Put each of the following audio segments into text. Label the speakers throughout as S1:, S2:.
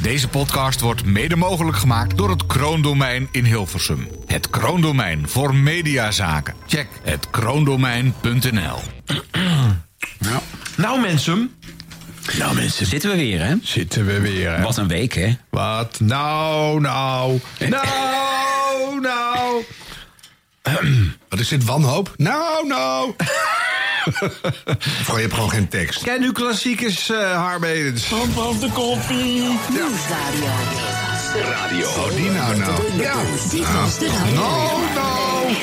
S1: Deze podcast wordt mede mogelijk gemaakt door het Kroondomein in Hilversum. Het Kroondomein voor mediazaken. Check het kroondomein.nl.
S2: Nou,
S3: Nou mensen,
S2: nou mensen,
S3: zitten we weer hè?
S2: zitten we weer. hè?
S3: Wat een week hè?
S2: Wat? Nou, nou. Nou, nou. Wat is dit, wanhoop? Nou, nou. Goh, je hebt gewoon geen tekst. Ken u klassiekers, eh Harmedens?
S4: Nieuwsradio.
S2: Radio. Oh, die nou, nou. Ja.
S4: Dit was de radio.
S2: Nou, nou.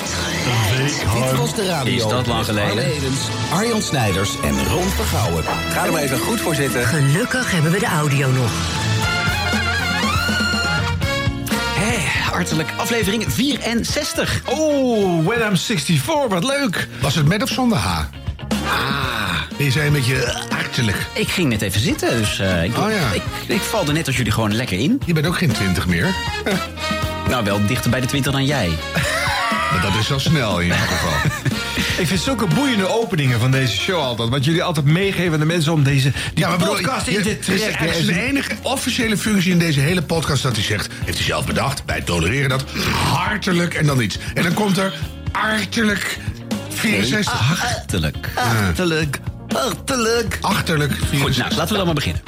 S5: Dit was de radio.
S3: Is dat lang geleden?
S5: Harm Edens, Arjan Snijders en Ron Vergouwen. Ga er maar even goed voor zitten.
S4: Gelukkig hebben we de audio nog.
S3: Hé, hartelijk aflevering 64.
S2: Oh, When I'm 64, wat leuk. Was het met of zonder H? Ah. Die zijn Ah. een beetje achterlijk.
S3: Ik ging net even zitten, dus eh, ik,
S2: Oh ja.
S3: ik, ik val er net als jullie gewoon lekker in.
S2: Je bent ook geen twintig meer.
S3: Nou, wel dichter bij de 20 dan jij.
S2: Maar dat is wel snel in ieder geval.
S6: Ik vind zulke boeiende openingen van deze show altijd. Wat jullie altijd meegeven aan de mensen om deze die
S2: bedoel,
S6: podcast
S2: je-
S6: in te
S2: het is
S6: trekken.
S2: echt de enige officiële functie in deze hele podcast dat hij zegt... heeft hij zelf bedacht, wij tolereren dat, hartelijk en dan iets. En dan komt er hartelijk 64...
S3: Hartelijk. Hartelijk. Hartelijk.
S2: Achterlijk
S3: Goed,
S2: 64.
S3: nou, laten we dan maar beginnen.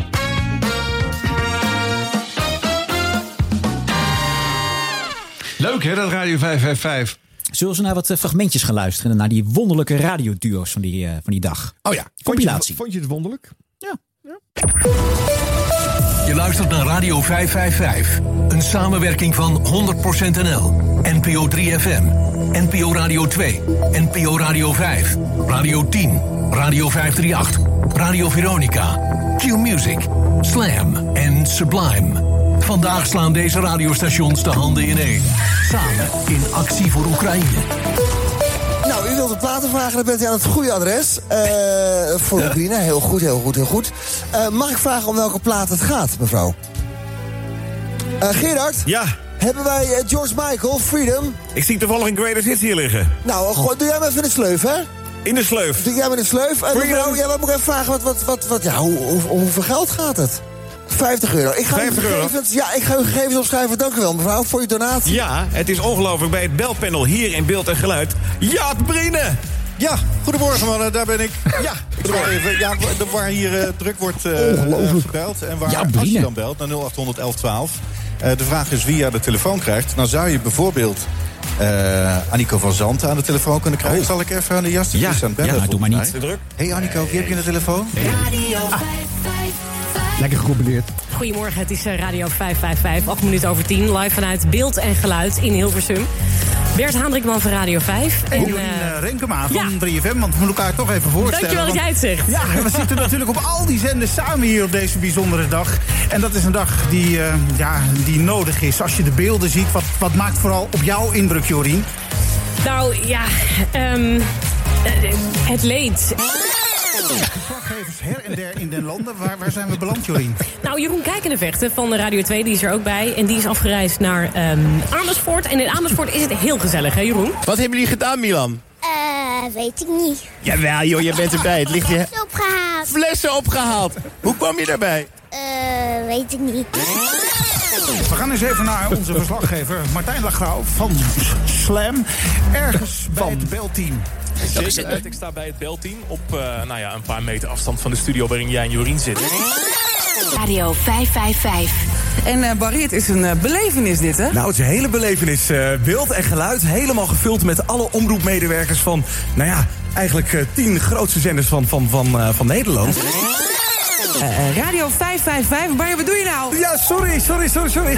S6: Leuk hè, dat Radio 555.
S7: Zullen ze naar wat eh, fragmentjes gaan luisteren? Naar die wonderlijke radioduo's van die, eh, van die dag.
S2: Oh ja.
S7: Compilatie.
S6: Vond je het wonderlijk?
S5: Je luistert naar Radio 555. Een samenwerking van 100% NL, NPO 3FM, NPO Radio 2, NPO Radio 5, Radio 10, Radio 538, Radio Veronica, Q-Music, Slam en Sublime. Vandaag slaan deze radiostations de handen ineen. Samen in actie voor Oekraïne.
S8: Nou, u wilt een platen vragen, dan bent u aan het goede adres. Eh, voor Oekraïne, heel goed, heel goed, heel goed. Eh, mag ik vragen om welke plaat het gaat, mevrouw? Eh, Gerard?
S9: Ja,
S8: Hebben wij eh, George Michael, Freedom?
S9: ik zie toevallig een Greatest Hits hier liggen.
S8: Nou, eh, goh, doe jij maar even een sleuf, hè?
S9: In de sleuf.
S8: Doe jij maar een sleuf. En
S9: Freedom.
S8: mevrouw, jij moet ik even vragen, wat, wat, wat, wat, ja, hoe, hoe, om hoeveel geld gaat het? 50 euro. Ik ga
S9: 50
S8: uw
S9: euro?
S8: gegevens, Ja, ik ga uw gegevens opschrijven. Dank u wel, mevrouw, voor uw donatie.
S9: Ja, het is ongelooflijk bij het belpanel hier in beeld en geluid. Jaap Brine!
S10: Ja, goedemorgen mannen, daar ben ik. Ja, ik zal even, ja waar- waar hier eh, druk wordt eh, eh, gebeld. En waar
S7: Ja,
S10: als je
S7: Brine.
S10: dan belt naar 0800 1112. eh, de vraag is wie je aan de telefoon krijgt. Nou zou je bijvoorbeeld eh Annico van Zanten aan de telefoon kunnen krijgen. Zal ik even aan de jas?
S9: Ja,
S10: aan het bellen,
S7: Oh. ja, doe
S10: volgens
S7: maar
S10: mij.
S7: niet.
S9: Druk.
S10: Hey Annico, wie heb je aan de telefoon?
S4: Radio 555.
S6: Lekker geprobeerd.
S11: Goedemorgen, het is eh, Radio 555, 8 minuten over 10. Live vanuit Beeld en Geluid in Hilversum. Bert Hendrikman van Radio 5. En,
S10: Jeroen
S11: eh,
S10: eh, Renkema van
S11: ja.
S10: 3FM, want we moeten elkaar toch even voorstellen.
S11: dankjewel dat
S10: want-
S11: jij het zegt.
S10: Ja, we zitten natuurlijk op al die zenders samen hier op deze bijzondere dag. En dat is een dag die, eh, ja, die nodig is. Als je de beelden ziet, wat, wat maakt vooral op jou indruk, Jorien?
S11: Nou ja, ehm, eh, het leed.
S10: Verslaggevers her en der in den landen. Waar, waar zijn we beland, Jorien?
S11: Nou, Jeroen Kijkendevechten van de Radio 2, die is er ook bij. En die is afgereisd naar ehm, Amersfoort. En in Amersfoort is het heel gezellig, hè Jeroen?
S9: Wat hebben jullie gedaan, Milan?
S12: Eh, weet ik niet.
S9: Jawel, joh, je bent erbij. Het ligt je
S12: Is opgehaald.
S9: flessen opgehaald. Hoe kwam je daarbij?
S12: Eh, weet ik niet.
S10: We gaan eens even naar onze verslaggever Martijn Lagrauw van Slam. Ergens bij het belteam.
S3: Zeker.
S9: Ik sta bij het belteam op nou ja, een paar meter afstand van de studio waarin jij en Jorien zitten.
S4: Radio 555.
S5: En uh, is een belevenis dit, hè?
S9: Nou, het is een hele belevenis. eh, beeld en geluid helemaal gevuld met alle omroepmedewerkers van, nou ja, eigenlijk eh, tien grootste zenders van, van, van, eh, van Nederland.
S5: Eh, Radio 555, maar wat doe je nou?
S9: Ja, sorry, sorry, sorry, sorry.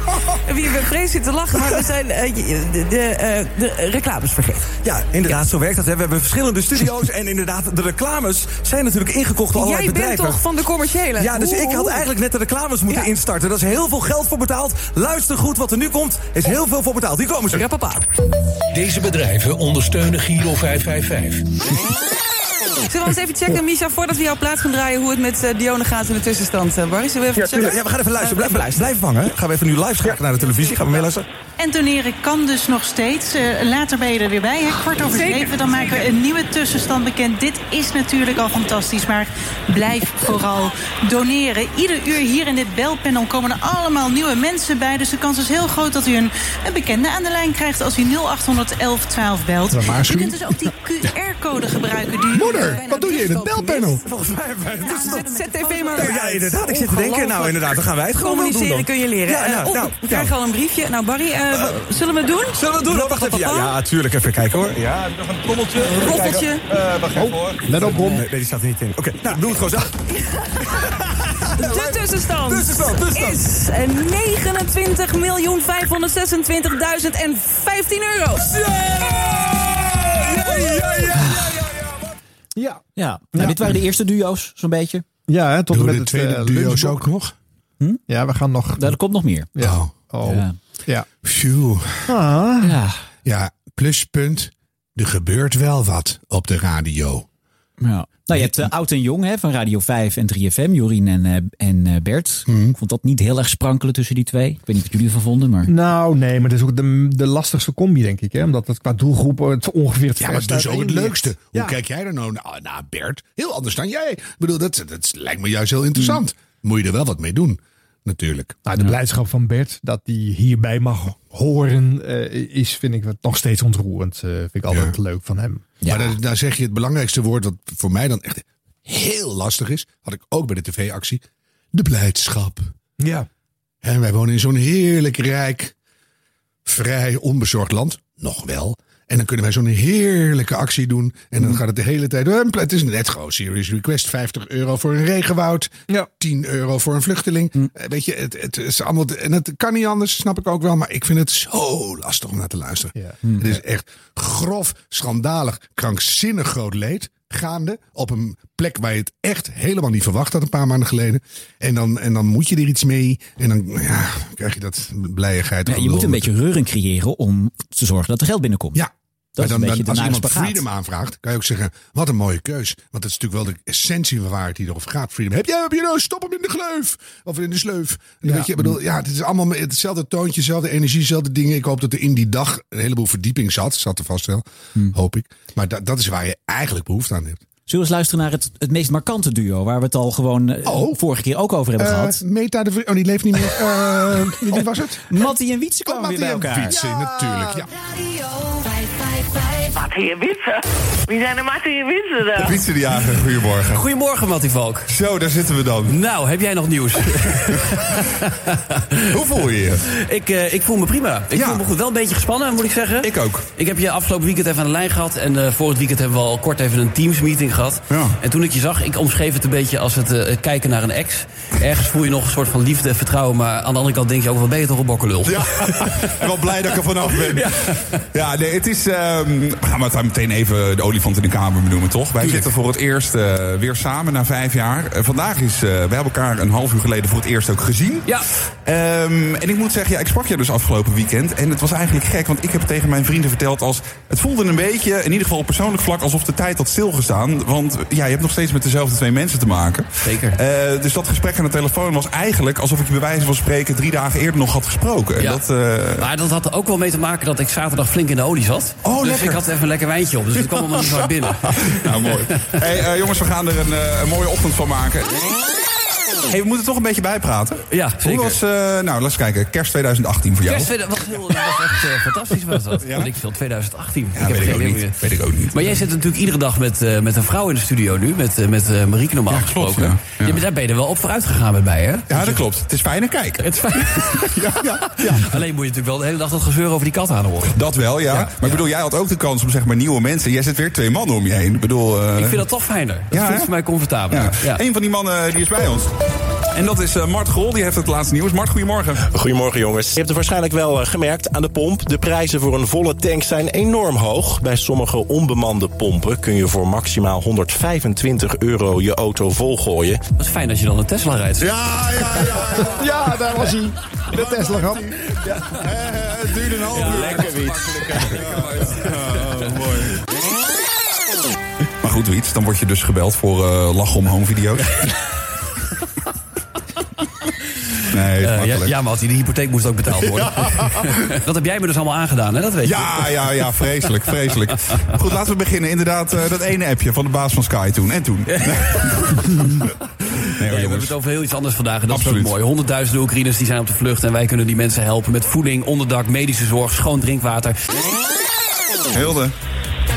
S5: Wie we vrees zit te lachen, maar we zijn eh, de, de, eh, de reclames vergeten.
S9: Ja, inderdaad, zo werkt dat. Hè. We hebben verschillende studio's en inderdaad, de reclames zijn natuurlijk ingekocht door allerlei
S5: Jij bent
S9: bedrijven.
S5: toch van de commerciële?
S9: Ja, dus
S5: Hoe-
S9: ik had
S5: hoe-
S9: eigenlijk net de reclames moeten
S5: Ja.
S9: instarten. Daar is heel veel geld voor betaald. Luister goed, wat er nu komt, is heel veel voor betaald. Hier komen ze.
S5: Rappapa. Deze bedrijven ondersteunen Giro 555. Zullen we eens even checken, Misha, voordat we jouw plaats gaan draaien... hoe het met eh, Dione gaat in de tussenstand, eh, Barry? Zullen we even
S9: Ja,
S5: checken?
S9: we gaan even luisteren. Blijf, blijf hangen. Gaan we even nu live schakelen naar de televisie. Gaan we mee luisteren?
S13: En doneren kan dus nog steeds. Eh, later ben je er weer bij. Hè? Kwart over zeven, dan maken we een nieuwe tussenstand bekend. Dit is natuurlijk al fantastisch, maar blijf vooral doneren. Ieder uur hier in dit belpanel komen er allemaal nieuwe mensen bij. Dus de kans is heel groot dat u een, een bekende aan de lijn krijgt... als u 0800 1112 belt.
S6: Wat een
S13: U
S6: waarschuwing.
S13: kunt dus ook die QR-code gebruiken. Die
S6: Moeder, wat doe je in het belpanel?
S5: Volgens mij hebben wij het
S14: Ja, zet- Zet tv maar
S5: Ja, inderdaad. Ik zit te denken, nou inderdaad, dan gaan wij het gewoon wel doen
S14: Communiceren
S5: dan.
S14: kun je leren.
S5: Ja,
S14: Eh,
S5: nou,
S14: of
S5: nou,
S14: we krijgen
S5: ja.
S14: al een briefje. Nou, Barry, eh, wat- zullen we het doen?
S5: Zullen we het doen?
S9: Oh,
S5: Wacht even. Ja, ja, tuurlijk. Even kijken hoor. Ja, nog een trommeltje.
S14: Roffeltje.
S5: wacht even hoor. Let op, Bom. Nee, nee, die staat er niet in. Oké, nou, doe het gewoon zelf.
S14: De tussenstand,
S5: Tussenstand, tussenstand.
S14: is eh, 29.526.015 euro.
S3: Ja. Nou, Dit waren de eerste duo's, zo'n beetje.
S6: Ja, hè, tot en
S3: Doen
S6: met
S3: de
S6: het
S3: tweede
S6: eh,
S3: duo's
S6: lunchblok.
S3: ook
S6: nog? Ja, we gaan nog...
S3: Daar komt nog meer.
S6: Ja. Oh.
S3: Ja.
S6: Ja.
S2: Phew.
S3: Ja.
S2: Ah. ja, pluspunt. Er gebeurt wel wat op de radio.
S3: Ja. Nou, je hebt eh, oud en jong hè, van Radio 5 en 3FM, Jorien en, eh, en eh, Bert.
S2: Mhm.
S3: Ik vond dat niet heel erg sprankelen tussen die twee. Ik weet niet wat jullie ervan vonden, maar...
S6: Nou, nee, maar het is ook de, de lastigste combi, denk ik. Hè? Omdat het qua doelgroep eh, het ongeveer het
S2: Ja, maar het is
S6: verst
S2: dus ook het
S6: uiteen
S2: leukste.
S6: ligt.
S2: Hoe
S6: Ja.
S2: kijk jij er nou naar, naar, Bert? Heel anders dan jij. Ik bedoel, dat, dat lijkt me juist heel interessant. Mm. Moet je er wel wat mee doen, natuurlijk.
S6: Nou, de blijdschap van Bert dat hij hierbij mag horen, eh, is, vind ik, wat nog steeds ontroerend. eh, vind ik altijd leuk van hem.
S2: Maar dan, dan zeg je het belangrijkste woord, wat voor mij dan echt heel lastig is. Had ik ook bij de tv-actie. De blijdschap.
S6: Ja.
S2: En wij wonen in zo'n heerlijk rijk, vrij onbezorgd land. Nog wel. En dan kunnen wij zo'n heerlijke actie doen. En
S3: Mhm.
S2: dan gaat het de hele tijd. eh, Het is net gewoon serious request. 50 euro voor een regenwoud. 10 euro voor een vluchteling.
S3: Mhm.
S2: Eh, Weet je, het, het is allemaal. En het kan niet anders, snap ik ook wel. Maar ik vind het zo lastig om naar te luisteren. Mhm. Het is echt grof, schandalig, krankzinnig groot leed gaande. Op een plek waar je het echt helemaal niet verwacht had een paar maanden geleden. En dan, en dan moet je er iets mee. En dan ja, krijg je dat blijigheid.
S3: Ja, je moet een beetje reuring creëren om te zorgen dat er geld binnenkomt.
S2: Ja.
S3: Dat is
S2: maar
S3: een
S2: dan,
S3: beetje
S2: dan,
S3: de
S2: als
S3: nare
S2: iemand
S3: spagaat.
S2: Freedom aanvraagt, kan je ook zeggen: wat een mooie keus. Want dat is natuurlijk wel de essentie van waar het hier over gaat. Freedom. Heb jij heb je nou? Stop hem in de gleuf. Of in de sleuf.
S6: Ja.
S2: Weet je, ik bedoel, ja, het is allemaal met hetzelfde toontje, dezelfde energie, dezelfde dingen. Ik hoop dat er in die dag een heleboel verdieping zat. Zat er vast wel,
S3: Hmm.
S2: hoop ik. Maar da- dat is waar je eigenlijk behoefte aan hebt.
S3: Zullen we eens luisteren naar het, het meest markante duo... waar we het al gewoon eh, vorige keer ook over hebben
S2: Oh. Eh,
S3: gehad?
S2: Meta de Vri- Oh, die leeft niet meer. Eh, wie was het?
S3: Mattie en Wietse
S2: kwamen
S3: weer bij elkaar.
S2: en Wietse, natuurlijk. Ja.
S15: Mattie en Witsen. Wie zijn de Mattie en Witsen dan?
S16: Pizza de Jager, goedemorgen. Goedemorgen, Mattie Valk. Zo, daar zitten we dan. Nou, heb jij nog nieuws? Hoe voel je je? Ik, eh, ik voel me prima. Ik voel me goed. Wel een beetje gespannen, moet ik zeggen. Ik ook. Ik heb je afgelopen weekend even aan de lijn gehad. En eh voor het weekend hebben we al kort even een Teams-meeting gehad. En toen ik je zag, ik omschreef het een beetje als het eh, kijken naar een ex. Ergens voel je nog een soort van liefde en vertrouwen. Maar aan de andere kant denk je ook, wat ben je toch een bokkelul.
S17: Ja, wel blij dat ik er vanaf ben. Ja, nee, het is... ehm, we gaan maar meteen even de olifant in de kamer benoemen, toch? Wij zitten voor het eerst eh, weer samen na vijf jaar. Eh, vandaag is... eh we hebben elkaar een half uur geleden voor het eerst ook gezien. Ja. en ik moet zeggen, ja, ik sprak je dus afgelopen weekend. En het was eigenlijk gek, want ik heb het tegen mijn vrienden verteld als... Het voelde een beetje, in ieder geval op persoonlijk vlak, alsof de tijd had stilgestaan. Want ja, je hebt nog steeds met dezelfde twee mensen te maken. Zeker. dus dat gesprek aan de telefoon was eigenlijk alsof ik je bij wijze van spreken drie dagen eerder nog had gesproken. En Ja. Dat, eh,
S16: Maar dat had er ook wel mee te maken dat ik zaterdag flink in de olie zat.
S17: Oh,
S16: dus
S17: lekker.
S16: ik had even een lekker wijntje op. Dus het kwam allemaal niet hard binnen.
S17: Nou, mooi. Hey, eh, jongens, we gaan er een, eh, een mooie ochtend van maken. Hey, we moeten toch een beetje bijpraten. Ja, zeker. Hoe was, eh, nou, laten we kijken, kerst 2018 voor jou?
S16: Kerst tweede- wat heel- dat was echt eh, fantastisch was dat. Weet ik veel, 2018.
S17: Ja, weet ik ook niet. Weet ik ook niet.
S16: Maar jij zit natuurlijk iedere dag met, eh, met een vrouw in de studio nu. Met, eh, met eh, Marieke normaal
S17: Ja, klopt,
S16: gesproken.
S17: ja. Ja.
S16: Je bent- daar ben je er wel op vooruit gegaan met mij, hè?
S17: Ja, dat klopt. Het is fijn kijken.
S16: Het is fijn. Alleen moet je natuurlijk wel de hele dag dat gezeur over die kat aanhoren.
S17: Dat wel, ja. maar ik bedoel, jij had ook de kans om zeg maar nieuwe mensen. Jij zit weer twee mannen om je heen. Ik bedoel... eh,
S16: Ik vind dat toch fijner. Dat
S17: Ja,
S16: voelt
S17: hè?
S16: voor mij comfortabeler.
S17: Ja. Een van die
S9: eh,
S17: mannen die is bij ons. En dat is eh, Mart Grol, die heeft het laatste nieuws. Mart, goedemorgen.
S9: Goedemorgen jongens. Je hebt het waarschijnlijk wel eh, gemerkt aan de pomp. De prijzen voor een volle tank zijn enorm hoog. Bij sommige onbemande pompen kun je voor maximaal 125 euro je auto volgooien.
S16: Dat is fijn dat je dan een Tesla rijdt.
S17: Ja, ja,
S6: Ja, daar was hij. De Tesla gehad.
S17: Het duurde een half uur. lekker Maar goed, Wiet, dan word je dus gebeld voor eh lachen om home video's. Nee,
S16: Eh, ja,
S17: makkelijk.
S16: ja, want die hypotheek moest ook betaald worden. dat heb jij me dus allemaal aangedaan, hè? Dat weet
S17: Ja,
S16: je.
S17: ja, ja, vreselijk, vreselijk. Goed, laten we beginnen. Inderdaad, eh, dat ene appje van de baas van Sky toen. En toen.
S16: Nee, we hebben het over heel iets anders vandaag. En dat
S17: Absoluut.
S16: is ook mooi. Honderdduizenden Oekraïners die zijn op de vlucht. En wij kunnen die mensen helpen met voeding, onderdak, medische zorg, schoon drinkwater.
S17: Hilde.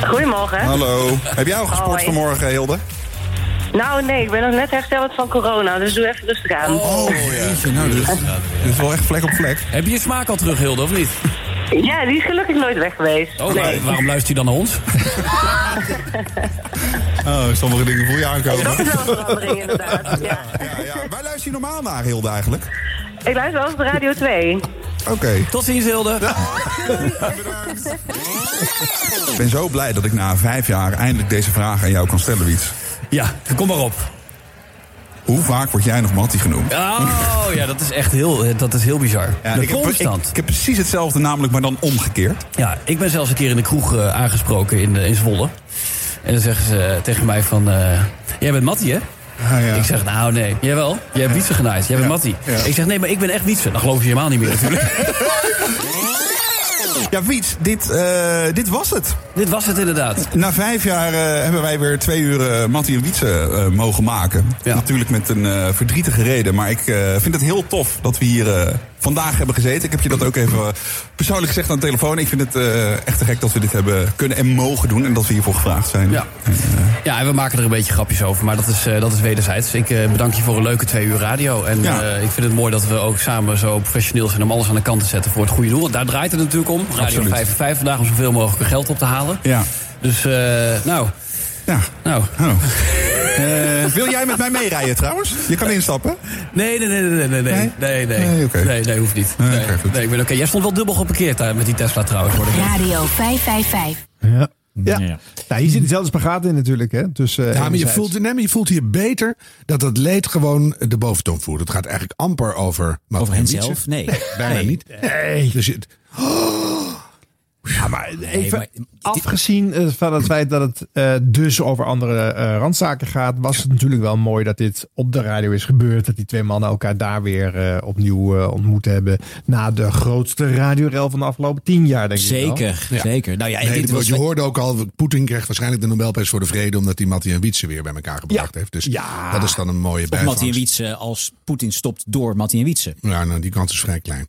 S18: Goedemorgen.
S17: Hallo. Heb jij al gesport
S18: Hoi.
S17: vanmorgen, Hilde?
S18: Nou, nee, ik ben nog net hersteld van corona, dus doe even rustig aan.
S5: Oh.
S17: Jeetje, nou, dit, is- dit is wel echt vlek op vlek.
S16: Heb je je smaak al terug, Hilde, of niet?
S18: Ja, die is gelukkig nooit weg geweest.
S16: Oh,
S18: nee.
S16: waar- waarom luistert hij dan naar ons?
S17: Oh, sommige dingen voel je aankomen.
S18: Dat is wel een verandering, inderdaad.
S17: Waar luister je normaal naar, Hilde, eigenlijk?
S18: Ik luister wel eens op Radio 2.
S17: Oké.
S16: Tot ziens, Hilde.
S17: Ik ben zo blij dat ik na vijf jaar eindelijk deze vraag aan jou kan stellen, Wiets.
S16: Ja, kom maar op.
S17: Hoe vaak word jij nog Mattie genoemd?
S16: Oh, ja, dat is echt heel, dat is heel bizar.
S17: Ja,
S16: de
S17: ik, heb,
S16: constant.
S17: ik, ik heb precies hetzelfde namelijk, maar dan omgekeerd.
S16: Ja, ik ben zelfs een keer in de kroeg eh, aangesproken in, eh, in Zwolle. En dan zeggen ze eh, tegen mij van... eh, jij bent Mattie, hè?
S17: Ah,
S16: Ik zeg, nou nee. Jawel, jij hebt Wietse genaaid. Jij bent Mattie. Ik zeg, nee, maar ik ben echt Wietse. Dan geloof je helemaal niet meer natuurlijk.
S17: Ja, Wiets, dit, eh, dit was het.
S16: Dit was het inderdaad.
S17: Na vijf jaar eh, hebben wij weer twee uur eh, Mattie en Wietse eh, mogen maken. Natuurlijk met een eh, verdrietige reden. Maar ik eh, vind het heel tof dat we hier eh, vandaag hebben gezeten. Ik heb je dat ook even eh, persoonlijk gezegd aan de telefoon. Ik vind het eh, echt te gek dat we dit hebben kunnen en mogen doen. En dat we hiervoor gevraagd zijn. Eh, Ja.
S16: Ja, en we maken er een beetje grapjes over, maar dat is, eh, dat is wederzijds. Ik eh, bedank je voor een leuke twee uur radio. En eh, ik vind het mooi dat we ook samen zo professioneel zijn om alles aan de kant te zetten voor het goede doel. Want daar draait het natuurlijk om. Radio
S17: Absoluut.
S16: 55 vandaag om zoveel mogelijk geld op te halen.
S17: Ja.
S16: Dus, eh, nou.
S17: Ja. Oh.
S16: Nou.
S17: Eh, wil jij met mij meerijden trouwens? Je kan instappen.
S16: Nee, nee, nee, nee, nee, nee, nee, nee, nee, nee, nee, hoeft niet. Nee, nee, ik ben oké. Jij stond wel dubbel geparkeerd daar met die Tesla trouwens. Hoor ik.
S5: Radio 555.
S6: Ja. Ja. Nou, hier zit dezelfde spagaat in natuurlijk. Hè? Dus, eh,
S2: Ja, maar je
S6: enerzijds-
S2: voelt, nee, maar je voelt hier beter dat dat leed gewoon de boventoon voert. Het gaat eigenlijk amper over... Over
S3: henzelf? Nee.
S2: bijna
S3: Nee.
S2: niet. Nee. Dus je,
S6: Ja, maar
S3: Nee,
S6: even
S3: maar-
S6: afgezien eh, van het feit dat het eh, dus over andere eh, randzaken gaat, was het natuurlijk wel mooi dat dit op de radio is gebeurd. Dat die twee mannen elkaar daar weer eh, opnieuw eh, ontmoet hebben. Na de grootste radiorel van de afgelopen tien jaar, denk ik. wel.
S3: Zeker, zeker. Nou ja,
S2: Nee,
S3: dit
S2: dit-
S3: was-
S2: je hoorde ook al, Poetin krijgt waarschijnlijk de Nobelprijs voor de vrede... omdat hij Mattie en Wietse weer bij elkaar gebracht heeft. Dus dat is dan een mooie
S3: Of
S2: bijvangst.
S3: Mattie en Wietse Eh, als Poetin stopt door Mattie en Wietse. Mhm.
S2: Ja, nou, die kans is vrij klein.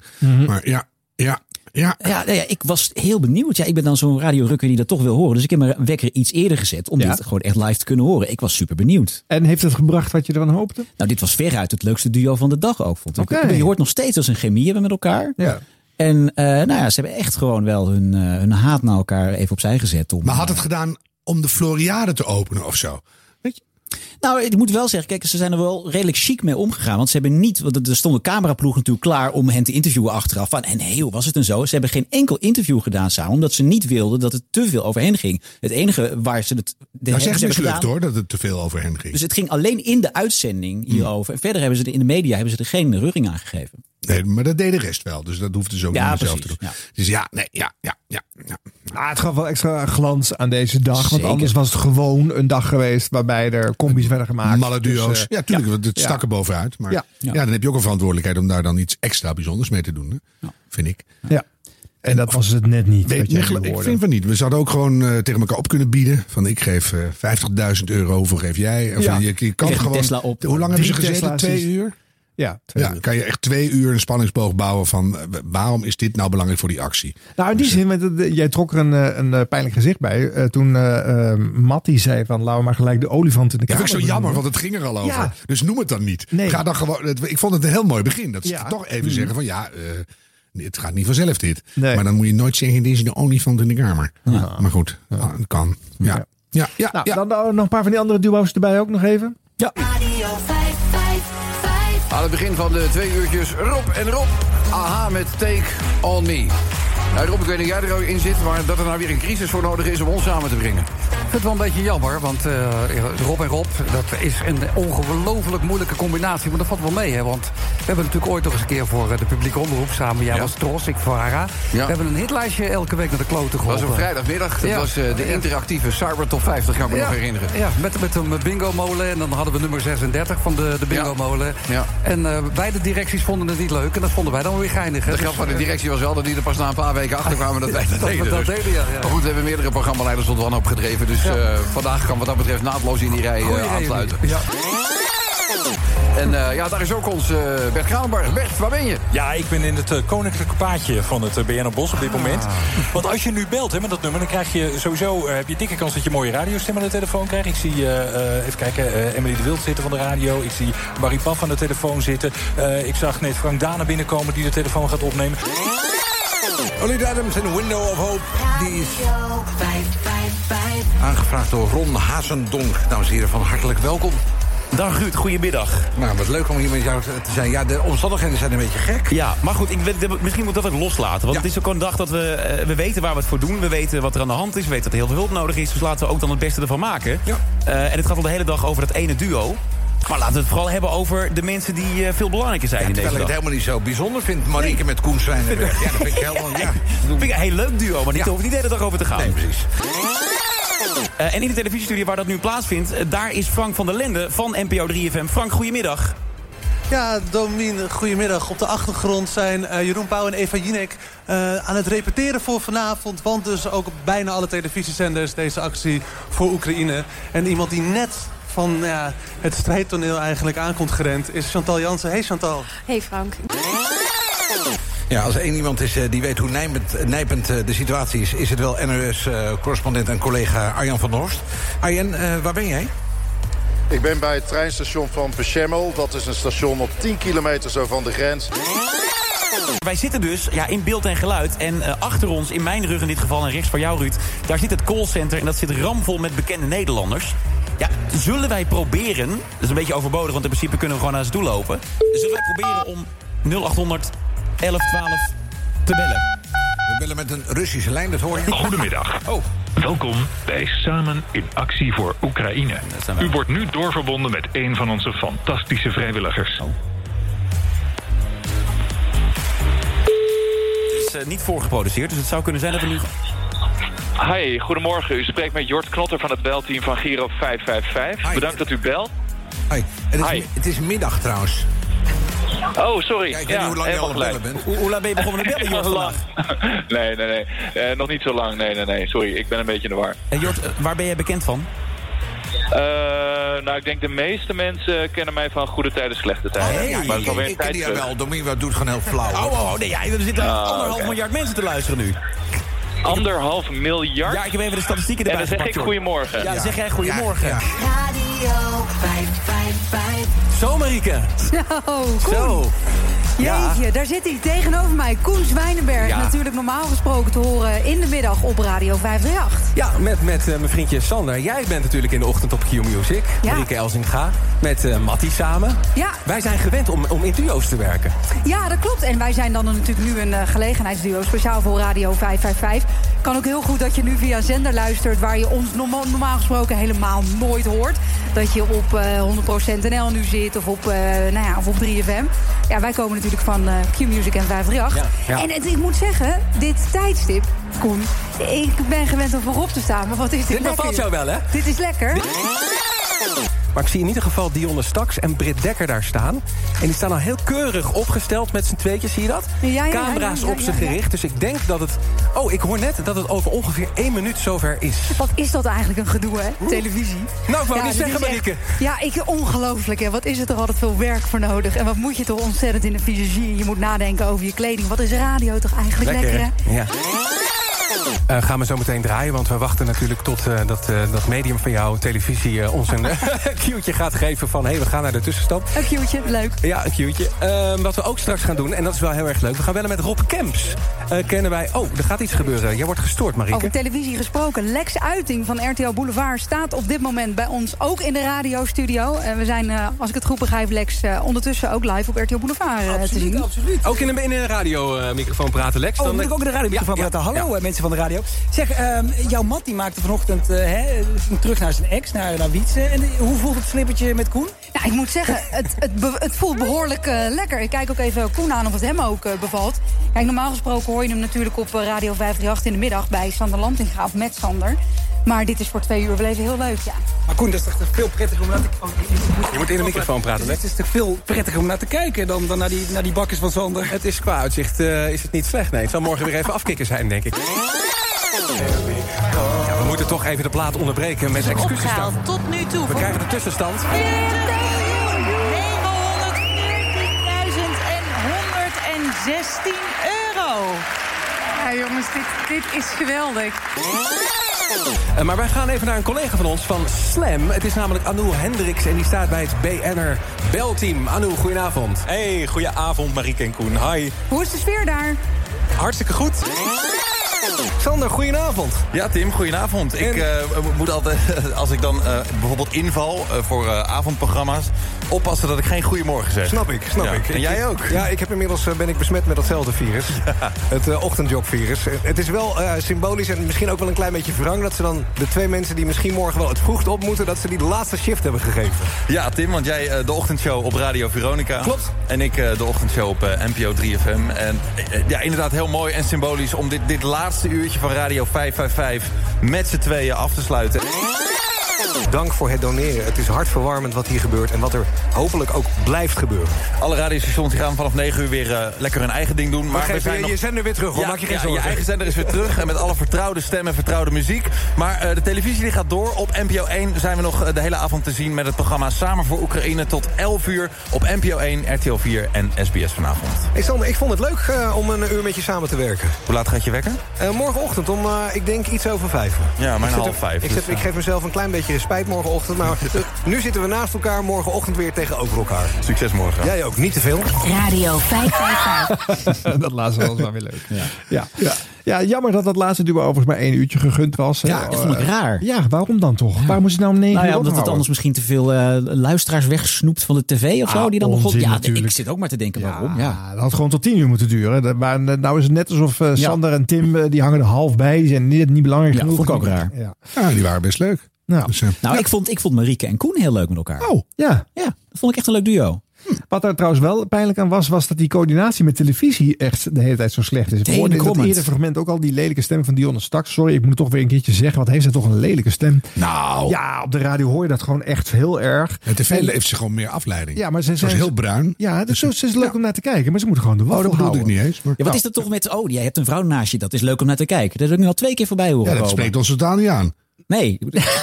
S2: Maar ja, ja, ja.
S3: Ja, nou ja, ik was heel benieuwd. Ja, ik ben dan zo'n radiorukker die dat toch wil horen. Dus ik heb mijn wekker iets eerder gezet om
S6: Ja.
S3: dit gewoon echt live te kunnen horen. Ik was super benieuwd.
S6: En heeft het gebracht wat je ervan hoopte?
S3: Nou, dit was veruit het leukste duo van de dag ook, vond ik.
S6: Oké.
S3: Je hoort nog steeds dat ze een chemie hebben met elkaar.
S6: Ja.
S3: En eh, nou ja, ze hebben echt gewoon wel hun, eh, hun haat naar elkaar even opzij gezet. Om, eh,
S2: Maar had het gedaan om de Floriade te openen of zo?
S3: Nou, ik moet wel zeggen, kijk, ze zijn er wel redelijk chic mee omgegaan. Want ze hebben niet, want er- er stond een cameraploeg natuurlijk klaar om hen te interviewen achteraf. Van, en heel was het en zo. Ze hebben geen enkel interview gedaan samen, omdat ze niet wilden dat het te veel over hen ging. Het enige waar ze het. De
S2: nou,
S3: ze
S2: zeg
S3: hebben
S2: mislukt
S3: gedaan-
S2: hoor, Hmm. dat het te veel over hen ging.
S3: Dus het ging alleen in de uitzending hierover. En verder hebben ze er in de media hebben ze er geen reuring aan gegeven.
S2: Nee, maar dat deed de rest wel. Dus dat hoefde ze ook
S3: Ja,
S2: niet meer zelf te
S3: precies,
S2: doen. Dus ja, nee, ja, ja, ja. ja.
S6: Ah, het gaf wel extra glans aan deze dag.
S2: Zeker.
S6: Want anders was het gewoon een dag geweest waarbij er combi's werden gemaakt.
S2: Malle duo's.
S6: Dus, eh,
S2: ja, tuurlijk, want het
S6: Ja.
S2: stak er bovenuit. Maar
S6: Ja.
S2: ja.
S6: Ja.
S2: dan heb je ook een verantwoordelijkheid om daar dan iets extra bijzonders mee te doen. Hè? Vind ik.
S6: Ja. En dat was het net niet. wat
S2: Weet,
S6: jij
S2: niet,
S6: nu
S2: ik
S6: hoorde.
S2: vind van niet. We zouden ook gewoon eh, tegen elkaar op kunnen bieden. Van ik geef eh, 50.000 euro, hoeveel geef jij? Of
S6: Ja.
S2: je, je kan
S6: Krijg een
S2: gewoon.
S6: Tesla op.
S2: Hoe lang
S6: Drie
S2: hebben ze gezeten?
S6: Tesla's
S2: Twee
S6: is-
S2: uur?
S6: Ja,
S2: ja, kan je echt twee uur een spanningsboog bouwen van eh, waarom is dit nou belangrijk voor die actie?
S6: Nou, in die zin, want eh, jij trok er een, eh, een eh, pijnlijk gezicht bij. eh, toen eh eh, Matty zei van, laten we maar gelijk de olifant in de
S2: Ja,
S6: kamer
S2: vind ik zo jammer,
S6: benoemen.
S2: want het ging er al over.
S6: Ja.
S2: Dus noem het dan niet. Ga dan gewoon, het- ik vond het een heel mooi begin. Dat ze
S6: Ja.
S2: toch even
S6: Mhm.
S2: zeggen van ja, eh, het gaat niet vanzelf dit.
S6: Nee.
S2: Maar dan moet je nooit zeggen, dit is de olifant in de kamer.
S6: Ja.
S2: Maar goed, ah, het kan. Ja. Ja. Ja,
S6: nou, dan nou nog een paar van die andere duo's erbij ook nog even.
S3: Ja.
S9: Aan het begin van de twee uurtjes Rob en Rob. Aha met Take On Me. Nou Rob, ik weet niet of jij er ook in zit, maar dat er nou weer een crisis voor nodig is om ons samen te brengen.
S19: vind het wel een beetje jammer, want eh, Rob en Rob, dat is een ongelooflijk moeilijke combinatie. Maar dat valt wel mee, hè? Want we hebben natuurlijk ooit nog eens een keer voor eh, de publieke omroep samen. Jij was Tros, ik Vara. We hebben een hitlijstje elke week naar de kloten Dat geholpen. was op vrijdagmiddag. Dat Ja. was eh, de interactieve Cyber Top 50, kan ik me Ja, nog herinneren. Ja, met, met een bingo-molen. En dan hadden we nummer 36 van de, de bingo-molen. En eh, beide directies vonden het niet leuk. En dat vonden wij dan weer geinig. hè. De Dus, grap van de eh, directie was wel dat die er pas na een paar weken achter kwamen dat wij dat Dat we deden. dat dus. deden, ja, ja. Maar goed, we hebben meerdere programmaleiders tot wanhoop gedreven. Dus eh, vandaag kan wat dat betreft naadloos in die rij eh, Goeie reden. aansluiten. En eh, ja, daar is ook ons eh, Bert Kraanberg. Bert, waar ben je?
S20: Ja, ik ben in het eh, koninklijke paadje van het eh, BNR Bos op
S19: Ah.
S20: dit moment. Want als je nu belt hè, met dat nummer, dan krijg je sowieso eh, heb je dikke kans dat je mooie radiostem aan de telefoon krijgt. Ik zie, eh, eh, even kijken, eh, Emily de Wild zitten van de radio. Ik zie Barry Paf aan de telefoon zitten. Eh, ik zag net Frank Dana binnenkomen die de telefoon gaat opnemen.
S19: Ollie Adams in Window of Hope. Die is
S2: Aangevraagd door Ron Hazendonk. Dames en heren, van hartelijk welkom.
S20: Dag Ruud, goedemiddag.
S2: Nou, wat leuk om hier met jou te zijn. Ja, de omstandigheden zijn een beetje gek.
S20: Ja, maar goed, ik, weet- misschien moet dat ook loslaten. Want het is ook een dag dat we, eh, we weten waar we het voor doen. We weten wat er aan de hand is. We weten dat er heel veel hulp nodig is. Dus laten we ook dan het beste ervan maken. Eh, en het gaat al de hele dag over dat ene duo. Maar laten we het vooral hebben over de mensen die eh, veel belangrijker zijn
S2: Ja,
S20: in deze
S2: terwijl ik
S20: dag.
S2: het helemaal niet zo bijzonder vind. Marieke met Koen Zwijnenberg. Ja, dat vind ik helemaal... Ja.
S20: Vind ik een heel leuk duo, maar niet, hoeft niet de hele dag over te gaan. Nee,
S2: precies.
S20: en in de televisiestudio waar dat nu plaatsvindt... eh, daar is Frank van der Lende van NPO 3FM. Frank, goedemiddag.
S21: Ja, Domien, goedemiddag. Op de achtergrond zijn eh, Jeroen Pauw en Eva Jinek eh, aan het repeteren voor vanavond. Want dus ook op bijna alle televisiezenders deze actie voor Oekraïne. En iemand die net van ja, het strijdtoneel eigenlijk aankomt gerend is Chantal Jansen. Hey Chantal.
S22: Hey Frank.
S2: Ja, als er één iemand is eh, die weet hoe nijpend, nijpend eh, de situatie is... is het wel NOS-correspondent eh, en collega Arjan van der Horst. Arjan, eh, waar ben jij?
S23: Ik ben bij het treinstation van Peshemmel. Dat is een station op 10 kilometer zo van de grens.
S20: Wij zitten dus ja, in beeld en geluid. En eh, achter ons, in mijn rug in dit geval en rechts van jou, Ruud... daar zit het callcenter en dat zit ramvol met bekende Nederlanders. Ja, zullen wij proberen... Dat is een beetje overbodig, want in principe kunnen we gewoon naar ze toe lopen. Zullen wij proberen om 0800 1112 te bellen?
S2: We bellen met een Russische lijn, dat hoor je. Oh.
S24: Goedemiddag. Welkom bij Samen in Actie voor Oekraïne. U wordt nu doorverbonden met een van onze fantastische vrijwilligers.
S20: Het is eh, niet voorgeproduceerd, dus het zou kunnen zijn dat we nu... Oh.
S17: Hi, goedemorgen. U spreekt met Jort Knotter van het belteam van Giro 555. Bedankt dat u belt.
S2: Hoi. Het is, mi- het is middag trouwens.
S17: Oh, sorry.
S2: Ja, ik weet niet hoe lang je al aan het bellen bent.
S20: Hoe, lang ben je begonnen met bellen, Jort, vandaag?
S17: Nee, nee, nee. Eh, nog niet zo lang. Nee, nee, nee. Sorry, ik ben een beetje in de war.
S20: Eh, Jort, eh, waar ben jij bekend van?
S17: Eh, nou, ik denk de meeste mensen kennen mij van goede tijden, slechte tijden. maar het is alweer een
S2: ik ken
S17: tijd
S2: die
S17: terug.
S2: wel. Domien, wat doet gewoon heel flauw.
S20: Oh, oh, oh, nee, ja, er zitten
S17: Ah,
S20: anderhalf
S17: oké.
S20: miljard mensen te luisteren nu.
S17: Anderhalf miljard?
S20: Ja, ik heb even de statistieken erbij
S17: En dan zeg
S20: gepakt,
S17: ik
S20: Jort.
S17: goedemorgen.
S20: Ja, dan zeg jij goedemorgen.
S22: Radio 555.
S20: Zo, Marieke.
S22: Zo, Koen.
S20: Zo. Ja.
S22: Jeetje, daar zit hij tegenover mij. Koen Zwijnenberg,
S9: Ja.
S22: natuurlijk normaal gesproken te horen in de middag op Radio 538.
S9: Ja, met, met eh, mijn vriendje Sander. Jij bent natuurlijk in de ochtend op Q Music.
S22: Ja.
S9: Marieke Elzinga. Met eh Mattie samen.
S22: Ja.
S9: Wij zijn gewend om, om in duo's te werken.
S22: Ja, dat klopt. En wij zijn dan natuurlijk nu een eh, gelegenheidsduo speciaal voor Radio 555. Kan ook heel goed dat je nu via een zender luistert waar je ons norma- normaal gesproken helemaal nooit hoort. Dat je op eh 100% NL nu zit of op, eh, nou ja, of op 3FM. Ja, wij komen natuurlijk van eh, Q-Music en 538.
S5: Ja, ja.
S22: En het, ik moet zeggen, dit tijdstip, Koen, ik ben gewend om voorop te staan. Maar wat is dit,
S9: Dit
S22: lekker,
S9: bevalt
S22: joh.
S9: jou wel, hè?
S22: Dit is lekker.
S9: Maar ik zie in ieder geval Dionne Staks en Britt Dekker daar staan. En die staan al heel keurig opgesteld met z'n tweetjes, zie je dat?
S22: Ja, ja, ja,
S9: Camera's
S22: ja, ja,
S9: op ze
S22: ja, ja.
S9: gericht. Dus ik denk dat het... Oh, ik hoor net dat het over ongeveer één minuut zover is.
S22: Wat is dat eigenlijk een gedoe, hè? Televisie.
S9: Nou, ik
S22: dit
S9: wou niet
S22: is
S9: zeggen,
S22: echt-
S9: Marieke.
S22: Ja, ik, ongelooflijk, hè. Wat is er toch altijd veel werk voor nodig? En wat moet je toch ontzettend in de visagie? Je moet nadenken over je kleding. Wat is radio toch eigenlijk lekker, hè?
S9: hè? Ja. Eh, gaan we zo meteen draaien, want we wachten natuurlijk tot eh, dat, eh, dat medium van jou, televisie, eh, ons een cue'tje gaat geven van hé, hey, we gaan naar de tussenstand.
S22: Een cue'tje, leuk.
S9: Ja, een cue'tje. Ehm, wat we ook straks gaan doen, en dat is wel heel erg leuk, we gaan bellen met Rob Kemps. Eh, kennen wij... Oh, er gaat iets gebeuren. Jij wordt gestoord, Marieke.
S25: Oh,
S22: Over televisie gesproken. Lex Uiting van RTL Boulevard staat op dit moment bij ons ook in de radiostudio. En we zijn, eh, als ik het goed begrijp, Lex, eh, ondertussen ook live op RTL Boulevard eh, te zien.
S9: Ook in een, in een radiomicrofoon praten, Lex.
S20: Oh, moet ik ook in de radiomicrofoon
S9: Ja, ja,
S20: praten? Hallo,
S9: ja.
S20: eh, mensen
S25: mensen van de radio. Zeg,
S5: eh,
S25: ehm, jouw man die maakte vanochtend eh, hè, terug naar zijn ex, naar, naar Wietse. En eh, hoe voelt het flippertje met Koen?
S22: Nou, ik moet zeggen, het, het, be- het voelt behoorlijk eh, lekker. Ik kijk ook even Koen aan of het hem ook eh, bevalt. Kijk, normaal gesproken hoor je hem natuurlijk op eh, Radio 538 in de middag... bij Sander Lantinga of met Sander. Maar dit is voor twee uur beleven heel leuk, ja.
S25: Maar Koen, dat is toch veel prettiger om naar te kijken?
S5: Je moet in de microfoon praten, hè?
S25: Het is toch veel prettiger om naar te kijken dan, dan naar, die, naar die bakkers van Sander?
S5: Het is qua uitzicht eh, is het niet slecht. Nee, het zal morgen weer even afkikken zijn, denk ik. Ja, we moeten toch even de plaat onderbreken met excuses daarvoor.
S13: Opgehaald tot nu toe.
S5: We krijgen de tussenstand.
S13: 116 euro.
S26: Ja, jongens, dit, dit is geweldig.
S5: Eh, maar wij gaan even naar een collega van ons van Slam. Het is namelijk Anu Hendricks en die staat bij het BNR Belteam. Anu, goedenavond.
S9: Hey, goedenavond Marieke en Koen. Hi.
S22: Hoe is de sfeer daar?
S9: Hartstikke goed.
S5: Sander, goedenavond.
S9: Ja, Tim, goedenavond. Ik eh, moet altijd, als ik dan eh, bijvoorbeeld inval eh, voor eh, avondprogramma's... oppassen dat ik geen goeiemorgen zeg.
S5: Snap ik, snap
S9: Ja.
S5: ik.
S9: En jij ook?
S5: Ja, ik heb inmiddels eh, ben ik besmet met datzelfde virus. Het eh, ochtendjobvirus. Eh, Het is wel eh, symbolisch en misschien ook wel een klein beetje wrang... dat ze dan de twee mensen die misschien morgen wel het vroegst op moeten... dat ze die de laatste shift hebben gegeven.
S9: Ja, Tim, want jij eh, de ochtendshow op Radio Veronica.
S5: Klopt.
S9: En ik eh, de ochtendshow op eh, NPO 3FM. En eh, ja, inderdaad heel mooi en symbolisch om dit, dit laatste uurtje van Radio 555 met z'n tweeën af te sluiten.
S5: Dank voor het doneren. Het is hartverwarmend wat hier gebeurt... en wat er hopelijk ook blijft gebeuren.
S9: Alle radiostations die gaan vanaf 9 uur weer eh, lekker hun eigen ding doen. Maar
S5: geef
S9: we zijn
S5: je-
S9: nog...
S5: je zender weer terug, hoor.
S9: Ja,
S5: Maak je geen
S9: ja,
S5: zorgen.
S9: Je eigen zender is weer terug. En met alle vertrouwde stemmen en vertrouwde muziek. Maar eh, de televisie die gaat door. Op NPO 1 zijn we nog eh, de hele avond te zien met het programma Samen voor Oekraïne tot 11 uur. Op NPO 1, RTL 4 en SBS vanavond.
S5: Hey Sander, ik vond het leuk eh, om een uur met je samen te werken.
S9: Hoe laat gaat je wekker?
S5: Eh, morgenochtend om, eh, ik denk, iets over vijf.
S9: Ja, mijn
S5: Ik zit
S9: half
S5: er-
S9: vijf,
S5: Ik,
S9: dus,
S5: zit- ik
S9: ja.
S5: geef mezelf een klein beetje spijt morgenochtend. Maar eh, nu zitten we naast elkaar, morgenochtend weer tegenover elkaar.
S9: Succes morgen.
S5: Jij ook, niet te veel.
S27: Radio 555.
S6: dat laatste was maar weer leuk. Ja. Ja. Ja. jammer dat dat laatste duo overigens maar één uurtje gegund was.
S3: Ja, dat vond ik
S6: Eh,
S3: raar.
S6: Ja, waarom dan toch? Waarom moest het nou om negen
S3: Nou
S6: uur
S3: ja, omdat het
S6: ophouden?
S3: anders misschien te veel eh, luisteraars wegsnoept van de tv of zo.
S6: Ah,
S3: Die dan
S6: onzin
S3: begon. Ja,
S6: natuurlijk.
S3: ik zit ook maar te denken waarom. Ja.
S6: Dat had gewoon tot tien uur moeten duren. Dat waren, eh, nou is het net alsof eh, Sander en Tim, eh, die hangen er half bij. Die zijn niet, niet belangrijk genoeg.
S3: vond ik ook raar.
S6: Ja.
S2: Ja, die waren best leuk.
S6: Nou,
S3: Nou, ik vond, ik vond Marieke en Koen heel leuk met elkaar.
S6: Oh, ja.
S3: Ja, dat vond ik echt een leuk duo. Hm.
S6: Wat daar trouwens wel pijnlijk aan was, was dat die coördinatie met televisie echt de hele tijd zo slecht is. Ik
S3: Hele
S6: hoorde in dat
S3: krommend.
S6: eerder fragment ook al die lelijke stem van Dionne Staks. Sorry, ik moet toch weer een keertje zeggen, wat heeft ze toch een lelijke stem.
S2: Nou.
S6: Ja, op de radio hoor je dat gewoon echt heel erg.
S2: Het tv
S6: En-
S2: heeft ze gewoon meer afleiding.
S6: Ja, maar ze
S2: Ze was
S6: zijn-
S2: heel bruin.
S6: Ja, dus zo- ze is leuk om naar te kijken, maar ze moeten gewoon de
S2: Oh,
S6: waffel
S2: dat bedoelde ik
S6: houden.
S2: niet eens. maar-
S3: Ja, wat is dat toch met. Oh, jij hebt een vrouw naast je. Dat is leuk om naar te kijken. Dat heb ik nu al twee keer voorbij horen.
S2: Ja, dat
S3: komen.
S2: spreekt ons totaal niet aan.
S3: Nee.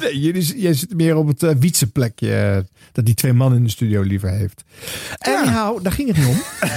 S6: Nee, jullie, jij zit meer op het eh, wietsenplekje eh, dat die twee mannen in de studio liever heeft. Anyhow, daar ging het niet om. het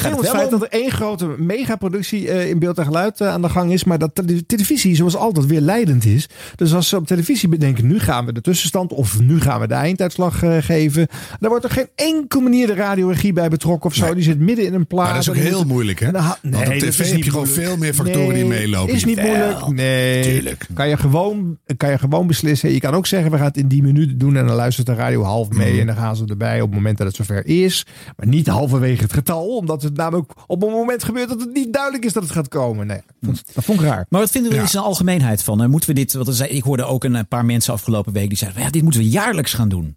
S6: ging
S3: het
S6: om het
S3: wel
S6: feit
S3: om.
S6: dat er één grote megaproductie eh, in beeld en geluid eh, aan de gang is. Maar dat tele- televisie zoals altijd weer leidend is. Dus als ze op televisie bedenken, nu gaan we de tussenstand of nu gaan we de einduitslag eh, geven. Dan wordt er geen enkele manier de radioregie bij betrokken of zo. Die zit midden in een plaat.
S2: Maar dat is ook
S6: en die
S2: heel
S6: moet-
S2: moeilijk, hè?
S6: Nou, ha-
S2: Want op
S6: nee, dat
S2: tv
S6: is
S2: heb
S6: niet
S2: je gewoon
S6: moeilijk.
S2: veel meer factoren
S6: Nee,
S2: die meelopen.
S6: Is niet
S2: Jawel.
S6: moeilijk. Nee.
S2: Tuurlijk.
S6: Kan je, gewoon, kan je gewoon beslissen. Je kan ook zeggen, we gaan het in die minuut doen. En dan luistert de radio half mee.
S2: Mhm.
S6: En dan gaan ze erbij op het moment dat het zover is. Maar niet halverwege het getal. Omdat het namelijk op een moment gebeurt dat het niet duidelijk is dat het gaat komen. Nee,
S2: Mhm.
S6: dat vond- dat vond ik raar.
S3: Maar wat vinden we er in zijn algemeenheid van? Eh, Moeten we dit, want er zei- ik hoorde ook een eh, paar mensen afgelopen week die zeiden: ja, dit moeten we jaarlijks gaan doen.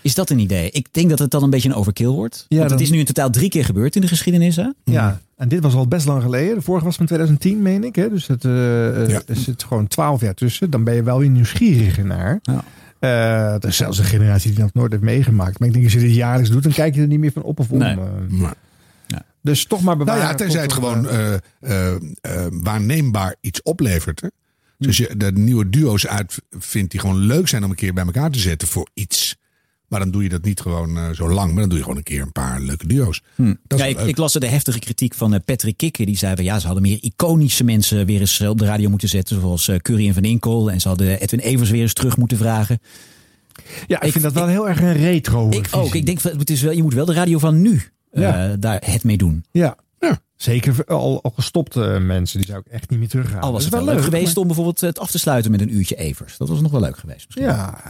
S3: Is dat een idee? Ik denk dat het dan een beetje een overkill wordt.
S6: Ja,
S3: want het
S6: dan-
S3: is nu in totaal drie keer gebeurd in de geschiedenis. Hè?
S2: Mhm.
S6: Ja, en dit was al best lang geleden. De vorige was van 2010, meen ik. Hè? Dus het, eh, eh, er zit gewoon 12 jaar tussen. Dan ben je wel weer nieuwsgierig naar. Eh, er is zelfs een generatie die dat nooit heeft meegemaakt. Maar ik denk, als je dit jaarlijks doet, dan kijk je er niet meer van op of om.
S2: Nee.
S6: eh. Dus toch maar bewaren.
S2: Nou ja, tenzij het
S6: Tot een,
S2: gewoon eh, eh, eh, waarneembaar iets oplevert. Hè? Dus als je de nieuwe duo's uitvindt die gewoon leuk zijn om een keer bij elkaar te zetten voor iets. Maar dan doe je dat niet gewoon eh, zo lang. Maar dan doe je gewoon een keer een paar leuke duo's. Dat is
S3: Ja,
S2: wel
S3: ik,
S2: leuk.
S3: ik las er de heftige kritiek van eh, Patrick Kikker. Die zei van ja, ze hadden meer iconische mensen weer eens eh, op de radio moeten zetten. Zoals eh, Curry en Van Inkel. En ze hadden Edwin Evers weer eens terug moeten vragen.
S6: Ja, ik, vind dat wel heel erg een retro.
S3: Ik ook. Ik denk, van, het is wel, je moet wel de radio van nu eh,
S6: Ja.
S3: daar het mee doen.
S6: Ja. Zeker al, al gestopte mensen, die zou ik echt niet meer teruggaan.
S3: Al was
S6: Dat
S3: het
S6: is
S3: wel leuk geweest
S6: maar-
S3: om bijvoorbeeld het af te sluiten met een uurtje Evers. Dat was nog wel leuk geweest. misschien.
S6: Ja.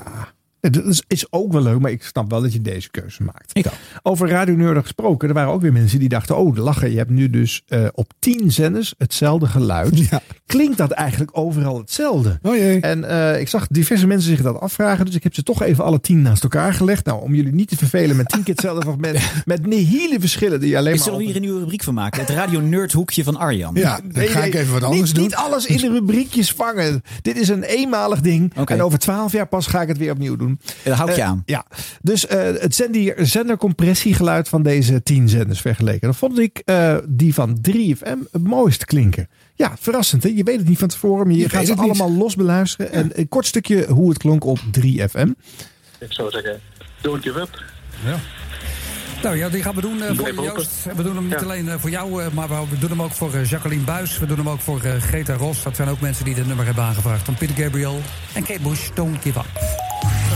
S6: Ja, dat is, is ook wel leuk, maar ik snap wel dat je deze keuze maakt. Nou, Over Radio Neurder gesproken, er waren ook weer mensen die dachten... oh, lachen, je hebt nu dus eh, op tien zenders hetzelfde geluid. Klinkt dat eigenlijk overal hetzelfde?
S2: Oh jee.
S6: En eh, ik zag diverse mensen zich dat afvragen... dus ik heb ze toch even alle tien naast elkaar gelegd. Nou, om jullie niet te vervelen met tien keer hetzelfde fragment... met nihile verschillen die je alleen
S3: Ik
S6: maar...
S3: zal
S6: op-
S3: hier een nieuwe rubriek van maken. Het Radio Nerd hoekje van Arjan.
S6: Nee, nee, niet, Niet alles in de rubriekjes vangen. Dit is een eenmalig ding. En over twaalf jaar pas ga ik het weer opnieuw doen.
S3: Daar hou ik je
S6: Eh,
S3: aan.
S6: Ja. Dus eh, het zender- zendercompressiegeluid van deze tien zenders vergeleken. Dan vond ik eh, die van 3FM het mooist klinken. Ja, verrassend. Hè? Je weet het niet van tevoren. Maar je,
S2: Je
S6: gaat
S2: weet
S6: ze
S2: het niet.
S6: allemaal los beluisteren. En een kort stukje hoe het klonk op 3FM.
S28: Ik zou zeggen, don't give up.
S19: Nou ja, die gaan we doen eh, voor
S28: Blijf
S19: je,
S28: open.
S19: Joost. We doen hem niet
S28: Ja.
S19: alleen eh, voor jou, eh, maar we doen hem ook voor eh, Jacqueline Buis. We doen hem ook voor eh, Greta Ros. Dat zijn ook mensen die dit nummer hebben aangevraagd. Van Peter Gabriel en Kate Bush, Don't Give Up.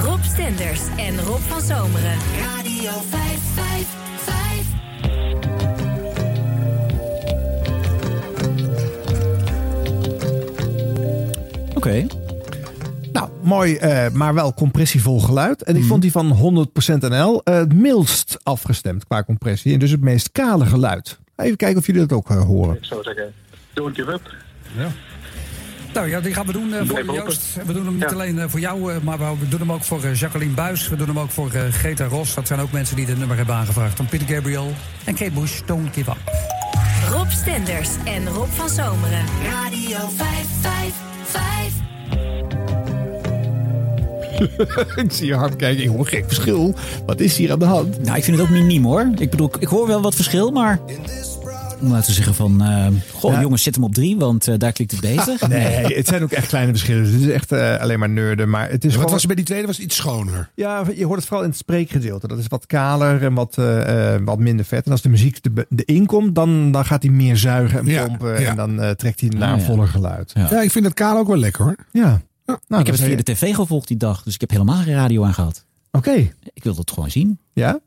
S5: Rob Stenders en Rob van Zomeren. Radio 555.
S3: Oké.
S6: Nou, mooi, eh, maar wel compressievol geluid.
S3: Mhm.
S6: En ik vond die van 100% NL eh, het mildst afgestemd qua compressie. En dus het meest kale geluid. Even kijken of jullie dat ook eh, horen.
S28: Ik zou zeggen, don't give up.
S19: Nou ja, die gaan we doen eh, voor
S28: Blijf
S19: je,
S28: open.
S19: Joost. We doen hem niet alleen eh, voor jou, eh, maar we doen hem ook voor eh, Jacqueline Buis. We doen hem ook voor eh, Greta Ros. Dat zijn ook mensen die dit nummer hebben aangevraagd. Van Peter Gabriel en Kate Bush, Don't Give Up.
S5: Rob Stenders en Rob van Zomeren. Radio 555.
S6: ik zie je hard kijken. Ik hoor gek verschil. Wat is hier aan de hand?
S3: Nou, ik vind het ook miniem hoor. Ik bedoel, ik- ik hoor wel wat verschil, maar... Om laten we zeggen van... eh, goh, jongens, zet hem op drie, want eh, daar klinkt het beter.
S6: Ah, Nee, het zijn ook echt kleine verschillen. Het is echt eh, alleen maar nerden. Maar het is
S2: Wat
S6: gewoon...
S2: was er bij die tweede? Was het iets schoner.
S6: Ja, je hoort het vooral in het spreekgedeelte. Dat is wat kaler en wat, eh, eh, wat minder vet. En als de muziek er de inkomt, dan, dan gaat hij meer zuigen en
S2: Ja,
S6: pompen.
S2: ja.
S6: En dan eh, trekt hij naar
S3: Ah, ja.
S6: voller geluid.
S3: Ja.
S2: Ja, Nou, ik vind dat kaal ook wel lekker hoor.
S6: Ja.
S3: ik heb het via de tv gevolgd die dag, dus ik heb helemaal geen radio aan gehad.
S6: Oké.
S3: Ik wilde het gewoon zien.
S6: Ja?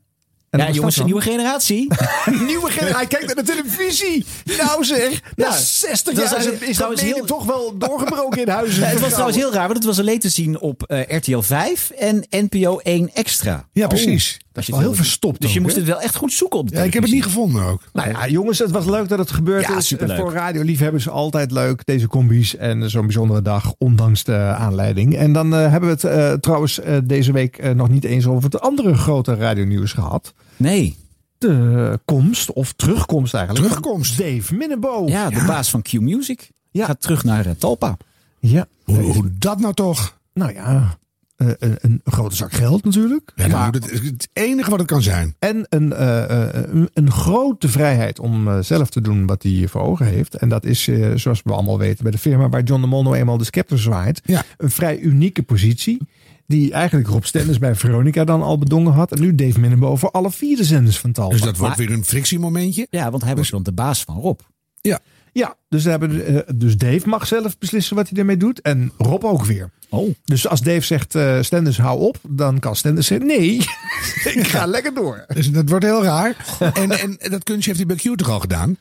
S3: ja, jongens, een nieuwe generatie.
S6: Nieuwe generatie. Hij kijkt naar de televisie. Nou zeg. Na
S3: Ja.
S6: 60
S3: Dat
S6: jaar
S3: is
S6: is, het- is dat
S3: trouwens
S6: medium
S3: heel-
S6: toch wel doorgebroken in huizen.
S3: Ja, het was trouwens heel raar, want het was alleen te zien op eh, RTL 5 en NPO 1 Extra.
S6: Oh,
S3: Oh,
S2: Ja, precies. dat is wel heel verstopt
S3: Dus je
S2: ook,
S3: moest
S2: hè?
S3: het wel echt goed zoeken op de
S2: Ja, ik heb het
S3: televisie.
S2: niet gevonden ook.
S6: Nou ja, jongens, het was leuk dat het gebeurd
S3: Ja,
S6: is.
S3: superleuk.
S6: Voor radioliefhebbers altijd leuk, deze combi's en zo'n bijzondere dag, ondanks de aanleiding. En dan eh, hebben we het eh, trouwens eh, deze week eh, nog niet eens over het andere grote radionieuws gehad.
S3: Nee.
S6: De komst, of terugkomst eigenlijk. van
S2: Terugkomst.
S6: Dave Minnebo.
S3: Ja, de baas van Q Music. Gaat terug naar eh, Talpa.
S6: Ja.
S2: Hoe, hoe dat nou toch?
S6: Nou ja, eh, een, een grote zak geld natuurlijk.
S2: Ja, nou, dat is het enige wat het kan zijn.
S6: En een, eh, eh, een- een grote vrijheid om eh, zelf te doen wat hij voor ogen heeft. En dat is, eh, zoals we allemaal weten, bij de firma waar John de Mol nou eenmaal de scepter zwaait. Een vrij unieke positie. Die eigenlijk Rob Stenders bij Veronica dan al bedongen had. En nu Dave Minnebo voor alle vier de zenders van Talpa.
S2: Dus dat wordt weer een frictiemomentje.
S3: Ja, want hij was dan de baas van Rob.
S2: Dus- Ja.
S6: Ja, dus, daar hebben, eh, dus Dave mag zelf beslissen wat hij ermee doet. En Rob ook weer.
S3: Oh.
S6: Dus als Dave zegt, eh Stenders hou op. Dan kan Stenders zeggen, nee, ik ga lekker door.
S2: Dus dat wordt heel raar. en, en dat kunstje heeft die BQ toch al gedaan?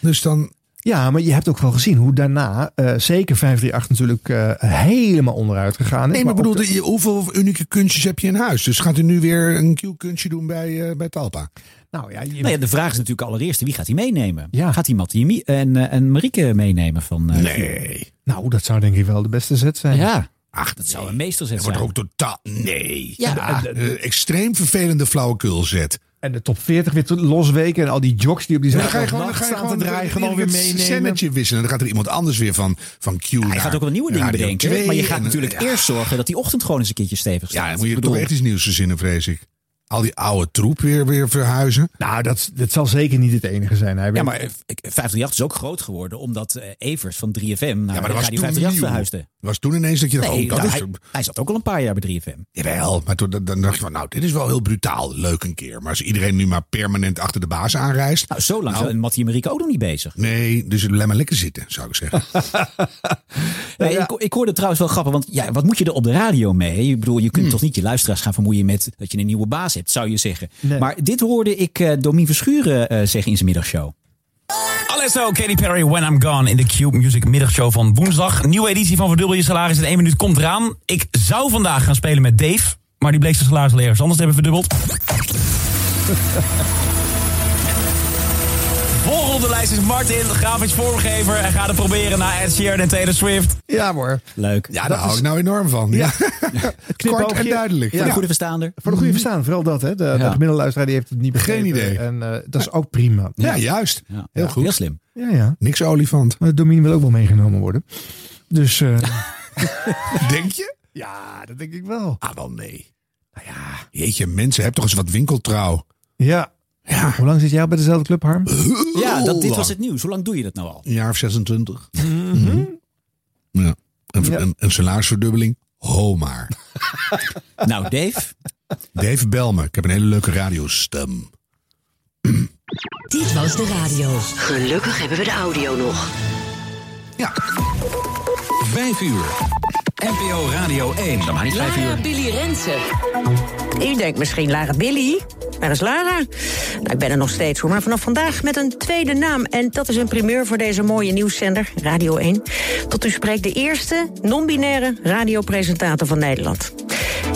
S2: Dus dan...
S6: Ja, maar je hebt ook wel gezien hoe daarna eh, zeker 538 natuurlijk eh, helemaal onderuit gegaan is.
S2: Nee, maar ik
S6: ook
S2: bedoel,
S6: de-
S2: je- hoeveel unieke kunstjes heb je in huis? Dus gaat u nu weer een Q-kunstje doen bij, eh, bij Talpa?
S6: nou, ja,
S3: Nou ja, de vraag is natuurlijk allereerst, wie gaat hij meenemen?
S6: Ja.
S3: Gaat hij Mattie en Mie- en, eh, en Marieke meenemen van... eh,
S2: Nee.
S6: nou, dat zou denk ik wel de beste zet zijn.
S3: Ja.
S2: Ach,
S3: dat zou een meesterzet
S2: Dat wordt
S3: zijn.
S2: ook totaal... Nee.
S3: Ja.
S2: Ja, eh, extreem vervelende flauwekul zet.
S6: En de top 40 weer tot losweken en al die jocks die op die
S2: Ja, dan ga je
S6: zaterdag
S2: gewoon, dan ga je
S6: staan
S2: gewoon,
S6: te draaien,
S2: weer-
S6: gewoon
S2: weer
S6: weer
S2: het
S6: meenemen.
S2: scènetje wisselen. Dan gaat er iemand anders weer van, van Q naar
S3: Hij gaat ook wel nieuwe dingen
S2: Radio
S3: bedenken.
S2: 2
S3: maar je gaat
S2: en-
S3: natuurlijk
S2: ja,
S3: eerst zorgen dat die ochtend gewoon eens een keertje stevig staat.
S2: Ja, dan moet
S3: Ik
S2: je toch
S3: bedoel,
S2: echt iets nieuws verzinnen, vrees ik. Al die oude troep weer, weer verhuizen.
S6: Nou, dat, dat zal zeker niet het enige zijn. Hij
S3: Ja,
S6: weet-
S3: maar eh, ik- 538 is ook groot geworden omdat eh, Evers van 3FM naar
S2: Ja, maar
S3: Radio
S2: dat was toen
S3: 538
S2: nieuw.
S3: verhuisde.
S2: was toen ineens dat je dacht,
S3: Nee,
S2: oh, dat
S3: nou,
S2: is...
S3: hij, hij zat ook al een paar jaar bij 3FM.
S2: Jawel, maar toen, dan- dan dacht je van, nou, dit is wel heel brutaal. Leuk een keer. Maar als iedereen nu maar permanent achter de baas aanreist...
S3: Nou, zo lang
S2: Nou.
S3: zijn Mattie en Marieke ook nog niet bezig.
S2: Nee, dus laat maar lekker zitten, zou ik zeggen.
S3: Nee, ik, ik hoorde trouwens wel grappig, want ja, wat moet je er op de radio mee? Ik bedoel, je kunt
S6: Hmm.
S3: toch niet je luisteraars gaan vermoeien met dat je een nieuwe baas hebt, zou je zeggen. Maar dit hoorde ik eh Domien Verschuren eh, zeggen in zijn middagshow. Alesso, Katy Perry, When I'm Gone in de Cube Music middagshow van woensdag. Nieuwe editie van Verdubbel Je Salaris in 1 minuut komt eraan. Ik zou vandaag gaan spelen met Dave,
S6: Maar die bleek zijn salaris leeg. Anders hebben we verdubbeld. Volgende op de lijst is Martin, grafisch vormgever. En gaat het proberen na Ed Sheeran en Taylor Swift.
S29: Ja hoor.
S20: Leuk.
S2: Ja, daar hou ik nou enorm van. Ja. Kort en duidelijk.
S20: Voor de goede verstaander.
S29: Voor de goede verstaan, vooral dat. Hè? De, de gemiddelde luisteraar die heeft het niet begrepen.
S2: Geen idee.
S29: En eh, dat is ook prima.
S2: Ja, juist. Heel goed.
S20: Heel slim.
S29: Ja, ja.
S2: Niks olifant.
S29: Maar Domine wil ook wel meegenomen worden. Dus eh,
S2: Denk je?
S29: Ja, dat denk ik wel.
S2: Ah, wel nee. Nou ja. Jeetje, mensen, heb toch eens wat winkeltrouw.
S29: ja. Hoe lang zit jij al bij dezelfde club, Harm?
S20: Ja, dat, dit
S2: lang.
S20: was het nieuws. Hoe lang doe je dat nou al?
S2: Een jaar of 26. Mhm. Ja. Een, een, een salarisverdubbeling. Ho maar.
S20: nou, Dave.
S2: Dave, bel me. Ik heb een hele leuke radiostem.
S4: Dit was de radio. Gelukkig hebben we de audio nog.
S3: 5 uur. NPO Radio 1. Dat maar niet 5 uur.
S19: Billy Rensen. U denkt misschien Lara Billy. Waar is Lara? Nou, ik ben er nog steeds hoor. Maar vanaf vandaag met een tweede naam. En dat is een primeur voor deze mooie nieuwszender, Radio 1. Tot u spreekt de eerste non-binaire radiopresentator van Nederland.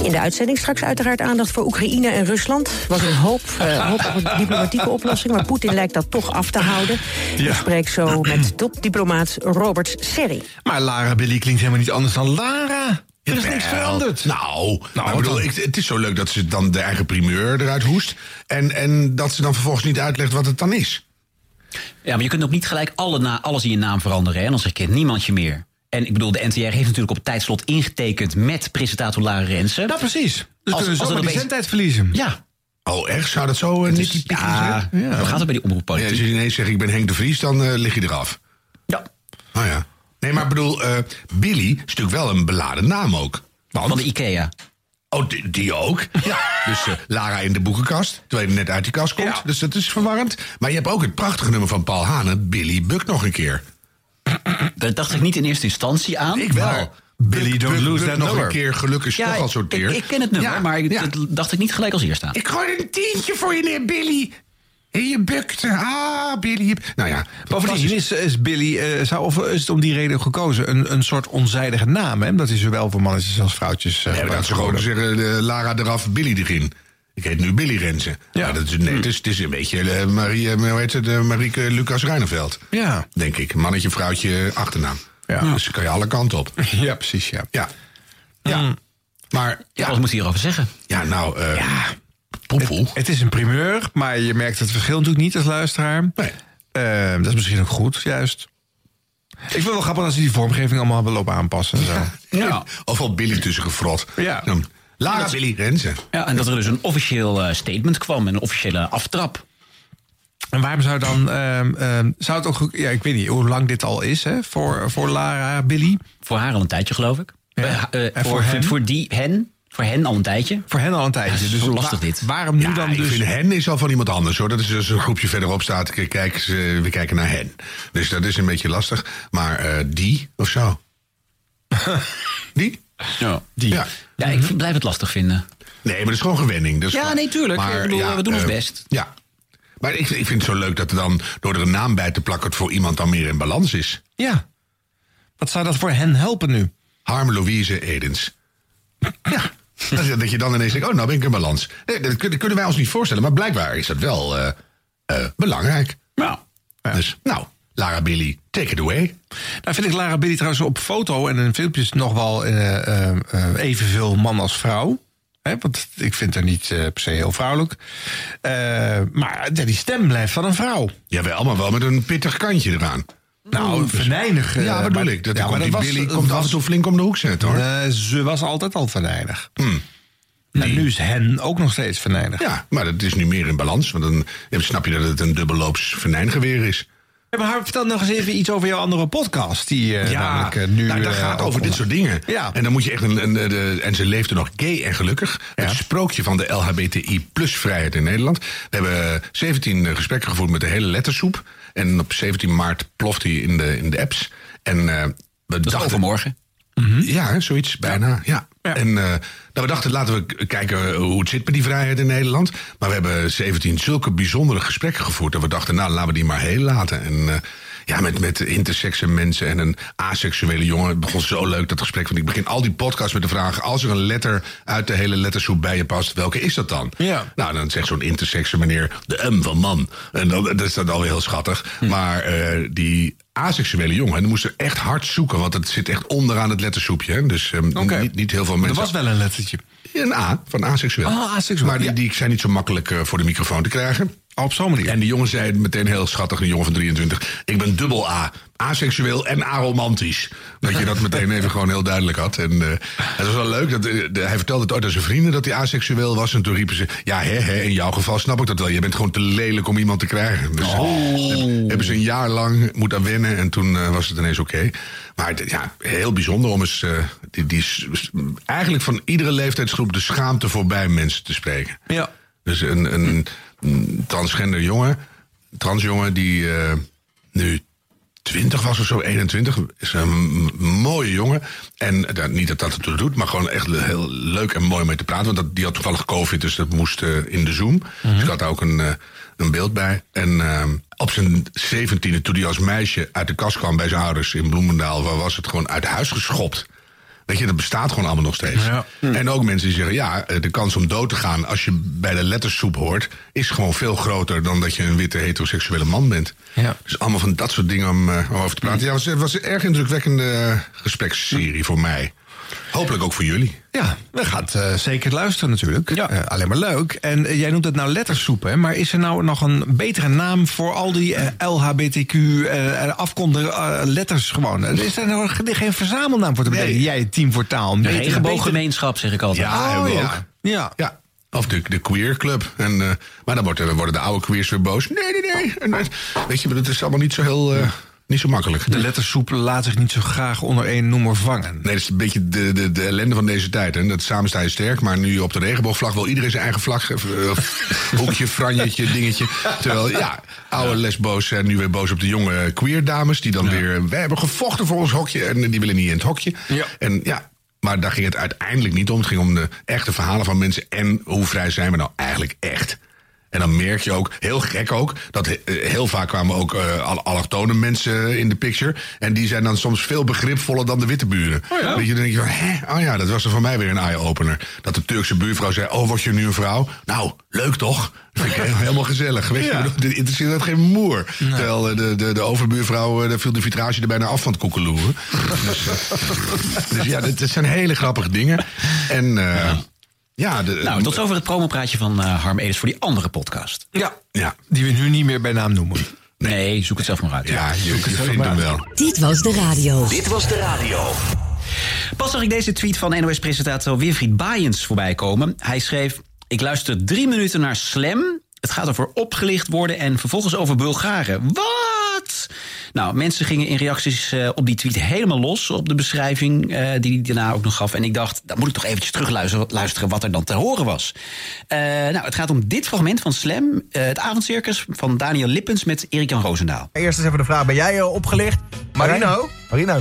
S19: In de uitzending straks uiteraard aandacht voor Oekraïne en Rusland. Was een hoop, eh, hoop op een diplomatieke oplossing. Maar Poetin lijkt dat toch af te houden.
S6: Ja.
S19: Ik spreek zo met topdiplomaat Robert Serri.
S6: Maar Lara Billy klinkt helemaal niet anders dan Lara. Er is niks veranderd.
S2: Nou,
S6: Nou, wat
S2: ik bedoel,
S6: dan?
S2: ik, het is zo leuk dat ze dan de eigen primeur eruit hoest. En, en dat ze dan vervolgens niet uitlegt wat het dan is.
S3: Ja, maar je kunt ook niet gelijk alle na, alles in je naam veranderen. Hè? En dan herkent niemand je meer. En ik bedoel, de NTR heeft natuurlijk op het tijdslot ingetekend met presentator Lara Rensen. Nou,
S6: precies.
S3: Als-
S6: Dus kunnen ze
S3: als
S6: zomaar
S3: dat
S6: die
S3: opeens-
S6: zendtijd verliezen.
S3: Ja.
S2: Oh, echt? Zou dat zo uh,
S3: Het is-
S2: Nicky Pikkie
S3: ja,
S2: zijn?
S3: hoe gaat het bij die
S2: Ja,
S3: omroeppolitiek?
S2: als je ineens zegt ik ben Henk de Vries, dan eh, lig je eraf.
S3: Ja.
S2: Oh ja. Nee, maar ik bedoel, eh, Billy is natuurlijk wel een beladen naam ook. Van
S3: de Ikea.
S2: Oh, die, die ook? Ja. dus eh, Lara in de boekenkast, terwijl je net uit die kast komt. Dus dat is verwarrend. Maar je hebt ook het prachtige nummer van Paul Hanen, Billy Buck nog een keer.
S3: Daar dacht ik niet in eerste instantie aan.
S2: Ik wel.
S3: maar-
S2: Billy, don't lose that nog een keer gelukkig is
S3: Ja,
S2: toch al zo'n
S3: ik,
S2: teer.
S3: ik ken het nummer,
S2: Ja,
S3: maar ik,
S2: ja.
S3: dat dacht ik niet gelijk als eerste aan.
S2: Ik gooi een tientje voor je neer, Billy. En je bukte. Ah, Billy. je- Nou ja.
S6: Bovendien is, is Billy, eh, zou, of is het om die reden gekozen, een, een soort onzijdige naam. Hè? Omdat hij zowel voor mannetjes als vrouwtjes... eh,
S2: Nee, maar dat
S6: gebruikt
S2: ze gewoon
S6: worden.
S2: zeggen, eh, Lara eraf, Billy erin. Ik heet nu Billy Rensen. Ja. dat is, nee, het, is, het is een beetje eh, Marie, eh, hoe heet het, eh, Marieke Lucas Reineveld.
S6: Ja.
S2: Denk ik. Mannetje, vrouwtje, achternaam. Ja. Dus dan kan je alle kanten op.
S6: Ja, precies, ja.
S2: Ja. ja. Maar... Ja,
S3: wat moet hij hierover zeggen?
S2: Ja, nou... eh
S6: Het, het is een primeur, maar je merkt het verschil natuurlijk niet als luisteraar. Eh, dat is misschien ook goed, juist. Ik vind het wel grappig dat ze die vormgeving allemaal hebben lopen aanpassen. en Zo.
S3: Ja.
S2: Overal Billy tussen gefrot.
S6: Ja.
S2: Lara Billy Rensen.
S3: Ja, en dat er dus een officieel eh, statement kwam, een officiële aftrap.
S6: En waarom zou dan. ehm, ehm, zou het ook. goed- Ja, ik weet niet hoe lang dit al is hè, voor, voor Lara, Billy.
S3: Voor haar al een tijdje, geloof ik.
S6: Ja.
S3: Eh, eh, voor,
S6: En voor hen?
S3: voor die, hen, voor hen al een tijdje.
S6: Voor hen al een tijdje.
S3: dus zo lastig dit.
S6: Waarom nu
S2: dan
S3: dus-
S2: ik vind hen is al van iemand anders hoor. Dat is als een groepje verderop staat. k- Kijk, ze- we kijken naar hen. Dus dat is een beetje lastig. Maar eh, die of zo. die?
S3: Ja, die. Ja, ik vind- blijf het lastig vinden.
S2: Nee, maar dat is gewoon gewenning. Dat is
S3: Ja,
S2: gewoon-
S3: nee, tuurlijk. Ik bedoel, we doen ons
S2: eh,
S3: best.
S2: Ja. Maar ik, ik vind het zo leuk dat er dan door er een naam bij te plakken... het voor iemand dan meer in balans is.
S6: Ja. Wat zou dat voor hen helpen nu?
S2: Harm Louise Edens. Ja. dat, dat je dan ineens denkt, oh, nou ben ik in balans. Nee, dat kun- dat kunnen wij ons niet voorstellen. Maar blijkbaar is dat wel eh, eh, belangrijk.
S3: Nou.
S2: Dus, nou, Lara Billy, take it away.
S6: Nou vind ik Lara Billy trouwens op foto en in filmpjes nog wel eh, eh, eh, evenveel man als vrouw. Hè, want ik vind haar niet eh, per se heel vrouwelijk. Eh, maar ja, die stem blijft van een vrouw.
S2: Jawel, maar wel met een pittig kantje eraan. dus-
S6: Nou, venijnig. eh,
S2: ja, bedoel ik. Dat
S6: ja,
S2: komt, die
S6: dat was-
S2: Billy
S6: dat
S2: komt af en
S6: was-
S2: toe flink om de hoek zetten, hoor. Hm.
S6: Eh, ze was altijd al venijnig. Nou, nu is hen ook nog steeds venijnig.
S2: Ja, maar dat is nu meer in balans. Want dan dan snap je dat het een dubbelloops venijngeweer is.
S6: Ja, maar Harm, vertel nog eens even iets over jouw andere podcast. Die eh, namelijk eh, nu...
S2: nou, dat
S6: eh,
S2: gaat over
S6: opkomt.
S2: dit soort dingen.
S6: Ja.
S2: En dan moet je echt een. een, eh, de- en ze leefde nog gay en gelukkig. Het sprookje van de LHBTI plus vrijheid in Nederland. We hebben 17 gesprekken gevoerd met de hele lettersoep. En op 17 maart ploft hij in de, in de apps. En eh, we
S3: Dat is
S2: dachten.
S3: overmorgen.
S10: Mhm.
S2: Ja, hè, zoiets bijna. Ja. En eh, nou, we dachten, laten we k- kijken hoe het zit met die vrijheid in Nederland. Maar we hebben 17 zulke bijzondere gesprekken gevoerd. Dat we dachten, nou, laten we die maar heel laten. En eh, Ja, met, met intersexe mensen en een asexuele jongen. Het begon zo leuk, dat gesprek. Want ik begin al die podcasts met de vraag... als er een letter uit de hele lettersoep bij je past... welke is dat dan?
S6: Ja.
S2: Nou, dan zegt zo'n intersexe meneer... de M van man. En dan, dat is dan alweer heel schattig.
S6: Hm.
S2: Maar eh, die asexuele jongen, die moest er echt hard zoeken... want het zit echt onderaan het lettersoepje. hè. Dus eh,
S6: Oké.
S2: niet, niet heel veel
S6: Er
S2: mensen...
S6: was wel een lettertje.
S2: Een A, van aseksueel.
S6: Ah, aseksueel,
S2: Maar die,
S6: ja.
S2: die zijn niet zo makkelijk eh, voor de microfoon te krijgen. Ah, op zo'n manier. En die jongen zei meteen heel schattig, een jongen van 23... ik ben dubbel A, aseksueel en aromantisch. Dat je dat meteen even gewoon heel duidelijk had. En eh, het was wel leuk, dat, eh, de- hij vertelde het ooit aan zijn vrienden... dat hij aseksueel was en toen riepen ze... ja, hè, hè, in jouw geval snap ik dat wel. Je bent gewoon te lelijk om iemand te krijgen. Dus eh, hebben- hebben ze een jaar lang moeten aan wennen en toen eh, was het ineens oké. Maar het- ja, heel bijzonder om eens... eh, die, die, s- s- eigenlijk van iedere leeftijdsgroep de schaamte voorbij mensen te spreken.
S6: Ja.
S2: Dus een, een, een transgender jongen, transjongen die eh, nu 20 was of zo, 21, is een m- mooie jongen. En eh, niet dat dat het toe doet, maar gewoon echt le- heel leuk en mooi mee te praten. Want dat, die had toevallig COVID, dus dat moest eh, in de Zoom. Dus ik had daar ook een, eh, een beeld bij. En ehm, op zijn 17e, toen hij als meisje uit de kast kwam bij zijn ouders in Bloemendaal, waar was het gewoon uit huis geschopt. Weet je, dat bestaat gewoon allemaal nog steeds.
S3: Hm.
S2: En ook mensen die zeggen, ja, eh, de kans om dood te gaan... als je bij de lettersoep hoort, is gewoon veel groter... dan dat je een witte heteroseksuele man bent.
S6: Ja.
S2: Dus allemaal van dat soort dingen om, eh, om over te praten. Ja, het was, het was een erg indrukwekkende
S6: Hm.
S2: eh, gespreksserie voor mij. Hopelijk ook voor jullie.
S6: Ja, we gaat eh, zeker luisteren natuurlijk. Eh, alleen maar leuk. En eh, jij noemt het nou lettersoep, hè? maar is er nou nog een betere naam voor al die eh, LHBTQ eh, en afkonden eh, letters gewoon? Eh, Is er nou ge- geen verzamelnaam voor te bedenken? Jij, het team voor taal. een
S3: De
S6: betere- Oh,
S3: regenbooggemeenschap, zeg ik altijd.
S2: Ja, hebben we ook.
S6: Ja.
S2: ja. Of de, de queer club. En, eh, maar dan wordt, eh, worden de oude queers weer boos. Nee, nee, nee. En, eh, weet je, het is allemaal niet zo heel... eh, niet zo makkelijk.
S6: De lettersoep laat zich niet zo graag onder één noemer vangen.
S2: Nee, dat is een beetje de, de, de ellende van deze tijd. Hè? Dat samen sta je sterk, maar nu op de regenboogvlag wil iedereen zijn eigen vlag. eh, eh, hoekje, franjetje, dingetje. Terwijl, ja, oude lesbo's zijn nu weer boos op de jonge queer dames. Die dan weer, wij hebben gevochten voor ons hokje. En die willen niet in het hokje. En ja, maar daar ging het uiteindelijk niet om. Het ging om de echte verhalen van mensen. En hoe vrij zijn we nou eigenlijk echt? En dan merk je ook, heel gek ook, dat he- eh, heel vaak kwamen ook eh, alle allochtone mensen in de picture. En die zijn dan soms veel begripvoller dan de witte buren. Weet je, dan denk je van, hè? Oh ja, dat was er voor mij weer een eye-opener. Dat de Turkse buurvrouw zei, oh, word je nu een vrouw? Nou, leuk toch? Dat vind ik heel- helemaal gezellig. Weet je,
S6: Ja.
S2: ik bedoel, dit interesseert dat geen moer. Terwijl eh, de, de, de overbuurvrouw, eh, daar viel de vitrage er bijna af van het koekeloeren. dus, eh, dus ja, dat, dat zijn hele grappige dingen. En eh, ja, de,
S3: Nou, tot zover het promopraatje van eh, Harm Edens voor die andere podcast.
S6: Ja.
S2: ja.
S6: Die we nu niet meer bij naam noemen.
S3: Nee, zoek het zelf maar uit.
S2: Ja, je, je vindt hem wel.
S4: Dit was de radio.
S3: Dit was de radio. Pas zag ik deze tweet van NOS-presentator Winfried Baaiens voorbij komen. Hij schreef, ik luister drie minuten naar Slam. Het gaat over opgelicht worden en vervolgens over Bulgaren. Wat? Nou, mensen gingen in reacties eh, op die tweet helemaal los... op de beschrijving eh, die hij daarna ook nog gaf. En ik dacht, dan moet ik toch eventjes terugluisteren luisteren wat er dan te horen was. Eh, nou, het gaat om dit fragment van Slam. eh, het avondcircus van Daniel Lippens met Erik-Jan Roosendaal.
S5: Eerst eens even de vraag, ben jij eh, opgelicht? Marino? Marino.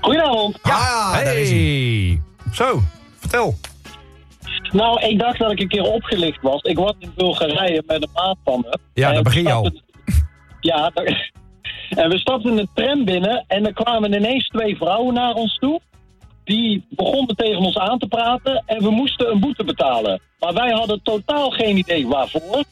S28: Goedenavond.
S5: Ja, ah, daar is hij. Zo, vertel.
S28: Nou, ik dacht dat ik een keer opgelicht was. Ik was in Bulgarije met een maat van me.
S5: Ja,
S28: En
S5: daar
S28: we
S5: begin je al.
S28: stapten- Ja, daar- en we stapten de tram binnen en er kwamen ineens twee vrouwen naar ons toe. Die begonnen tegen ons aan te praten en we moesten een boete betalen. Maar wij hadden totaal geen idee waarvoor.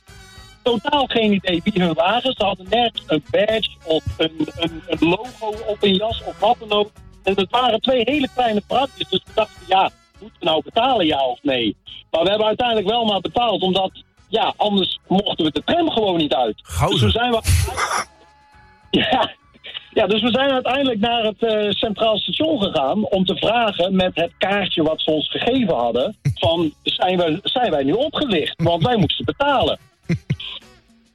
S28: Totaal geen idee wie hun waren. Ze hadden nergens een badge of een, een, een logo op een jas of wat dan ook. En het waren twee hele kleine praatjes. Dus we dachten, ja, moeten we nou betalen ja of nee? Maar we hebben uiteindelijk wel maar betaald, omdat ja, anders mochten we de tram gewoon niet uit. Dus we zijn we... Ja. ja, dus we zijn uiteindelijk naar het eh, Centraal Station gegaan om te vragen met het kaartje wat ze ons gegeven hadden, van zijn, we, zijn wij nu opgelicht? Want wij moesten betalen.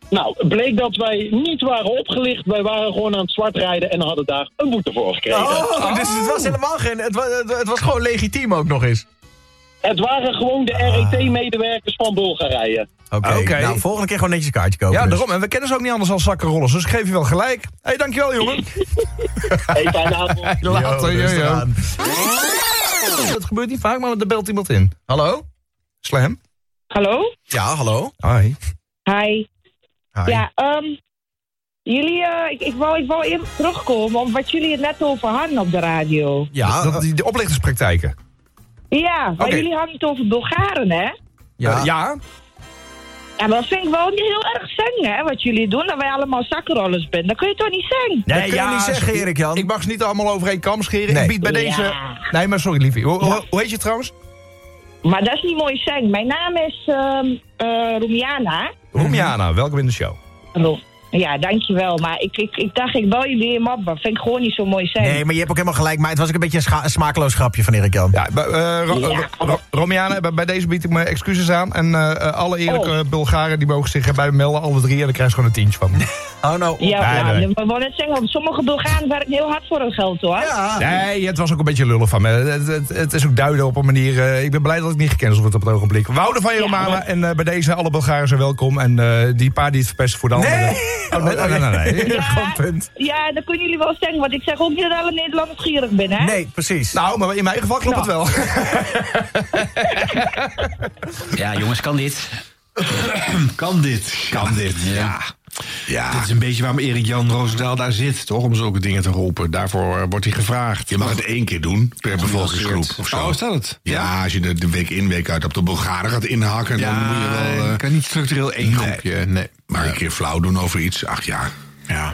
S28: Nou, bleek dat wij niet waren opgelicht. Wij waren gewoon aan het zwart rijden en hadden daar een boete voor gekregen.
S5: Oh, dus het was helemaal geen... Het was, het was gewoon legitiem ook nog eens.
S28: Het waren gewoon de RET-medewerkers van Bulgarije.
S5: Ah. Oké, nou, volgende keer gewoon netjes een kaartje kopen. dus. Ja, daarom. En we kennen ze ook niet anders dan zakkenrollers, dus ik geef je wel gelijk. Hé, hey, dankjewel, jongen.
S28: hey, fijne avond.
S5: Later,
S28: Yo,
S5: yo,
S28: rustig
S5: yo.
S28: aan.
S5: Dat gebeurt niet vaak, maar er belt iemand in. Hallo? Slam?
S30: Hallo?
S5: Ja, hallo. Hoi.
S30: Hi. Ja, ehm, Jullie, eh, ik, ik, wou, ik wou even terugkomen op wat jullie het net over hadden op de radio.
S10: Ja, dat, die, de oplichterspraktijken.
S30: Ja, maar
S10: Oké.
S30: jullie hadden het over Bulgaren, hè?
S10: Ja. ja.
S30: En dat vind ik wel niet heel erg zingen, hè, wat jullie doen. Dat wij allemaal zakkenrollers zijn. Dat kun je toch niet zingen?
S10: dat kun je niet zeggen, Erik Jan. Ik mag ze niet allemaal over één kam scheren. Ik bied bij
S30: Ja.
S10: deze... Nee, maar sorry, liefie. Hoe, hoe- hoe heet je trouwens?
S30: Maar dat is niet mooi zingen. Mijn naam is ehm eh Roemiana.
S10: Roemiana, welkom in de show.
S30: Ro- Ja, dankjewel. Maar ik, ik, ik dacht, ik bel jullie hem op. Dat vind ik gewoon niet zo mooi zingen.
S31: Nee, maar je hebt ook helemaal gelijk. Maar het was ook een beetje een, scha- een smakeloos grapje van Erik Jan.
S10: Ja, Bij- eh, Ro- Ro- Ro- Romiana,
S2: eh.
S10: bij- bij deze bied ik mijn excuses aan. En eh, eh, alle eerlijke Bulgaren die mogen zich erbij melden, alle drie. En dan krijg je gewoon een tientje van. Oh no.
S30: Ja, ja,
S10: nee,
S30: we wonen net zeggen, sommige Bulgaren werken heel hard voor hun geld, hoor. Ja.
S10: Nee, het was ook een beetje lullen van me. Het, het, het is ook duiden op een manier. eh, ik ben blij dat ik niet gecanceld word op het ogenblik. We houden van je,
S30: Ja,
S10: Romana.
S30: maar-
S10: En eh, bij deze, alle Bulgaren zijn welkom. En eh, die paar die het verpesten voor de anderen. Oh, nee, nee, nee. nee, nee.
S30: Ja.
S10: Gewoon punt.
S30: Ja, dat kunnen jullie wel zeggen, want ik zeg ook niet dat alle Nederlanders gierig ben, hè?
S10: Nee, precies. Nou, maar in mijn geval klopt het wel.
S3: Ja, jongens, kan dit?
S6: Kan dit? Kan dit, ja. Ja. Dit is een beetje waarom Erik Jan Roosendaal daar zit, toch? Om zulke dingen te roepen. Daarvoor eh, wordt hij gevraagd.
S2: Je mag het één keer doen per bevolkingsgroep of zo.
S6: Oh, is dat het?
S2: Ja, als je de, de week in, week uit op de Bulgaren gaat inhakken, dan moet je wel... eh,
S6: kan niet structureel één groepje. Nee.
S2: Maar een keer flauw doen over iets, ach ja.
S6: Ja.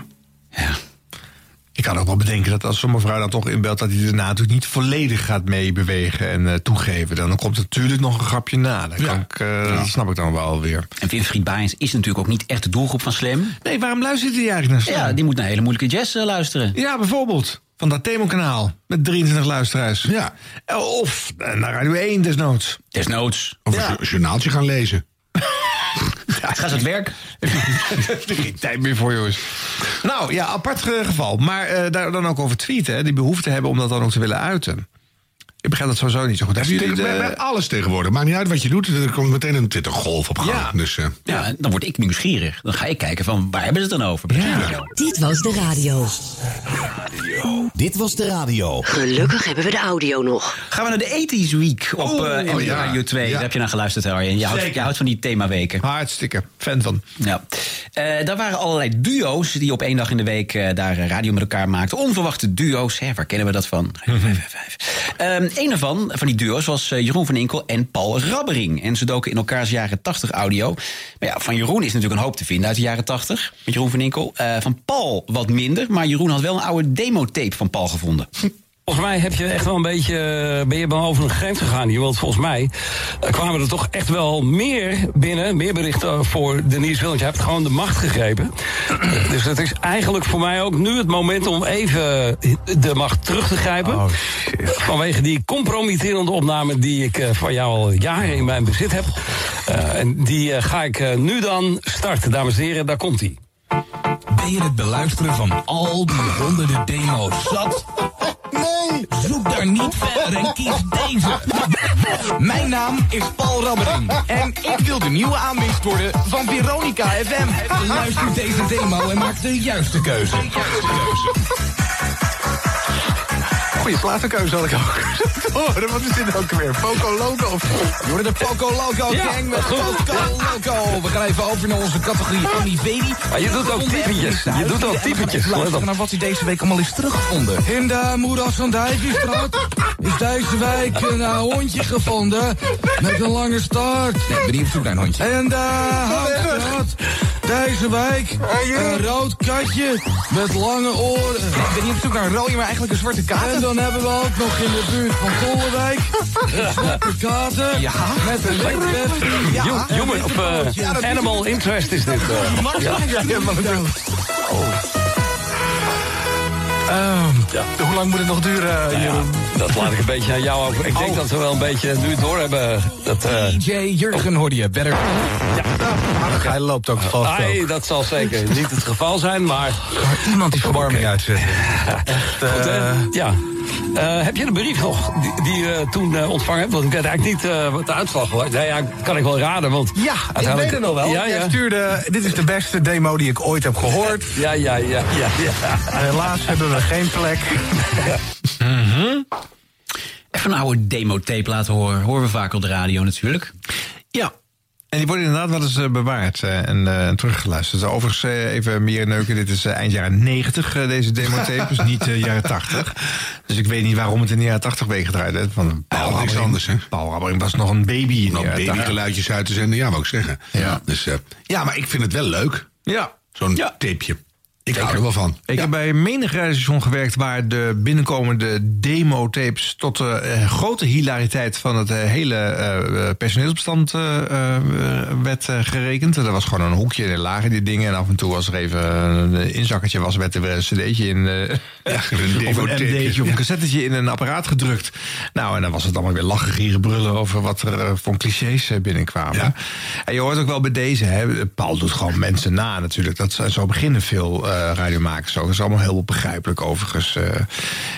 S6: Ik kan ook wel bedenken dat als zo'n mevrouw dan toch inbelt... dat hij daarna natuurlijk niet volledig gaat meebewegen en eh, toegeven. Dan komt er natuurlijk nog een grapje na. Dat, kan ik, eh, dat snap ik dan wel weer.
S3: En Winfried Baaiens is natuurlijk ook niet echt de doelgroep van Slam.
S6: Nee, waarom luistert hij eigenlijk naar Slam?
S3: Ja, die moet naar hele moeilijke jazz eh, luisteren.
S6: Ja, bijvoorbeeld. Van dat Themokanaal. Met 23 luisteraars. Ja. Of eh, naar Radio 1 desnoods.
S3: Desnoods.
S2: Of een journaaltje gaan lezen.
S3: Gaat het werk?
S6: Geen tijd meer voor, jongens. Nou, ja, apart ge- geval. Maar eh, daar dan ook over tweeten. Hè, die behoefte hebben om dat dan ook te willen uiten. Ik begrijp dat sowieso niet zo goed.
S2: Dat is
S6: Hebben jullie
S2: natuurlijk
S6: de-
S2: bij, bij alles tegenwoordig. Maakt niet uit wat je doet, er komt meteen een Twittergolf op gang. Dus, eh,
S3: Ja, en dan word ik nieuwsgierig. Dan ga ik kijken van waar hebben ze het dan over?
S32: Dit was de radio.
S31: Dit was de radio.
S32: Gelukkig hebben we de audio nog.
S3: Gaan we naar de 80s Week op
S32: Oeh,
S3: eh NPO
S32: oh ja.
S3: Radio 2. Daar heb je naar geluisterd, Arjen. Je houdt,
S6: Zeker.
S3: je houdt van die themaweken.
S6: Hartstikke. Fan van.
S3: Ja. Eh, daar waren allerlei duo's die op één dag in de week eh, daar eh, radio met elkaar maakten. Onverwachte duo's, hè, waar kennen we dat van? Ehm een ervan, van die duo's, was eh, Jeroen van Inkel en Paul Rabbering. En ze doken in elkaars jaren 80 audio. Maar ja, van Jeroen is natuurlijk een hoop te vinden uit de jaren 80. Met Jeroen van Inkel. Eh, van Paul wat minder, maar Jeroen had wel een oude demotape van Paul gevonden.
S16: Volgens mij heb je echt wel een beetje, eh, ben je wel over een grens gegaan hier. Want volgens mij eh, kwamen er toch echt wel meer binnen, meer berichten voor de nieuwswil. Want je hebt gewoon de macht gegrepen. dus het is eigenlijk voor mij ook nu het moment om even eh, de macht terug te grijpen. vanwege die compromitterende opname die ik eh, van jou al jaren in mijn bezit heb. Eh, en die eh, ga ik eh, nu dan starten, dames en heren. Daar komt hij.
S5: Ben je het beluisteren van al die honderden
S10: Oh.
S5: demo's zat? Nee! Zoek daar niet verder en kies deze. Mijn naam is Paul Rabbering en ik wil de nieuwe aanwinst worden van Veronica FM. Luister deze demo en maak de juiste keuze.
S10: Goeie platenkeuze had ik ook. Hoor, wat is dit ook weer? Poco Loco of
S5: Je hoorde de Poco Loco
S10: Ja,
S5: Gang met
S10: goed.
S5: Poco Loco. We gaan even over naar onze categorie Tony Baby.
S16: Maar je doet ook typetjes. Je doet al typetjes. Let op.
S5: Luisteren naar wat hij deze week allemaal is teruggevonden. In de Moeras van Dijkstraat is deze week een eh, hondje gevonden met een lange staart. Nee, ben niet op zoek naar een hondje. En de Houtstraat, deze week een rood katje met lange oren. Ik ben niet op zoek naar een rode, maar eigenlijk een zwarte kater. En dan hebben we ook nog in de buurt van Tolwijk een zwarte kater ja. met een witbed.
S16: Jo-
S9: Ah,
S16: Jongen, of eh, Animal Interest is dit. eh. Ja.
S10: Ehm, Hoe lang moet het nog duren, Jeroen?
S16: Nou
S10: Oh.
S16: Dat laat ik een beetje aan jou over. Ik denk dat we wel een beetje nu het door hebben. Dat, eh,
S5: DJ Jurgen hoorde je, better.
S9: Ah,
S10: Hij loopt ook vast. ook.
S16: Ai, dat zal zeker niet het geval zijn, maar...
S5: iemand is verwarming
S10: uitzetten.
S16: Goed, hè? ja. Eh, heb je de brief nog die, die je toen eh, ontvangen hebt? Want ik weet eigenlijk niet eh, wat de uitslag was. Nou ja, kan ik wel raden, want...
S10: Ja, ik weet
S16: uiteindelijk-
S10: het nog wel.
S16: Ja,
S10: Jij
S16: ja.
S10: stuurde, dit is de beste demo die ik ooit heb gehoord.
S16: Ja, ja, ja, ja, ja.
S10: Helaas hebben we geen plek.
S3: Mhm. Even een oude demotape laten horen. Horen we vaak op de radio natuurlijk.
S6: Ja. En die worden inderdaad wel eens eh, bewaard eh, en eh, teruggeluisterd. Dus overigens, eh, even meer neuken. Dit is eh, eind jaren 90, eh, deze demotape. Dus niet eh, jaren 80. Dus ik weet niet waarom het in de jaren 80 meegedraaid werd. Want Paul
S2: niks
S6: Rabbering-
S2: anders, hè?
S6: Paul Rabbering was nog een baby in de
S2: Nou,
S6: jaren 80.
S2: babygeluidjes uit te zenden, ja, wou ik zeggen. Ja, dus, eh, ja maar ik vind het wel leuk.
S6: Ja.
S2: Zo'n tapeje. Ik hou er wel van.
S6: Ik heb bij menig rijstation gewerkt waar de binnenkomende demo-tapes tot de eh, grote hilariteit van het eh, hele eh, eh, personeelsbestand eh, eh, werd eh, gerekend. Er was gewoon een hoekje en er lagen die dingen. En af en toe was er even een inzakkertje, was, werd er weer een cd'tje in. eh, of een
S2: demotapeje.
S6: md'tje of een cassettetje in een apparaat gedrukt. Nou, en dan was het allemaal weer lachen, gieren, brullen over wat er eh, voor clichés eh, binnenkwamen. En je hoort ook wel bij deze, hè, Paul doet gewoon mensen na natuurlijk. Dat, zijn- zo beginnen veel eh, radiomakers ook. Dat is allemaal heel begrijpelijk overigens. eh.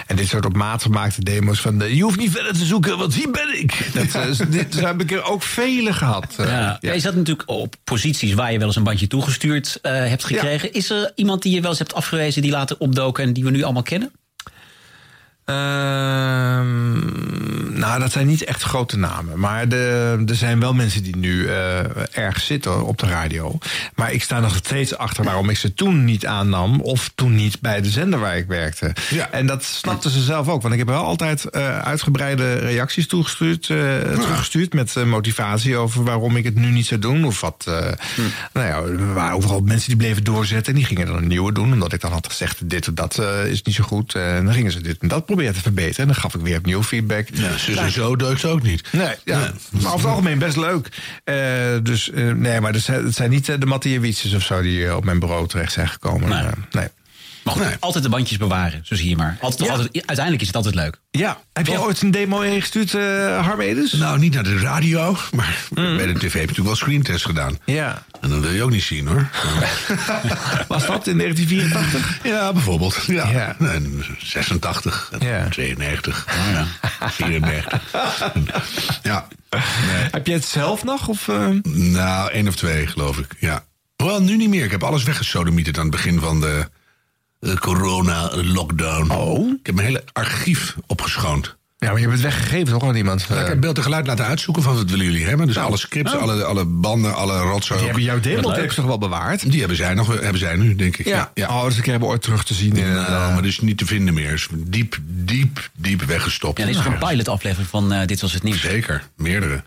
S6: en dit soort op maat gemaakte demo's van... eh, je hoeft niet verder te zoeken, want hier ben ik. Dat, eh, is- dit dus heb ik er ook vele gehad. eh.
S3: Ja. Is dat natuurlijk op posities waar je wel eens een bandje toegestuurd eh, hebt gekregen? Is er iemand die je wel eens hebt afgewezen die later opdoken en die we nu allemaal kennen?
S6: Ehm, nou, dat zijn niet echt grote namen. Maar de, er zijn wel mensen die nu eh, erg zitten op de radio. Maar ik sta nog steeds achter waarom ik ze toen niet aannam. Of toen niet bij de zender waar ik werkte. En dat snapten ze zelf ook. Want ik heb wel altijd eh, uitgebreide reacties toegestuurd, eh, teruggestuurd. Met eh, motivatie over waarom ik het nu niet zou doen. Of wat. eh,
S2: Hm.
S6: Nou ja, er waren overal mensen die bleven doorzetten. En die gingen dan een nieuwe doen. Omdat ik dan had gezegd: dit of dat eh, is niet zo goed. En dan gingen ze dit en dat proberen te verbeteren. En dan gaf ik weer opnieuw feedback. Ja,
S2: zus en zo deugt ook niet.
S6: Nee, ja. maar over het algemeen best leuk. Eh, dus eh, nee, maar dat zijn, het zijn niet eh, de Matthiewitsjes of zo die eh, op mijn bureau terecht zijn gekomen. Eh, nee.
S3: Maar goed, altijd de bandjes bewaren, zo zie je maar. Altijd, altijd- uiteindelijk is het altijd leuk.
S6: Ja, heb jij ooit een demo ingestuurd, eh Harm Edens? Mm.
S2: Nou, niet naar de radio, maar bij de tv heb je natuurlijk wel screentest gedaan.
S6: Ja.
S2: En dat wil je ook niet zien, hoor.
S6: Was dat in 1984?
S2: Ja, bijvoorbeeld. Ja. Nee, 86, 92, 94. ja.
S6: Heb je het zelf nog? Of, eh?
S2: Nou, één of twee, geloof ik. Ja. Hoewel, nu niet meer. Ik heb alles weggesodemieterd aan het begin van de eh, corona-lockdown.
S6: Oh?
S2: Ik heb mijn hele archief opgeschoond.
S6: Ja, maar je hebt het weggegeven toch aan iemand?
S2: ik heb beeld en geluid laten uitzoeken van wat willen jullie hebben. Dus alle scripts,
S6: Oh.
S2: alle, alle banden, alle rotzooi.
S6: Die hebben jouw
S2: Wat
S6: demo
S2: leuk.
S6: toch wel bewaard?
S2: Die hebben zij nog, hebben zij nu, denk ik.
S6: Ja. Oh, dus ik heb ooit terug te zien. In, eh,
S2: nou, maar dus niet te vinden meer. Is diep, diep, diep weggestopt.
S3: Ja, dit is toch een pilotaflevering van eh, Dit Was Het Nieuws?
S2: Zeker, meerdere.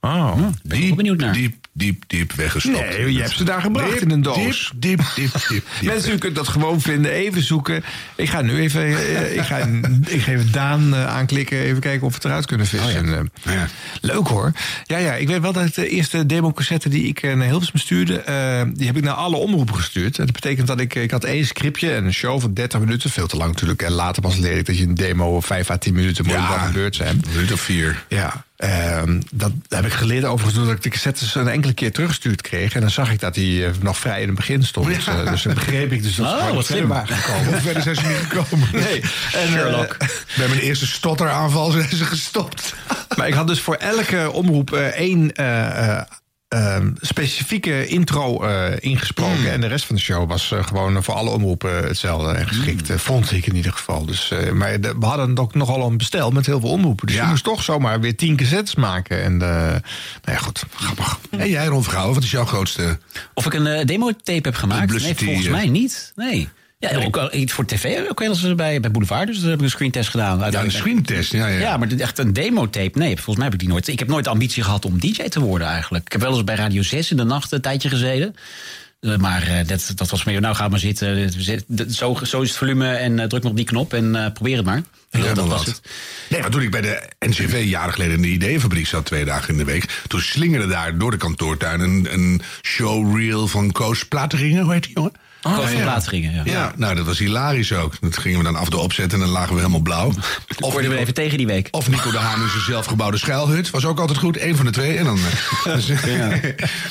S6: Oh,
S33: Hm.
S3: ben ik wel benieuwd naar.
S2: Diep, diep, diep weggestopt.
S6: Nee, je hebt ze daar gebracht
S2: Diep,
S6: in een doos.
S2: Diep, diep, diep, diep. diep.
S6: Mensen, u kunt dat gewoon vinden. Even zoeken. Ik ga nu even. eh, ik, ga, ik ga even Daan eh, aanklikken. Even kijken of we het eruit kunnen vissen. Eh, Leuk hoor. Ja, ja, ik weet wel dat de eerste democassette die ik eh, naar Hilversum stuurde. eh, die heb ik naar alle omroepen gestuurd. En Dat betekent dat ik. Ik had één scriptje en een show van 30 minuten. Veel te lang natuurlijk. En later pas leer ik dat je een demo 5 à 10 minuten moet
S2: Ja.
S6: ja. gebeurd zijn.
S2: Een minuut of vier.
S6: Ja, ehm, dat heb ik geleerd overigens doordat ik de cassettes een enkele keer teruggestuurd kreeg. En dan zag ik dat die eh, nog vrij in het begin stond.
S2: Ja.
S6: Eh, dus dan begreep ik dus dat ze
S2: Oh,
S6: gewoon
S2: wat
S6: niet verder
S2: slim.
S6: waren gekomen.
S2: Verder zijn ze niet gekomen.
S6: Nee. En,
S2: Sherlock.
S6: eh,
S2: Bij mijn eerste stotteraanval zijn ze gestopt.
S6: maar ik had dus voor elke omroep eh, één eh, eh, ehm, specifieke intro eh,
S2: Hmm.
S6: ingesproken. En de rest van de show was eh, gewoon voor alle omroepen hetzelfde en
S2: Hmm.
S6: geschikt. eh, vond ik in ieder geval. Dus, eh, maar de- we hadden ook nogal een bestel met heel veel omroepen. Dus je moest toch zomaar weer tien cassettes maken. En eh, nou ja, goed, grappig.
S2: En jij, Ron Vergouwen, wat is jouw grootste...
S3: Of ik een eh, demotape heb gemaakt? Nee,
S2: Publicity,
S3: volgens
S2: eh.
S3: mij niet. Nee. Ja, ook al iets voor tv ook wel eens bij, bij Boulevard. Dus daar heb ik een screentest gedaan. Ja,
S2: een screentest. Ja, ja.
S3: ja maar dit- echt een demotape. Nee, volgens mij heb ik die nooit. Ik heb nooit de ambitie gehad om DJ te worden eigenlijk. Ik heb wel eens bij Radio 6 in de nacht een tijdje gezeten. Eh, Maar eh, dat, dat was meer, nou ga maar zitten. Dit- zit- dit- Zo, zo is het volume en eh, druk maar op die knop en eh, probeer het maar.
S2: Ja,
S3: dat
S2: maar
S3: was
S2: wat.
S3: het.
S2: Nee, maar toen ik bij de NCV jaren geleden in de ideeënfabriek zat, twee dagen in de week. Toen slingerde daar door de kantoortuin een, een showreel van Koos Plateringen. Hoe heet die jongen?
S3: Ah, Koos van Plateringen, ja.
S2: Ja, nou dat was hilarisch ook. Dat gingen we dan af de opzet en dan lagen we helemaal blauw.
S3: Of worden we even tegen die week.
S2: Of Nico de Haan in zijn zelfgebouwde schuilhut. Was ook altijd goed. Eén van de twee. En dan, eh, dus,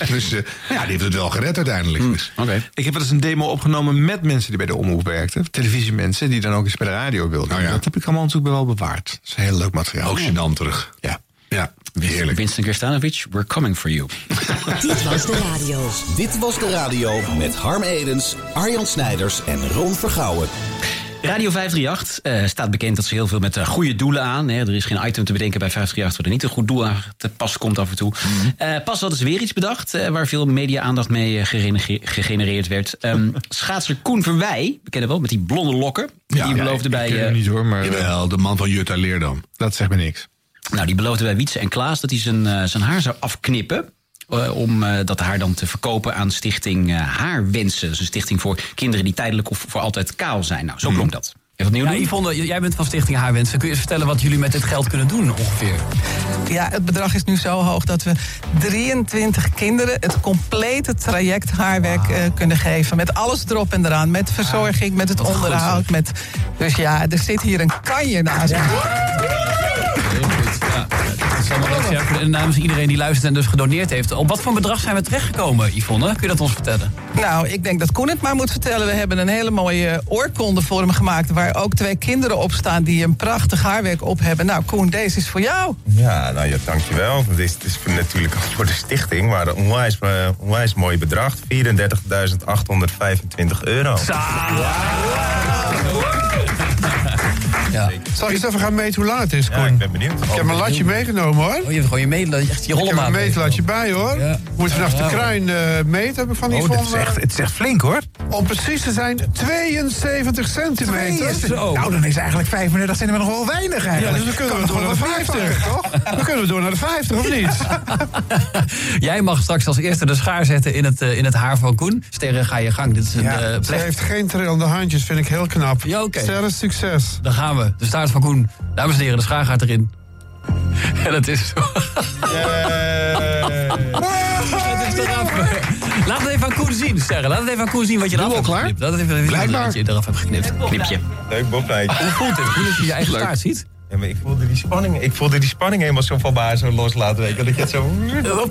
S2: dus, eh, ja, die heeft het wel gered uiteindelijk. Dus.
S6: Ik heb wel eens een demo opgenomen met mensen die bij de omroep werkten. Televisiemensen die dan ook eens bij de radio wilden. Dat heb ik allemaal natuurlijk wel bewaard. Dat is heel leuk materiaal.
S2: Ook gênant terug.
S6: Ja.
S2: Ja,
S3: heerlijk. Winston Kerstanovic, we're coming for you.
S16: Dit was de radio. Dit was de radio met Harm Edens, Arjan Snijders en Ron Vergouwen.
S3: Radio 538 eh, staat bekend dat ze heel veel met eh, goede doelen aan. Hè. Er is geen item te bedenken bij 538 waar er niet een goed doel aan te pas komt af en toe. Eh, pas hadden ze weer iets bedacht eh, waar veel media-aandacht mee eh, gerene- gegenereerd werd. Ehm, schaatser Koen Verwij, we kennen wel, met die blonde lokken. die beloofde bij... eh,
S2: Jawel, de man van Jutta Leerdam.
S6: Dat zegt me niks.
S3: Nou, die beloofde bij Wietse en Klaas dat hij zijn, eh, zijn haar zou afknippen. eh, om eh, dat haar dan te verkopen aan stichting eh, Haarwensen. Dus een stichting voor kinderen die tijdelijk of voor altijd kaal zijn. Nou, zo klonk dat. Even opnieuw
S16: Ja,
S3: doen?
S16: Yvonne, j- jij bent van Stichting Haarwensen. Kun je eens vertellen wat jullie met dit geld kunnen doen ongeveer?
S9: Ja, het bedrag is nu zo hoog dat we 23 kinderen het complete traject haarwerk eh, kunnen geven. Met alles erop en eraan. Met verzorging, met het onderhoud. Met, dus ja, er zit hier een kanje naast.
S16: Dat is allemaal leuk, ja. eh, Namens iedereen die luistert en dus gedoneerd heeft. Op wat voor bedrag zijn we terechtgekomen, Yvonne? Kun je dat ons vertellen?
S9: Nou, ik denk dat Koen het maar moet vertellen. We hebben een hele mooie eh, oorkonde voor hem gemaakt. Waar ook twee kinderen op staan die een prachtig haarwerk op hebben. Nou, Koen, deze is voor jou.
S18: Ja, nou ja, dankjewel. Dit is, het is voor- natuurlijk ook voor de stichting, maar een onwijs, eh, onwijs mooi bedrag. 34.825 euro.
S9: Ja.
S18: Zal
S2: ik eens even gaan meten hoe laat het is, Koen?
S18: ik ben benieuwd.
S2: Ik heb mijn latje meegenomen, hoor.
S16: Oh, je hebt gewoon je meetlatje, echt je
S2: Ik heb
S16: rollenmaat.
S2: mijn meetlatje bij, hoor. Moet vanaf de kruin eh meten, heb ik van die
S16: Oh, dat is
S6: eh,
S16: echt-
S2: het zegt flink, hoor. Om precies te zijn, 72 centimeter.
S18: Nou,
S2: dan is eigenlijk 35 centimeter nog wel
S5: weinig,
S2: Ja,
S5: eigenlijk.
S2: dus dan kunnen
S5: Kan
S2: we door
S5: nog
S2: naar de
S5: wel
S2: 50, toch? Dan kunnen we door naar de 50, of niet?
S16: Jij mag straks als eerste de schaar zetten in het, eh, in het haar van Koen. Sterren, ga je gang. Dit is een
S2: Ja,
S16: eh,
S2: ze
S16: plek.
S2: heeft geen trillende handjes, vind ik heel knap.
S16: Ja, oké.
S2: Sterren succes.
S16: Dan gaan we. De staart van Koen. Dames en heren, de schaar gaat erin. En het is zo. Het is
S28: dus
S16: eraf. Laat het even aan Koen zien, Sterren. Laat het even aan Koen zien wat je eraf hebt geknipt. Laat het even aan Koen zien wat je eraf hebt geknipt. Knipje.
S18: Leuk boblijntje.
S16: Hoe voelt het? Hoe is het je eigen
S18: Leuk.
S16: staart ziet?
S18: Ja, maar ik voelde die spanning, ik voelde die spanning helemaal zo van haar zo loslaten. Weet je, dat ik het zo...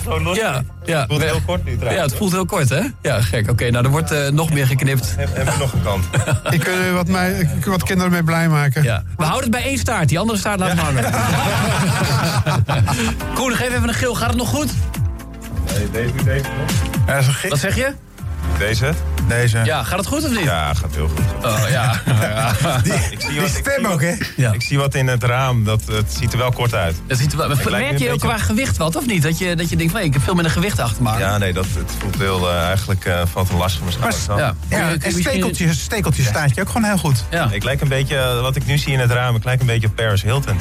S18: zo los...
S16: Ja, ja.
S18: Het voelt heel kort nu
S16: Ja,
S18: trouwens.
S16: het voelt heel kort, hè? Ja, gek. Oké, nou, er wordt eh, nog meer geknipt.
S18: Hebben we nog een kant.
S2: Ik kan er wat, mij, ik kan wat kinderen mee blij maken.
S16: Ja. We houden het bij één staart. Die andere staart laten we hangen. Koen, geef even een geel. Gaat het nog goed?
S18: Nee, deze, deze
S16: Wat zeg je?
S18: Deze? Deze.
S16: Ja, gaat het goed of niet?
S18: Ja, gaat heel goed.
S16: Oh, ja.
S18: Die, ik zie wat, stem ook, hè? Ik zie wat in het raam. Dat, het ziet er wel kort uit.
S16: Dat ziet er wel,
S18: Het lijkt me
S16: merk
S18: een
S16: je ook
S18: beetje-
S16: qua gewicht wat, of niet? Dat je, dat je denkt, van, hé, ik heb veel minder gewicht achter me. aan.
S18: Ja, nee, dat, het voelt heel... eh, eigenlijk eh, valt een last van mijn schouders af.
S16: ja.
S18: Ja,
S5: en stekeltjes, stekeltjes staat je ook gewoon heel goed.
S18: Ik lijk een beetje, eh, wat ik nu zie in het raam, ik lijk een beetje op Paris Hilton.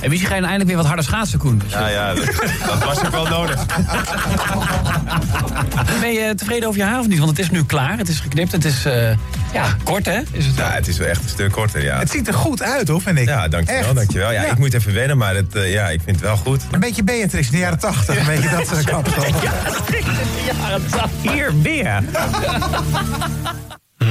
S16: En misschien ga je nou eindelijk weer wat harder schaatsen, Koen.
S18: Ja, ja, dat, dat was ook wel nodig.
S16: Ben je eh, tevreden over je haar of niet? Want het is nu klaar, het is geknipt, het is eh, ja, kort, hè? Is het
S18: Ja, het is wel echt een stuk korter, ja.
S5: Het ziet er goed uit, hoor, vind ik.
S18: Ja, dankjewel,
S5: Echt.
S18: dankjewel. Ja,
S5: Ja.
S18: ik moet even wennen, maar het, eh, ja, ik vind het wel goed.
S5: Een beetje Beatrix in de jaren 80, een beetje dat soort kant. toch?
S18: Hier weer.
S2: Hm?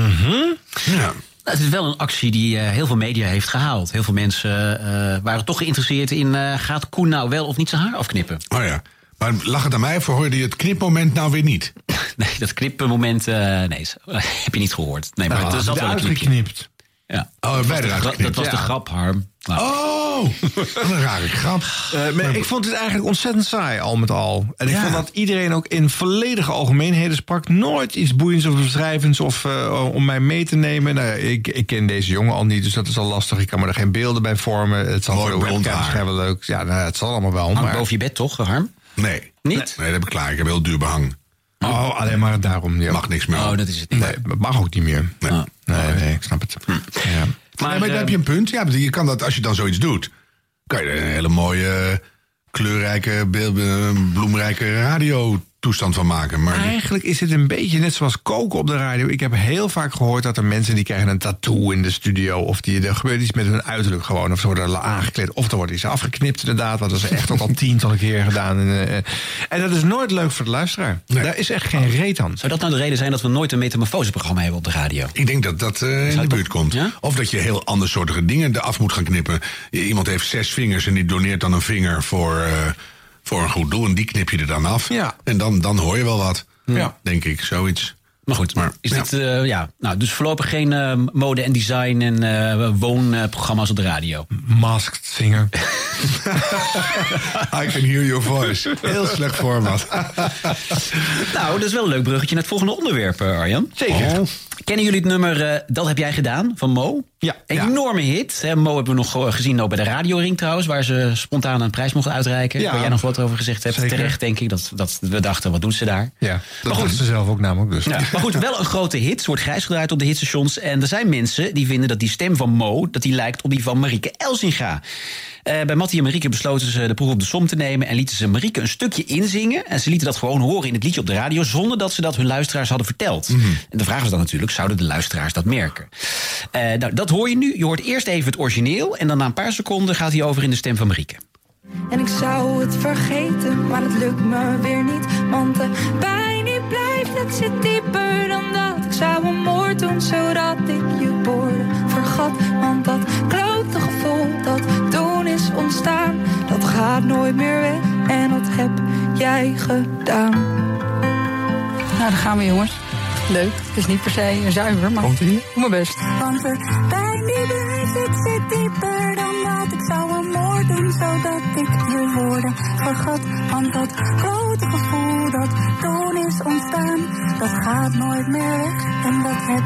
S3: Ja. Nou, het is wel een actie die eh, heel veel media heeft gehaald. Heel veel mensen eh, waren toch geïnteresseerd in... eh, gaat Koen nou wel of niet zijn haar afknippen?
S2: Oh ja. Maar lag het aan mij of hoorde je het knipmoment nou weer niet?
S3: Nee, dat knipmoment eh nee, is- heb je niet gehoord. Nee, maar
S2: Nou,
S3: er zat wel een
S2: eruit
S3: knipje.
S2: geknipt.
S3: Ja.
S2: Oh,
S3: Dat was
S2: wij
S3: de
S2: eruit
S3: gra-
S2: geknipt,
S3: Dat was
S2: ja.
S3: de grap, Harm. Nou.
S2: Oh, wat een rare grap.
S6: Eh, maar ik vond het eigenlijk ontzettend saai, al met al. En ik
S2: Ja.
S6: vond dat iedereen ook in volledige algemeenheden sprak. Nooit iets boeiends of beschrijvends of eh, om mij mee te nemen. Nou, ik, ik ken deze jongen al niet, dus dat is al lastig. Ik kan me er geen beelden bij vormen. Het zal
S2: Mooi
S6: voor de
S2: blond
S6: webcam
S2: haar.
S6: schijnbaar leuk. Ja, nou, het zal allemaal wel.
S2: Hangt
S6: Maar...
S2: boven
S3: je bed toch, Harm?
S2: Nee.
S3: Niet?
S2: Nee, dat heb ik klaar. Ik heb heel duur behang.
S6: Oh, alleen maar daarom. Ja.
S2: Mag niks meer.
S3: Oh, dat is het
S6: niet. Nee, het mag ook niet meer.
S2: Nee,
S6: nee, nee, ik snap het. Ja.
S2: Maar,
S3: eh,
S2: maar dan heb je een punt. Ja, je kan dat, als je dan zoiets doet, kan je er een hele mooie, kleurrijke, beel- eh, bloemrijke radiotoestand van maken. Maar
S6: Eigenlijk is het een beetje net zoals koken op de radio. Ik heb heel vaak gehoord dat er mensen die krijgen een tattoo in de studio. Of die, er gebeurt iets met hun uiterlijk gewoon. Of ze worden aangekleed. Of er wordt iets afgeknipt inderdaad. Want dat is echt ook al tientallen keer gedaan. En, eh, en dat is nooit leuk voor de luisteraar. Daar is echt geen reet aan.
S3: Zou dat nou de reden zijn dat we nooit een metamorfoseprogramma hebben op de radio?
S2: Ik denk dat dat eh, in de buurt komt. Of dat je heel andersoortige dingen eraf moet gaan knippen. I- Iemand heeft zes vingers en die doneert dan een vinger voor, eh, voor een goed doel. En die knip je er dan af. En dan, dan hoor je wel wat. Denk ik, zoiets.
S3: Maar goed, maar, is dit, eh, ja. Nou, dus voorlopig geen eh, mode en design en eh, woonprogramma's op de radio.
S6: Masked singer. I can hear your voice. Heel slecht format.
S3: nou, dat is wel een leuk bruggetje naar het volgende onderwerp, eh, Arjan. Zeker. Kennen jullie het nummer eh, Dat heb jij gedaan van Mo? Ja. Enorme hit. hè. Mo hebben we nog eh, gezien ook bij de radioring trouwens... waar ze spontaan een prijs mocht uitreiken.
S6: Ja.
S3: Waar jij nog wat over gezegd hebt.
S6: Zeker.
S3: Terecht, denk ik. Dat, dat we dachten, wat doet ze daar?
S6: Ja, dat
S3: goed.
S6: goed. ze zelf ook namelijk dus.
S3: Ja, maar goed, wel een grote hit. Ze wordt grijs gedraaid op de hitstations. En er zijn mensen die vinden dat die stem van Mo... dat die lijkt op die van Marieke Elsinga. Eh, bij Mattie en Marieke besloten ze de proef op de som te nemen... en lieten ze Marieke een stukje inzingen. En ze lieten dat gewoon horen in het liedje op de radio... zonder dat ze dat hun luisteraars hadden verteld. En de vraag was dan natuurlijk, zouden de luisteraars dat merken? Eh, nou, dat hoor je nu. Je hoort eerst even het origineel... en dan na een paar seconden gaat hij over in de stem van Marieke.
S22: En ik zou het vergeten, maar het lukt me weer niet. Want de pijn die blijft, het zit dieper dan dat. Ik zou een moord doen, zodat ik je woorden vergat. Want dat klote gevoel dat toen is ontstaan, dat gaat nooit meer weg. En dat heb jij gedaan.
S18: Nou, daar gaan we jongens. Leuk. Het is niet per se zuiver, maar doe mijn best.
S22: Want de pijn die blijft, het zit dieper dan dat. Ik zou een moord doen, zodat ik je woorden vergat. Want dat grote gevoel dat toen is ontstaan, dat gaat nooit meer weg. En dat heb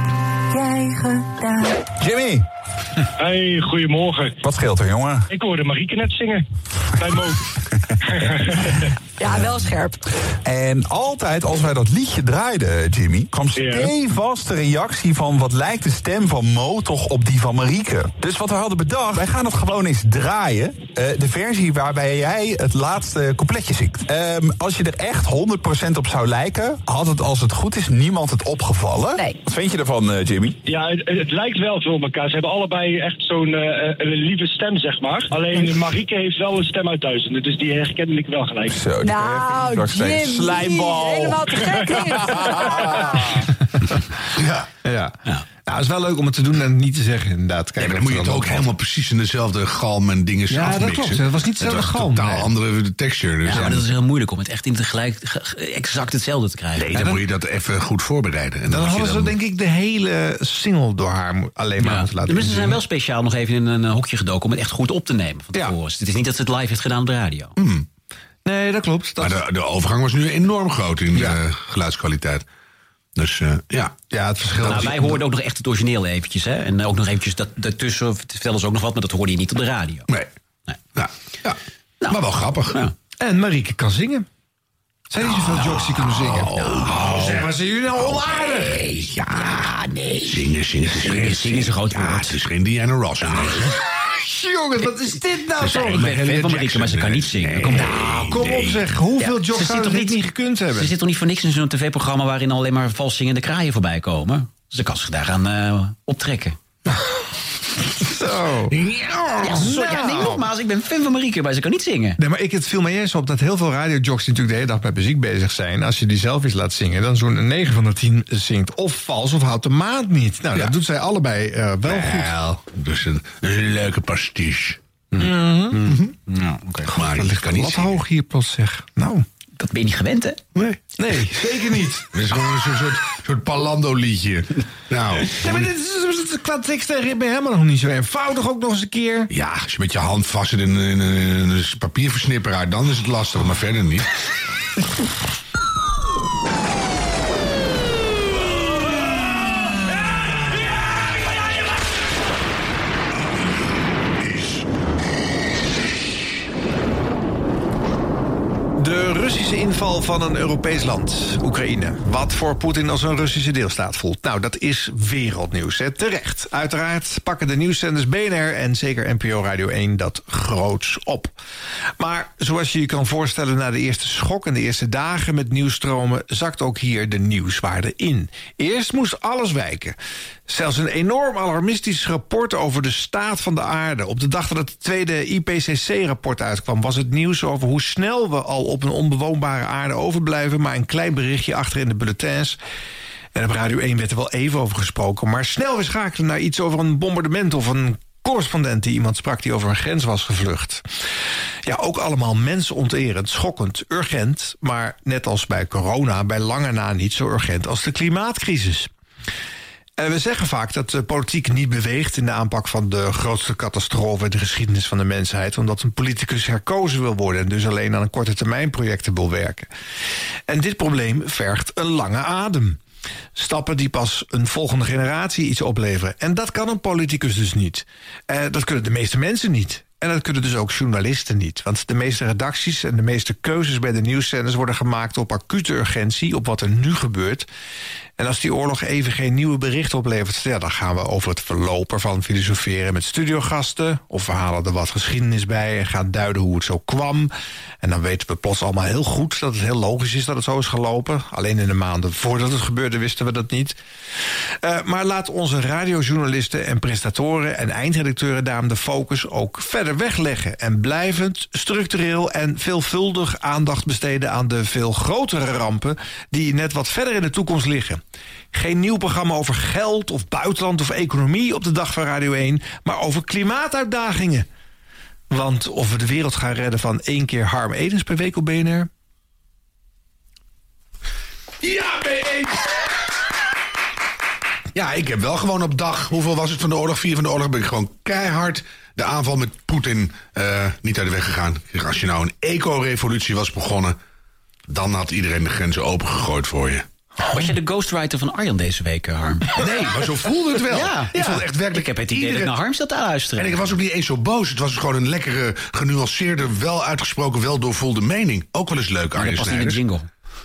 S22: jij gedaan.
S17: Jimmy. Hey, goedemorgen. Wat scheelt er, jongen?
S22: Ik hoorde Marieke net zingen.
S17: Bij Mo.
S18: Ja, wel scherp.
S17: En altijd als wij dat liedje draaiden, Jimmy, kwam stevast de reactie van wat lijkt de stem van Mo toch op die van Marieke. Dus wat we hadden bedacht, wij gaan het gewoon eens draaien. Eh, de versie waarbij jij het laatste coupletje zingt. Ehm, als je er echt 100% op zou lijken, had het als het goed is niemand het opgevallen. Wat vind je ervan, eh, Jimmy?
S28: Ja, het, het lijkt wel veel op elkaar. Ze hebben allebei echt zo'n eh, eh, een lieve stem, zeg maar. Alleen Marieke heeft wel een stem uit duizenden, dus die herkende ik wel gelijk.
S17: Zo,
S18: Nou, Jim, helemaal te gek
S6: Ja. ja. Nou, het is wel leuk om het te doen en niet te zeggen, inderdaad. Kijk,
S2: Ja, maar dan moet je het ook helemaal precies in dezelfde galm en dingen
S6: Ja, dat
S2: afmixen.
S6: klopt. Het was niet dezelfde
S2: Het was
S6: galm,
S2: totaal
S6: nee.
S2: andere texture. Dus
S3: Ja, maar
S2: dan-
S3: dat is heel moeilijk om het echt in tegelijk ge- exact hetzelfde te krijgen.
S2: Nee, dan, moet je dat even goed voorbereiden. En
S6: Dan
S2: als je
S6: hadden ze
S2: dan-
S6: denk ik de hele single door haar mo- alleen maar moeten
S3: De
S6: laten
S3: mensen zijn
S6: inzingen.
S3: wel speciaal nog even in een eh, hokje gedoken om het echt goed op te nemen van tevoren. Dus Het is niet dat ze het live heeft gedaan op de radio.
S6: Nee, dat klopt.
S2: Maar de, de overgang was nu enorm groot in de geluidskwaliteit. Dus eh, ja.
S6: Ja, het verschil.
S3: Nou, wij hoorden ook nog echt het origineel eventjes. Hè? En ook nog eventjes dat, daartussen vertelden ze ook nog wat, maar dat hoorde je niet op de radio. Nou.
S2: Nee.
S6: Nou,
S3: maar
S2: wel grappig.
S6: En Marieke kan zingen. Zijn
S2: Oh.
S6: niet zoveel jocks die kunnen zingen. zeg maar, zijn jullie nou onaardig?
S2: Nee, ja, Oh. nee. Zingen, zingen, zingen. Zingen is een groot woord. Ja, het is geen Diana Ross.
S6: Jongens, wat is dit nou
S2: Dat
S6: zo?
S2: is eigenlijk
S3: Ik ben fan van Marieke, maar ze kan niet zingen. Kom,
S6: Nou, kom op zeg. Hoeveel jocks
S3: ze zit
S6: zouden
S3: toch
S6: dit
S3: niet,
S6: niet gekund hebben?
S3: Ze zit toch niet voor niks in zo'n tv-programma waarin alleen maar vals zingende kraaien voorbij komen? Ze kan zich daaraan eh, optrekken.
S6: Oh, Zo.
S3: Ja, sorry,
S6: nou.
S3: ja, nee, nogmaals, ik ben fan van Marieke, maar ze kan niet zingen.
S6: Nee, maar ik, het viel mij eens op dat heel veel radiojocks die natuurlijk de hele dag met muziek bezig zijn... als je die zelf iets laat zingen, dan zo'n 9 van de 10 zingt of vals of houdt de maat niet. Nou, dat doet zij allebei eh, wel goed.
S2: Dus een, een leuke pastiche.
S3: Nou,
S2: Maar dat kan niet
S6: Wat hoog hier plots zeg. Nou.
S3: Dat ben je niet gewend, hè?
S6: Nee. Nee, zeker niet.
S2: Het is gewoon zo'n soort, soort palando-liedje. Nou,
S6: Ja, maar dit is, dit is qua tekst en ritme helemaal nog niet zo eenvoudig. Ook nog eens een keer.
S2: ja, als je met je hand vast zit in, in, in een papierversnipperaar, dan is het lastig, maar verder niet.
S6: De Russische inval van een Europees land, Oekraïne. Wat voor Poetin als een Russische deelstaat voelt. Nou, dat is wereldnieuws. Hè? Terecht. Uiteraard pakken de nieuwszenders BNR en zeker NPO Radio 1 dat groots op. Maar zoals je je kan voorstellen, na de eerste schok en de eerste dagen met nieuwstromen zakt ook hier de nieuwswaarde in. Eerst moest alles wijken. Zelfs een enorm alarmistisch rapport over de staat van de aarde. Op de dag dat het tweede IPCC-rapport uitkwam, was het nieuws over hoe snel we al op een onbewoonbare aarde overblijven. Maar een klein berichtje achter in de bulletins. En op Radio 1 werd er wel even over gesproken. Maar snel weer schakelen naar iets over een bombardement of een correspondent die iemand sprak die over een grens was gevlucht. Ja, ook allemaal mensonterend, schokkend, urgent. Maar net als bij corona, bij lange na niet zo urgent als de klimaatcrisis. En we zeggen vaak dat de politiek niet beweegt in de aanpak van de grootste catastrofe in de geschiedenis van de mensheid, omdat een politicus herkozen wil worden en dus alleen aan een korte termijn projecten wil werken. En dit probleem vergt een lange adem. Stappen die pas een volgende generatie iets opleveren. En dat kan een politicus dus niet. Eh, dat kunnen de meeste mensen niet. En dat kunnen dus ook journalisten niet. Want de meeste redacties en de meeste keuzes bij de nieuwszenders worden gemaakt op acute urgentie, op wat er nu gebeurt. En als die oorlog even geen nieuwe berichten oplevert, ja, dan gaan we over het verloop ervan filosoferen met studiogasten. Of we halen er wat geschiedenis bij en gaan duiden hoe het zo kwam. En dan weten we plots allemaal heel goed dat het heel logisch is dat het zo is gelopen. Alleen in de maanden voordat het gebeurde wisten we dat niet. Eh, maar laat onze radiojournalisten en presentatoren en eindredacteuren daarom de focus ook verder wegleggen. En blijvend, structureel en veelvuldig aandacht besteden aan de veel grotere rampen die net wat verder in de toekomst liggen. Geen nieuw programma over geld of buitenland of economie op de dag van Radio 1, maar over klimaatuitdagingen. Want of we de wereld gaan redden van één keer Harm Edens per week op BNR...
S2: Ja, mee eens! Ja, ik heb wel gewoon op dag, hoeveel was het van de oorlog? Vier van de oorlog ben ik gewoon keihard de aanval met Poetin eh, niet uit de weg gegaan. Ik zeg, Als je nou een eco-revolutie was begonnen, dan had iedereen de grenzen opengegooid voor je.
S3: Was jij de ghostwriter van Arjan deze week, eh, Harm?
S2: Nee, maar zo voelde het wel.
S3: Ja.
S2: ik vond echt werkelijk.
S3: Ik heb het idee dat ik naar Harm zat te luisteren.
S2: En ik was ook niet eens zo boos. Het was gewoon een lekkere, genuanceerde, wel uitgesproken, wel doorvoelde mening. Ook wel eens leuk, Arjen
S6: past niet in de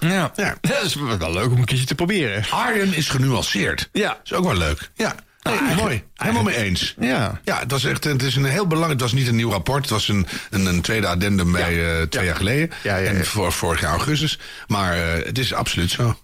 S2: Ja. ja, dat is wel leuk om een keertje te proberen. Arjen is genuanceerd. Ja. Is ook wel leuk. Ja. Nee, mooi. Helemaal mee eens. Ja, ja het, was echt, het is een heel belangrijk. Het was niet een nieuw rapport. Het was een, een, een tweede addendum bij eh, twee jaar geleden. En voor, vorig jaar augustus. Maar eh, het is absoluut zo.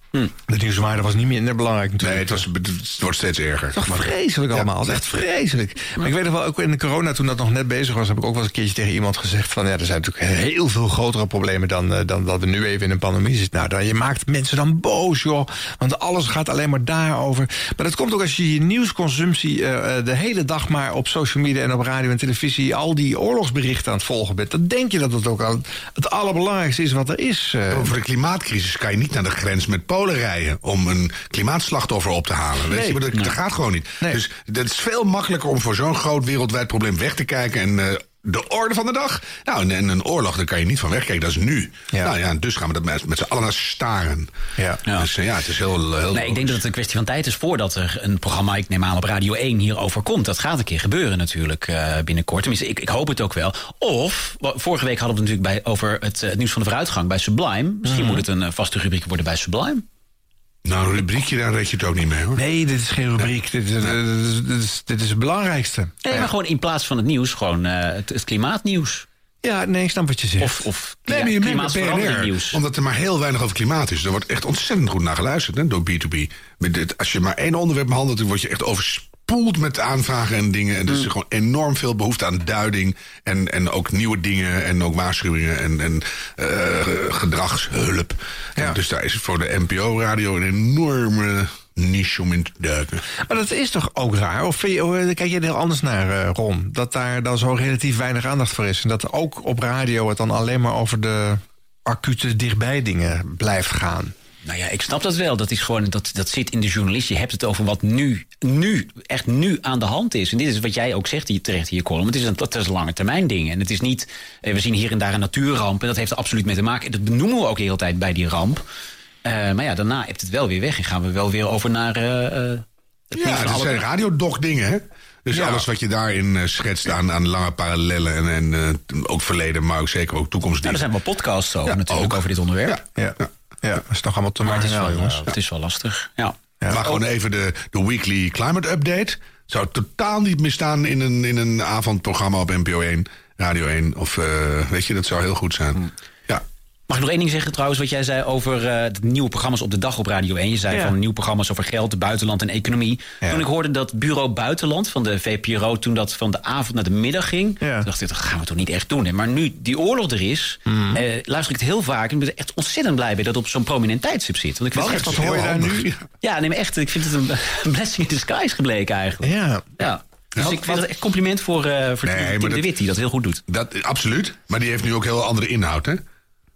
S6: De nieuwswaarde was niet minder belangrijk
S2: natuurlijk. Nee, het, was, het wordt steeds erger.
S6: Het is toch vreselijk allemaal. Het is echt vreselijk. Maar ik weet nog wel, ook in de corona, toen dat nog net bezig was... heb ik ook wel eens een keertje tegen iemand gezegd van... ja, er zijn natuurlijk heel veel grotere problemen dan, eh, dan dat we nu even in een pandemie zitten. Nou, dan, je maakt mensen dan boos, joh. Want alles gaat alleen maar daarover. Maar dat komt ook als je je nieuwsconsumptie... eh, eh, de hele dag maar op social media en op radio en televisie... al die oorlogsberichten aan het volgen bent. Dan denk je dat dat ook al het allerbelangrijkste is wat er is. eh.
S2: Over de klimaatcrisis kan je niet naar de grens met Polen rijden om een klimaatslachtoffer op te halen. Weet
S6: Nee.
S2: je, maar dat, dat gaat gewoon niet. Dus het is veel makkelijker om voor zo'n groot wereldwijd probleem weg te kijken en eh, de orde van de dag. Nou, en, en een oorlog, daar kan je niet van wegkijken, dat is nu. Nou ja, dus gaan we dat met, met z'n allen naar staren. Ja. Dus eh, ja, het is heel. heel
S3: Nee, ik denk dat het een kwestie van tijd is voordat er een programma, ik neem aan op Radio 1, hierover komt. Dat gaat een keer gebeuren natuurlijk eh, binnenkort. Tenminste, ik, ik hoop het ook wel. Of, wa- vorige week hadden we het natuurlijk bij, over het, eh, het nieuws van de vooruitgang bij Sublime. Misschien moet het een eh, vaste rubriek worden bij Sublime.
S2: Mhm. Nou, een rubriekje, daar red je het ook niet mee hoor.
S6: Nee, dit is geen rubriek. Dit, is- dit is- dit is, dit is het belangrijkste.
S3: Nee, maar gewoon in plaats van het nieuws, gewoon eh, het, het klimaatnieuws.
S6: Ja, nee, ik snap wat je zegt.
S3: Of, of
S2: Nee, maar
S3: ja,
S2: je merkt bij
S3: klimaatverandering
S2: PNR,
S3: nieuws.
S2: omdat er maar heel weinig over klimaat is. Er wordt echt ontzettend goed naar geluisterd hè, door B2B. Met dit, als je maar één onderwerp behandelt, dan word je echt overspoeld met aanvragen en dingen. En er
S3: Mm.
S2: is gewoon enorm veel behoefte aan duiding. En, en ook nieuwe dingen en ook waarschuwingen en, en eh, gedragshulp. En dus daar is het voor de NPO-radio een enorme niche om in te duiken.
S6: Maar dat is toch ook raar? Of vind je, oh, eh, kijk je er heel anders naar, eh, Ron? Dat daar dan zo relatief weinig aandacht voor is. En dat ook op radio het dan alleen maar over de acute dichtbij dingen blijft gaan.
S3: Nou ja, ik snap dat wel. Dat, is gewoon, dat, dat zit in de journalist. Je hebt het over wat nu, nu, echt nu aan de hand is. En dit is wat jij ook zegt hier terecht in je column. Het is een, dat is een lange termijn ding. En het is niet, eh, we zien hier en daar een natuurramp. En dat heeft er absoluut mee te maken. En dat benoemen we ook de hele tijd bij die ramp. Eh, maar ja, daarna hebt het wel weer weg. En gaan we wel weer over naar... eh, eh, het nieuws
S2: Ja,
S3: van
S2: dat
S3: alle-
S2: zijn radiodoc dingen, hè? Dus alles wat je daarin eh, schetst aan, aan lange parallellen en, en eh, ook verleden, maar ook zeker ook toekomst.
S3: Nou, er zijn wel podcasts over natuurlijk, over dit onderwerp.
S2: Ja, ja.
S6: dat is toch allemaal te
S3: Maar het
S2: maken,
S3: is wel,
S2: jongens.
S3: eh, het is wel lastig. Ja.
S2: Maar gewoon even de, de weekly climate update. Zou totaal niet misstaan in een, in een avondprogramma op NPO 1, Radio 1. Of eh, weet je, dat zou heel goed
S3: Hm.
S2: zijn. Ja.
S3: Mag ik nog één ding zeggen trouwens, wat jij zei over eh, de nieuwe programma's op de dag op Radio 1? Je zei
S2: Ja.
S3: van nieuwe programma's over geld, buitenland en economie. Toen ik hoorde dat Bureau Buitenland van de VPRO, toen dat van de avond naar de middag ging, toen dacht ik, dat gaan we toch niet echt doen. Hè? Maar nu die oorlog er is,
S2: Mhm.
S3: eh, luister ik het heel vaak en ik ben er echt ontzettend blij bij dat het op zo'n prominent tijdstip zit. Want ik vind
S2: Wat?
S3: het echt
S2: Dat hoor je daar nu?
S3: Ja, nee, maar echt, ik vind het een blessing in disguise gebleken eigenlijk.
S6: Ja.
S3: ja. Dus ik vind het echt compliment voor, eh voor Tim- Tim de Wit, die dat heel goed doet.
S2: Dat, absoluut, maar die heeft nu ook heel andere inhoud. Hè?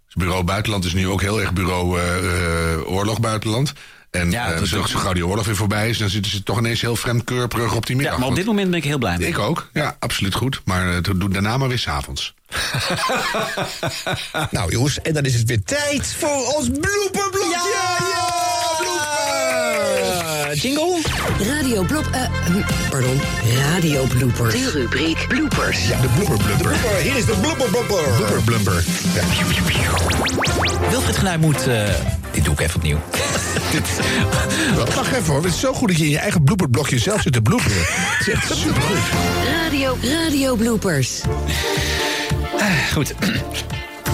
S2: Dus bureau Buitenland is nu ook heel erg bureau eh, eh, Oorlog Buitenland. En eh,
S3: dat-
S2: zo, zo gauw die oorlog weer voorbij is, dan zitten ze toch ineens heel vreemdkeurperig op die middag.
S3: maar op dit moment ben ik heel blij mee.
S2: Ik ook, ja, absoluut goed. Maar eh, doe doe daarna maar weer s'avonds.
S5: nou jongens, en dan is het weer tijd voor ons blooperblokje. Ja,
S3: jingle.
S34: Radio Blop... eh, pardon. Radio Bloopers. De rubriek Bloopers.
S5: Ja, de blooper blumper. Hier is de blooper blumper. Blooper blumper.
S3: Wilfried Genuij moet... eh, dit doe ik even opnieuw.
S5: Wacht even hoor, het is zo goed dat je in je eigen blooperblokje zelf zit te bloeperen. Het is echt supergoed.
S34: Radio, radio Bloopers.
S5: Ah,
S3: Goed.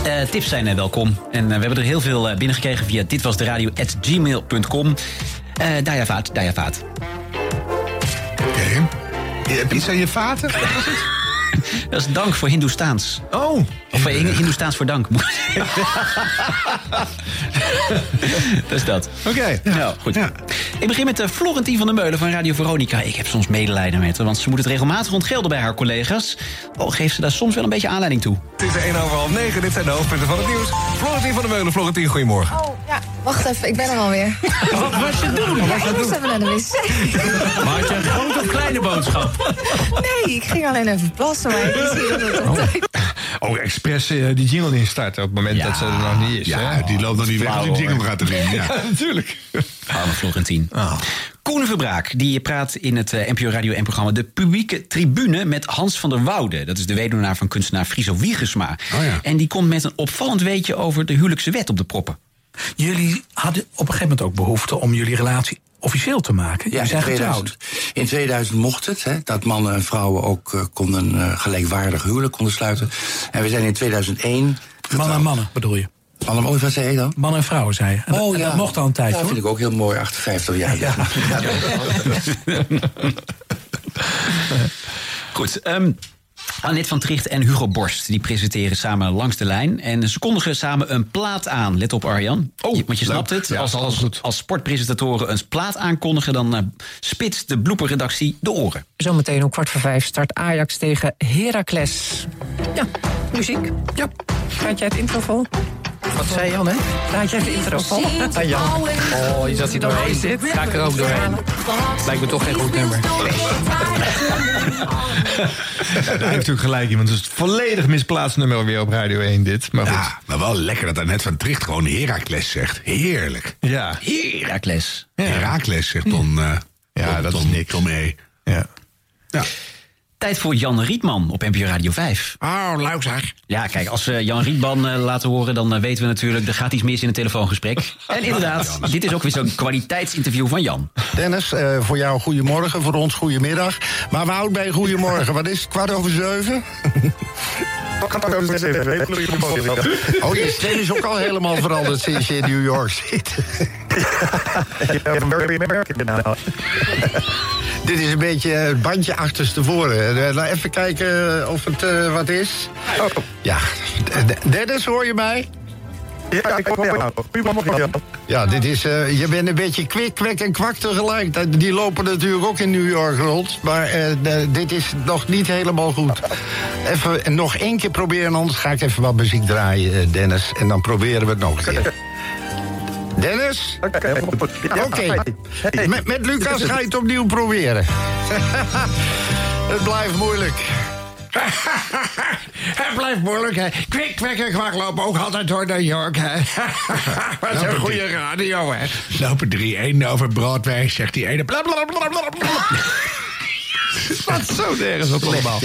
S3: Eh, tips zijn eh, welkom. En eh, we hebben er heel veel eh, binnengekregen via ditwasderadio.gmail.com. Eh Daya Vaat, Daya Vaat.
S2: Je hebt iets aan je vaten?
S3: Dat is dank voor Hindoestaans. Oh. Of eh, Hin- Hindoestaans voor dank. dat is dat. Oké. Nou, goed. Ik begin met eh, Florentien van der Meulen van Radio Veronica. Ik heb soms medelijden met haar, want ze moet het regelmatig ontgelden bij haar collega's. Al geeft ze daar soms wel een beetje aanleiding toe.
S5: Het is 1 over half 9, dit zijn de hoofdpunten van het nieuws. Florentien van der Meulen, Florentien, goedemorgen.
S30: Ja, wacht even, ik ben er alweer. Wat was je doen? Ja, ik moest even naar de wc.
S3: Maar had je een grote of kleine boodschap?
S30: Nee, ik ging alleen even plassen, maar ik zie dat het op tijd
S6: Oh, expres eh, die jingle instarten op het moment dat ze er nog niet is.
S2: Ja, die loopt nog niet weg, die jingle gaat erin, ja.
S6: natuurlijk.
S3: Arme Florentien.
S6: Oh.
S3: Koen Verbraak, die praat in het eh, NPO Radio 1-programma... De publieke tribune met Hans van der Woude. Dat is de weduwnaar van kunstenaar Friso Wiegersma. En die komt met een opvallend weetje over de huwelijkse wet op de proppen.
S9: Jullie hadden op een gegeven moment ook behoefte om jullie relatie officieel te maken.
S33: Ja,
S9: jullie zijn
S33: in 2000.
S9: getrouwd.
S33: In 2000 mocht het, hè, dat mannen en vrouwen ook eh, konden eh, gelijkwaardig huwelijk konden sluiten. En we zijn in 2001. Mannen en mannen bedoel je? Mannen, oh, wat zei je dan? Oh,
S9: Man en vrouw, zei je. En dat- en dat mocht al een tijd,
S33: Dat
S9: hoor.
S33: vind ik ook heel mooi, 58 jaar. Ja.
S3: Goed, ehm, Annette van Tricht en Hugo Borst die presenteren samen Langs de Lijn. En ze kondigen samen een plaat aan. Let op, Arjan. Oh, Want je snapt het. als, als, als sportpresentatoren een plaat aankondigen... dan eh, spitst de bloeperredactie de oren.
S35: Zometeen om kwart voor vijf start Ajax tegen Heracles.
S9: Ja,
S35: muziek. Ja.
S9: Gaat jij het intro vol?
S35: Wat zei Jan, hè? Gaat jij het intro vol?
S9: Ah, Jan. Oh, je zat hier doorheen. Ga ik er ook doorheen. Lijkt me toch geen goed nummer.
S6: Hij heeft natuurlijk gelijk iemand. Het is het volledig misplaatst nummer weer op Radio 1 dit. Maar goed.
S2: Ja, maar wel lekker dat Annette van Tricht gewoon Herakles zegt. Heerlijk.
S6: Ja.
S3: Herakles.
S2: Herakles zegt Ton. ja, dat is niks. Tom E.
S6: Ja.
S3: Tijd voor Jan Rietman op NPO Radio 5.
S33: Oh, leuk zeg.
S3: Ja, kijk, als we Jan Rietman eh, laten horen... dan eh, weten we natuurlijk, er gaat iets mis in het telefoongesprek. En inderdaad, dit is ook weer zo'n kwaliteitsinterview van Jan.
S23: Dennis, eh, voor jou goedemorgen, voor ons goedemiddag. Maar we houden bij goedemorgen. Wat is het, kwart over zeven? Oh, je stem is ook al helemaal veranderd sinds je in New York zit. Dit is een beetje het bandje achterstevoren. Eh, laat Even kijken of het eh, wat is. Ja, D- Dennis, hoor je mij? Ja, ik hoor jou. Ja, dit is, eh, je bent een beetje kwik, kwek en kwak tegelijk. Dat- Die lopen natuurlijk ook in New York rond. Maar eh, de- dit is nog niet helemaal goed. Even nog één keer proberen, anders ga ik even wat muziek draaien, eh, Dennis. En dan proberen we het nog een keer. Dennis? Oké. Met, met Lucas ga je het opnieuw proberen. het blijft moeilijk. Het blijft moeilijk, hè. Kwik, kwek en kwak lopen ook altijd door New York, hè. Wat een goede radio, hè.
S2: Lopen drie eenden over Broadway, zegt die ene.
S23: Wat zo nergens op allemaal.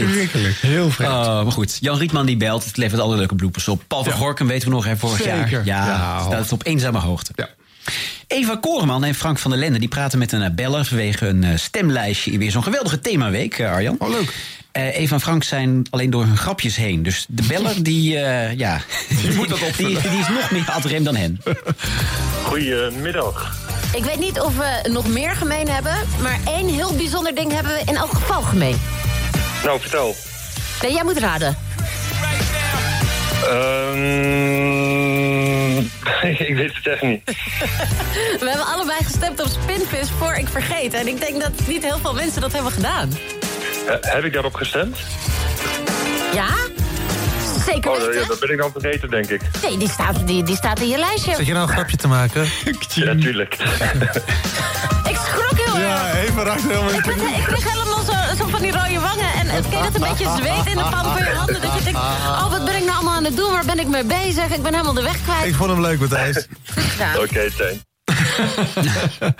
S3: Heel vreemd. Ah, maar goed, Jan Rietman die belt, het levert alle leuke bloepers op. Paul van Gorkum weten we nog, hè, vorig
S23: Zeker.
S3: jaar. Ja,
S23: Ja.
S3: staat op eenzame hoogte. Eva Koreman en Frank van der Lende die praten met een eh, beller... vanwege een eh, stemlijstje in weer zo'n geweldige themaweek, eh, Arjan. Oh, leuk. Eva en Frank zijn alleen door hun grapjes heen. Dus de beller, die, eh, ja, die, moet dat die, die is nog meer ad rem dan hen.
S8: Goedemiddag.
S36: Ik weet niet of we nog meer gemeen hebben, maar één heel bijzonder ding hebben we in elk geval gemeen.
S8: Nou, vertel.
S36: Nee, jij moet raden.
S8: Ehm, ik weet het echt niet.
S36: We hebben allebei gestemd op Spinvis voor ik vergeet. En ik denk dat niet heel veel mensen dat hebben gedaan.
S17: Eh, heb ik daarop gestemd?
S36: Ja? Zeker
S17: Oh,
S36: weten.
S17: ja, dat ben ik dan vergeten, denk ik.
S36: Nee, die staat, die, die staat in je lijstje.
S18: Zat je nou een grapje te maken?
S17: Ja, tuurlijk.
S36: Ik schrok heel erg.
S18: Ja, even raakt helemaal
S36: Ik, ben, ik kreeg helemaal zo, zo van die rode wangen. En het kreeg dat een beetje zweet in de pan van je handen. Dat je denkt, oh, wat ben ik nou allemaal aan het doen? Waar ben ik mee bezig? Ik ben helemaal de weg kwijt.
S18: Ik vond hem leuk, Matthijs.
S36: Ja.
S17: Oké, Tijn.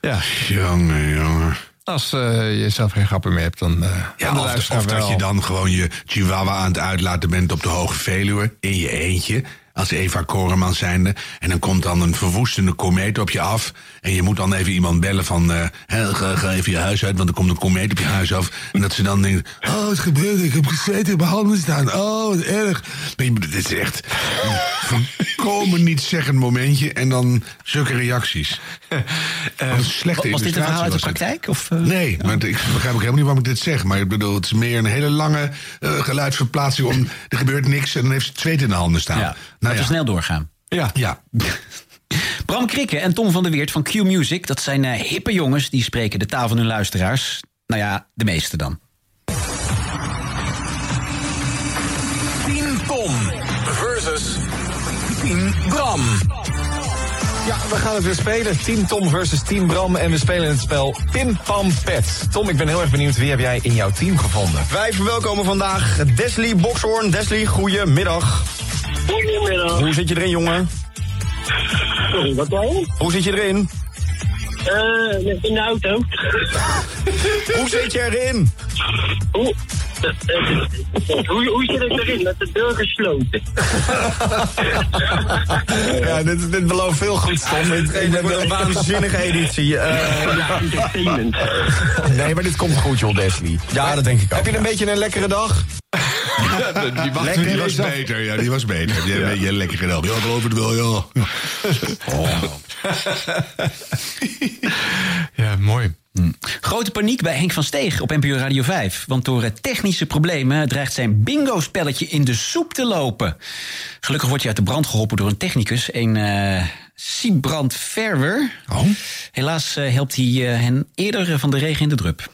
S6: Ja. Jongen, jongen. Als eh, je zelf geen grappen meer hebt, dan. eh
S2: Ja,
S6: de
S2: of,
S6: luisteraar
S2: of dat
S6: wel.
S2: je dan gewoon je chihuahua aan het uitlaten bent op de Hoge Veluwe... in je eentje, als Eva Koreman zijnde. En dan komt dan een verwoestende komeet op je af... en je moet dan even iemand bellen van... eh, hè, ga, ga even je huis uit, want er komt een komeet op je huis af. En dat ze dan denkt... oh, het gebeurt, ik heb gezeten, mijn handen staan. Oh, wat erg. Maar je- dit is echt een volkomen niet zeggend momentje... en dan zulke reacties. Wat een slechte
S3: was dit een verhaal
S2: illustratie
S3: uit de
S2: was dit.
S3: praktijk? Of, eh,
S2: Nee, maar ik begrijp ook helemaal niet waarom ik dit zeg. Maar ik bedoel, het is meer een hele lange eh, geluidsverplaatsing. Om, er gebeurt niks en dan heeft ze het zweet in de handen staan. nou
S3: Laten we snel doorgaan.
S2: Ja. ja.
S3: Bram Krikke en Tom van der Weert van Q Music, dat zijn eh, hippe jongens die spreken de taal van hun luisteraars. Nou ja, de meeste dan.
S37: 10 ton versus 10 gram.
S18: Ja, we gaan het weer spelen. Team Tom versus Team Bram. En we spelen het spel Pim Pam Pet. Tom, ik ben heel erg benieuwd. Wie heb jij in jouw team gevonden?
S5: Wij verwelkomen vandaag Desley Bokshoorn. Desley, goedemiddag. Goedemiddag. Hoe zit je erin, jongen? Sorry, wat dan? Hoe zit je erin?
S28: Eh, in de auto.
S5: hoe zit je erin?
S28: Hoe, Eh, hoe, hoe zit ik erin? Met de deur gesloten.
S5: Ja, dit, dit belooft veel goed, Tom. Dit, dit wordt een waanzinnige editie. Eh, nee, maar dit komt goed, joh, Desley. Ja, dat denk ik ook. Heb je een beetje een lekkere dag?
S2: Eh, Die, wacht,
S5: Lekker
S2: die was
S5: is dat.
S2: beter, ja, die was beter. Die heb je lekker gedaan. Ja, ik geloof het wel, ja. Oh.
S6: Ja, mooi.
S3: Hm. Grote paniek bij Henk van Steeg op NPO Radio 5. Want door eh, technische problemen dreigt zijn bingo-spelletje in de soep te lopen. Gelukkig wordt hij uit de brand geholpen door een technicus, een eh Siebrand Verwer.
S6: Oh.
S3: Helaas eh, helpt hij eh, hen eerder eh, van de regen in de drup.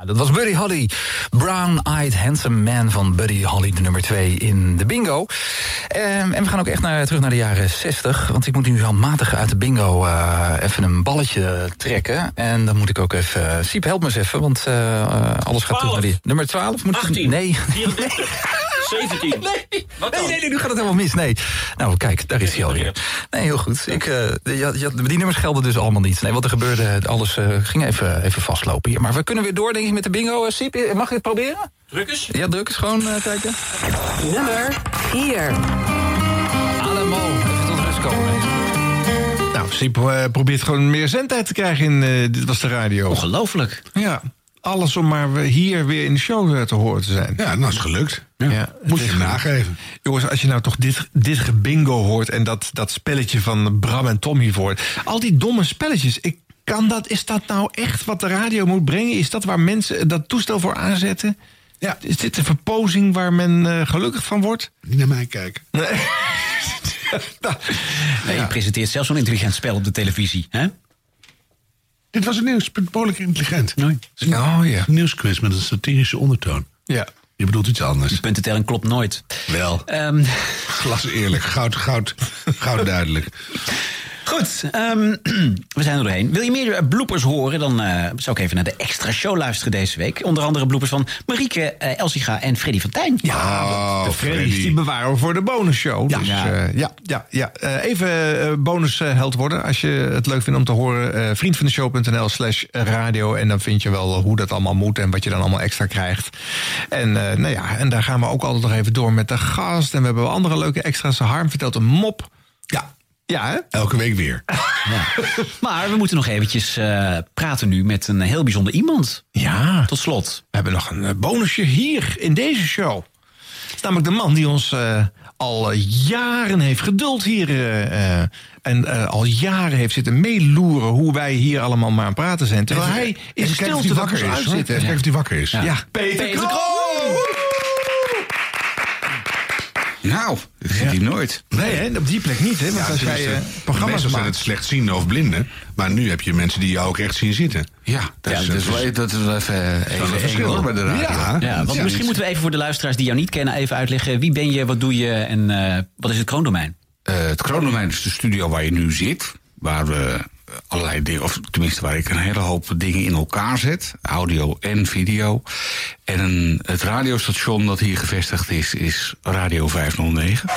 S9: Ah, Dat was Buddy Holly, Brown-Eyed Handsome Man van Buddy Holly, de nummer 2 in de bingo. Ehm, en we gaan ook echt naar, terug naar de jaren 60, want ik moet nu handmatig uit de bingo eh, even een balletje trekken. En dan moet ik ook even... eh, Siep, help me eens even, want eh, eh, alles gaat terug naar die... Nummer 12? Moet 18. nee.
S28: 17.
S9: Nee. Nee, nee, nee, nu gaat het helemaal mis. Nee. Nou, kijk, daar is hij alweer. Nee, heel goed. Ik, eh, je had- je had- die nummers gelden dus allemaal niet. Nee, wat er gebeurde, eh, alles eh, ging even, even vastlopen hier. Maar we kunnen weer door, denk ik, met de bingo. eh, Siep, Eh, mag ik het proberen? Druk eens. Ja, druk eens gewoon eh, kijken.
S38: Nummer 4.
S9: Allemaal. Even tot rust komen.
S6: Nou, Siep eh, probeert gewoon meer zendtijd te krijgen in eh, Dit Was de Radio.
S3: Ongelooflijk.
S6: Ja, alles om maar we- hier weer in de show eh, te horen te zijn.
S2: Ja, nou is gelukt.
S6: Ja.
S2: Moet je
S6: het is
S2: hem
S6: gelukt.
S2: nageven.
S6: Jongens, als je nou toch dit, dit gebingo hoort en dat, dat spelletje van Bram en Tom hiervoor. Al die domme spelletjes. Ik kan dat, is dat nou echt wat de radio moet brengen? Is dat waar mensen dat toestel voor aanzetten?
S2: Ja.
S6: Is dit de verpozing waar men eh, gelukkig van wordt?
S2: Niet naar mij kijken.
S6: Nee.
S3: Nee, Je presenteert zelfs zo'n intelligent spel op de televisie. Hè?
S2: Dit was het nieuws, behoorlijk intelligent.
S3: Nee.
S6: Oh ja.
S2: Nieuwsquiz met een satirische ondertoon.
S6: Ja.
S2: Je bedoelt iets anders.
S3: puntentelling klopt nooit.
S2: Wel.
S3: Ehm,
S2: Glas eerlijk. Goud, goud, goud duidelijk.
S3: Goed, ehm, we zijn er doorheen. Wil je meer eh, bloopers horen, dan eh, zou ik even naar de extra show luisteren deze week. Onder andere bloopers van Marieke, eh Elsiga en Freddy van Tijn.
S6: Ja, Ah, de Freddy's, die bewaren we voor de bonusshow. Ja, dus, eh, ja, ja. ja. Eh, even eh, bonus eh, held worden als je het leuk vindt om te horen. eh vriendvandeshow.nl slash radio. En dan vind je wel eh, hoe dat allemaal moet en wat je dan allemaal extra krijgt. En, eh, nou ja, en daar gaan we ook altijd nog even door met de gast. En we hebben wel andere leuke extra's. Harm vertelt een mop.
S2: Ja.
S6: Ja, hè?
S2: Elke week weer.
S3: Maar we moeten nog eventjes eh, praten nu met een heel bijzonder iemand.
S6: Ja.
S3: Tot slot.
S6: We hebben nog een eh, bonusje hier in deze show. Het is namelijk de man die ons eh, al eh, jaren heeft geduld hier. eh, eh, en eh, al jaren heeft zitten meeloeren hoe wij hier allemaal maar aan praten zijn. Terwijl
S2: Even-
S6: hij in
S2: even kijken
S6: stilte
S2: of die
S6: wakker
S2: wakker
S6: is.
S2: is, hoor.
S6: uitzitten.
S2: Even kijken of die wakker is.
S6: Ja.
S2: Ja.
S6: Peter,
S2: Peter
S6: Kroon!
S3: Nou, dat ziet hij nooit.
S6: Nee, hè, op die plek niet. Hè, want als
S2: tenminste,
S6: jij eh,
S2: de
S6: programma's
S2: Meestal zijn
S6: maakt...
S2: het slechtzienden of blinden. Maar nu heb je mensen die jou ook echt zien zitten.
S3: Ja,
S2: dat is- dat is-
S3: dat is wel even,
S2: is wel een verschil, hoor, bij de radio.
S3: Ja,
S2: Ja,
S3: want
S2: ja.
S3: misschien moeten we even voor de luisteraars die jou niet kennen... even uitleggen wie ben je, wat doe je en eh, wat is het kroondomein?
S10: Eh, het Kroondomein is de studio waar je nu zit. Waar we allerlei dingen, of tenminste waar ik een hele hoop dingen in elkaar zet. Audio en video. En een- het radiostation dat hier gevestigd is, is Radio 509.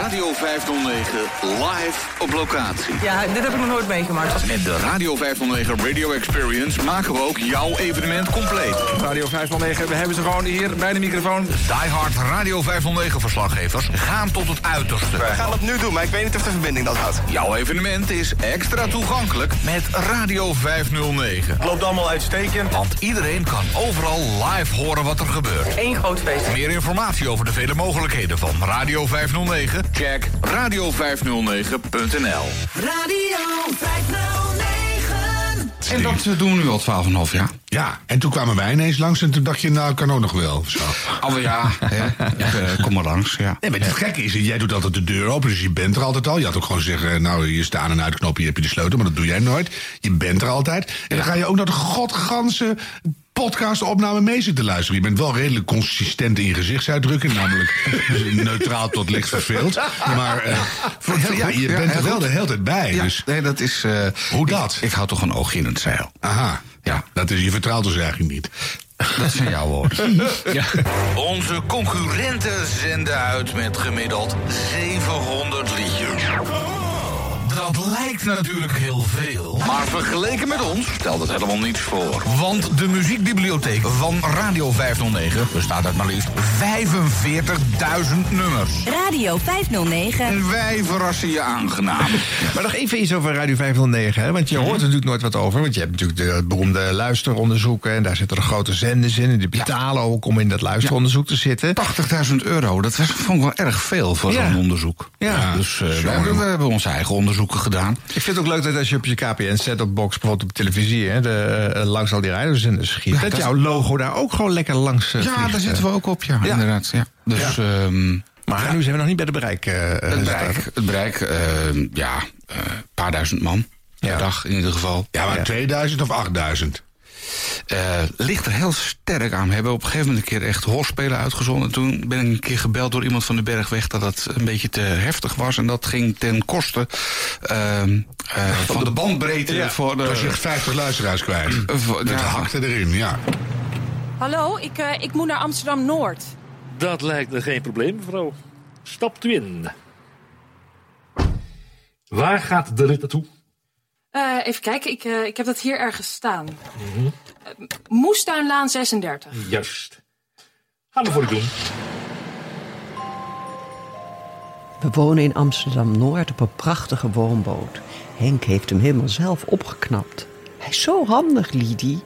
S5: Radio 509 live op locatie.
S39: Ja, dit heb ik nog nooit meegemaakt.
S5: Met de Radio 509 Radio Experience maken we ook jouw evenement compleet.
S40: Radio 509, we hebben ze gewoon hier bij de microfoon. Die Hard Radio 509 verslaggevers gaan tot het uiterste.
S41: We gaan het nu doen, maar ik weet niet of de verbinding dat houdt.
S5: Jouw evenement is extra toegankelijk met Radio 509.
S41: Loopt allemaal uitstekend.
S5: Want iedereen kan overal live horen wat er gebeurt.
S39: Eén groot feest.
S5: Meer informatie over de vele mogelijkheden van Radio 509? Check radio509.nl.
S42: Radio 509.
S2: En dat
S10: eh,
S2: doen we nu al 12,5 jaar. Ja, en toen kwamen wij ineens langs en toen dacht je, nou kan ook nog wel. of Zo.
S10: Oh ja, hè. Eh, kom maar langs. Ja.
S2: Nee, maar het gekke is, jij doet altijd de deur open, dus je bent er altijd al. Je had ook gewoon zeggen, nou, je staat en uitknop, hier heb je de sleutel, maar dat doe jij nooit. Je bent er altijd. En dan ga je ook naar de godganse podcastopname mee zitten luisteren. Je bent wel redelijk consistent in je gezichtsuitdrukking, namelijk dus neutraal tot licht verveeld. Maar eh, voor- ja, je
S10: Ja,
S2: bent
S10: heel
S2: er wel
S10: goed.
S2: de hele tijd bij.
S10: Ja,
S2: Dus.
S10: Nee, dat is... eh,
S2: Hoe dat?
S10: Ik hou toch een oogje in het zeil.
S2: Aha, ja. dat is, je vertrouwt ons eigenlijk niet.
S10: Dat zijn jouw woorden.
S5: Onze concurrenten zenden uit met gemiddeld 700 liedjes. Dat lijkt natuurlijk heel veel. Maar vergeleken met ons stelt het helemaal niets voor.
S40: Want de muziekbibliotheek van Radio 509 bestaat uit maar liefst 45.000 nummers.
S43: Radio 509.
S10: En wij verrassen je aangenaam.
S6: Maar nog even iets over Radio 509, hè? want je hoort er natuurlijk nooit wat over. Want je hebt natuurlijk de beroemde luisteronderzoeken... en daar zitten de grote zenders in en die betalen ook om in dat luisteronderzoek te zitten.
S10: 80.000 euro, dat was, vond ik wel erg veel voor
S6: Ja.
S10: zo'n onderzoek.
S6: Ja.
S10: Dus eh,
S6: Zo,
S10: wij- we,
S6: jongen.
S10: hebben onze eigen onderzoeken gedaan.
S6: Ik vind het ook leuk dat als je op je KPN set-top box, bijvoorbeeld op televisie, hè, de, eh, langs al die radiozenders schiet, dat,
S10: dat-
S6: jouw logo daar ook gewoon lekker langs eh,
S10: Ja,
S6: vliegt,
S10: daar
S6: eh.
S10: zitten we ook op, ja, inderdaad. Ja. Dus, ehm,
S6: Maar nu zijn we nog niet bij de bereik. eh, eh,
S10: het
S6: staat.
S10: bereik, het bereik eh, ja, een paar duizend man per dag in ieder geval.
S2: Ja, maar 2000 of 8000?
S10: Eh, ligt er heel sterk aan. We hebben op een gegeven moment een keer echt hoorspelen uitgezonden. Toen ben ik een keer gebeld door iemand van de Bergweg dat dat een beetje te heftig was. En dat ging ten koste ehm, eh, van de bandbreedte
S2: Ja,
S10: voor de.
S2: was je 50 luisteraars kwijt. Dat hakte erin, ja.
S11: Hallo, ik, eh, ik moet naar Amsterdam-Noord.
S9: Dat lijkt me geen probleem, mevrouw. Stapt u in. Waar gaat de rit naartoe?
S11: Eh, even kijken, ik, eh, ik heb dat hier ergens staan. Moestuinlaan 36.
S9: Juist. Gaan we voor u doen.
S35: We wonen in Amsterdam-Noord op een prachtige woonboot. Henk heeft hem helemaal zelf opgeknapt. Hij is zo handig, Lidie.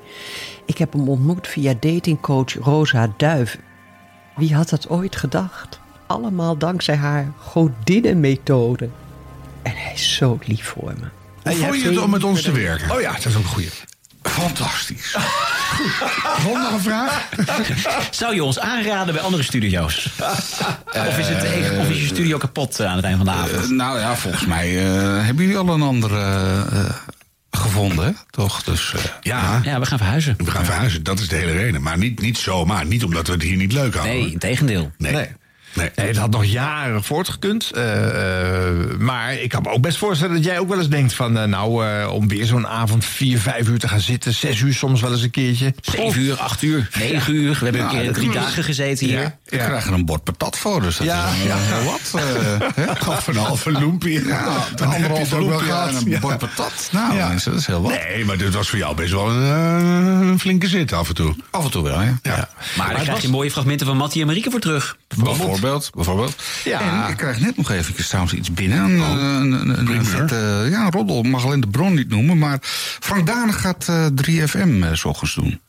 S35: Ik heb hem ontmoet via datingcoach Rosa Duiven. Wie had dat ooit gedacht? Allemaal dankzij haar godinnenmethode. En hij is zo lief voor me.
S2: Hoe vond je het om met ons te werken?
S6: Oh ja, dat is ook een goeie.
S10: Fantastisch.
S2: Volgende vraag.
S3: Zou je ons aanraden bij andere studio's?
S2: Eh,
S3: of, is het, echt- of is je studio kapot eh, aan het eind van de avond?
S10: Eh, nou ja, volgens mij eh, hebben jullie al een andere eh, gevonden, hè? toch? Dus,
S6: eh,
S2: ja.
S3: ja, we gaan verhuizen.
S2: We gaan verhuizen, dat is de hele reden. Maar niet, niet zomaar, niet omdat we het hier niet leuk hadden. Nee,
S3: tegendeel.
S2: Nee.
S6: Nee. Nee, het had nog jaren voortgekund. eh, eh, maar ik kan me ook best voorstellen dat jij ook wel eens denkt van... eh, nou, eh, om weer zo'n avond vier, vijf uur te gaan zitten. Zes uur soms wel eens een keertje.
S3: Zeven uur, acht uur, negen uur. We
S10: Nou,
S3: hebben een keer drie dagen gezeten hier.
S10: Ik krijg er een bord patat voor, dus dat
S3: Ja,
S10: is
S3: ja.
S10: ja. wat. eh,
S2: Gaf een halve loempie.
S10: Ja, de
S2: Dan heb je
S10: anderhalf
S2: de
S10: ook wel
S2: loempie
S10: gehad.
S2: aan
S10: En
S2: ja.
S10: een bord patat. Nou,
S2: Ja.
S10: mensen, dat is heel wat.
S2: Nee, maar dit was voor jou best wel een, eh, een flinke zit af en toe.
S10: Af en toe wel, ja.
S3: Maar daar krijg je mooie fragmenten van Mattie en Marieke voor terug. eh,
S10: Bijvoorbeeld, bijvoorbeeld.
S3: Ja.
S10: En ik krijg net nog even trouwens iets binnen.
S3: Oh,
S10: Een, eh, een, een, een,
S3: Primeur.
S10: vette- ja, een roddel. Ik mag alleen de bron niet noemen. Maar Frank Danig gaat eh, 3FM eh, s ochtends doen.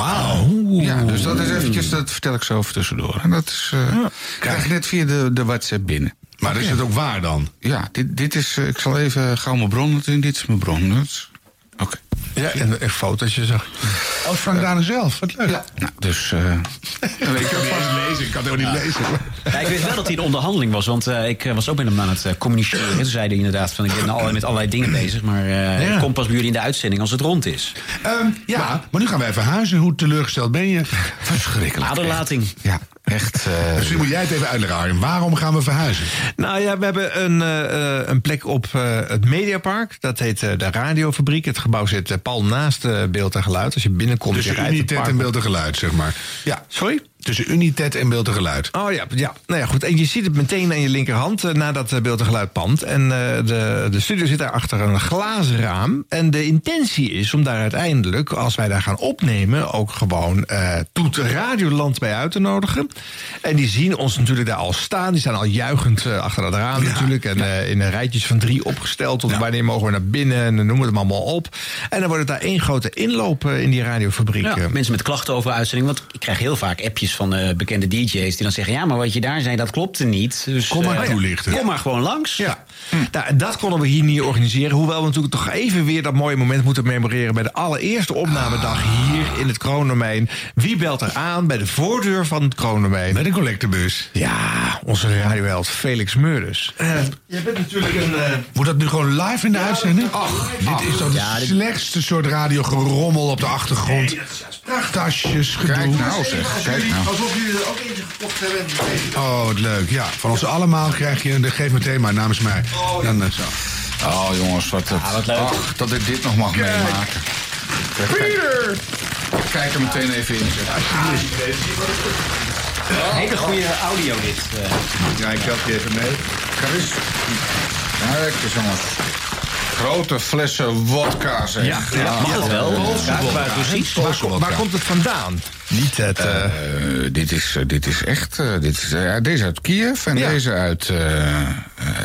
S2: Wauw.
S10: Ja, dus dat is eventjes, dat vertel ik zo even tussendoor. En dat is,
S3: Ah.
S10: eh, krijg ik net via de, de WhatsApp binnen. Oh,
S2: Maar is het ook waar dan?
S10: Ja, dit, dit is, eh, ik zal even gauw mijn bron doen. Dit is mijn bron. Dat is- dus. Oké.
S6: Ja, en echt fotootje zag.
S2: Oh, Frank Dane zelf. Wat leuk.
S10: Nou, dus... eh
S2: ik kan vast lezen. Ik kan het ook niet lezen.
S3: Ja, ik weet wel dat hij in onderhandeling was, want eh, ik eh, was ook met hem aan het eh, communiceren. Toen zei hij inderdaad van ik ben al- met allerlei dingen bezig, maar eh,
S2: Ja.
S3: ik kom pas bij jullie in de uitzending als het rond is.
S2: Ehm, ja, maar, nu gaan wij verhuizen. Hoe teleurgesteld ben je?
S10: Verschrikkelijk.
S3: Aderlating.
S10: Ja, echt. eh,
S2: Misschien moet jij het even uitleggen, Arjen. Waarom gaan we verhuizen?
S6: Nou ja, we hebben een, eh, eh, een plek op eh, het Mediapark. Dat heet eh, de Radiofabriek. Het gebouw zit eh, pal naast eh, Beeld en Geluid. Als je binnenkomt, je
S2: Tussen
S6: rijdt het
S2: Unitet
S6: park
S2: Dus en
S6: op.
S2: beeld en geluid, zeg maar. Ja.
S6: Sorry?
S2: Tussen Unitet en beeld en geluid.
S6: Oh ja, ja, nou ja, goed. En je ziet het meteen aan je linkerhand eh, na dat eh, beeld en geluid pand. En eh, de, de studio zit daar achter een glazen raam. En de intentie is om daar uiteindelijk, als wij daar gaan opnemen, ook gewoon eh Toet Radioland bij uit te nodigen. En die zien ons natuurlijk daar al staan. Die staan al juichend eh, achter dat raam natuurlijk. En eh, in een rijtjes van drie opgesteld. Tot wanneer mogen we naar binnen? En dan noemen we het allemaal op. En dan wordt het daar één grote inloop eh, in die radiofabriek.
S3: Ja,
S6: eh.
S3: mensen met klachten over uitzending, want ik krijg heel vaak appjes van eh, bekende DJ's die dan zeggen ja, maar wat je daar zei, dat klopte niet. Dus,
S6: Kom maar
S3: eh,
S6: toelichten.
S3: Kom maar gewoon langs.
S6: Ja. Nou, en dat konden we hier niet organiseren. Hoewel we natuurlijk toch even weer dat mooie moment moeten memoreren... bij de allereerste opnamedag hier in het Kroondomein. Wie belt er aan bij de voordeur van het Kroondomein? Met
S2: een collectebus.
S6: Ja, onze radioheld Felix Meurders. Jij bent natuurlijk een... eh,
S2: Wordt dat nu gewoon live in de uitzending? Ach, dit is toch de slechtste soort radiogerommel op de achtergrond. Tasjes, gedoe.
S6: Kijk
S2: nou zeg, kijk nou.
S6: Alsof jullie er ook eentje gekocht hebben.
S2: Oh, wat leuk. Ja, van ons allemaal krijg je een... Geef meteen maar namens mij. Dan, eh, zo.
S10: Oh jongens, wat, het,
S3: Ah,
S10: Ach, dat ik dit nog mag meemaken. Pieter! Kijk er meteen even in. zeg.
S3: Hele goede audio dit. eh.
S10: Ja, ik help je even mee. Chris. Kijk eens jongens. Grote flessen wodka zeg.
S6: Ja, ja, mag het wel.
S10: Poolse
S6: Ja,
S10: wodka.
S6: waar precies.
S10: Poolse
S6: Waar kom-
S10: wodka.
S6: waar komt het vandaan? Niet het... eh,
S10: Eh, dit, is, eh, dit is echt. eh, dit is, eh, deze uit Kiev en deze uit eh, eh,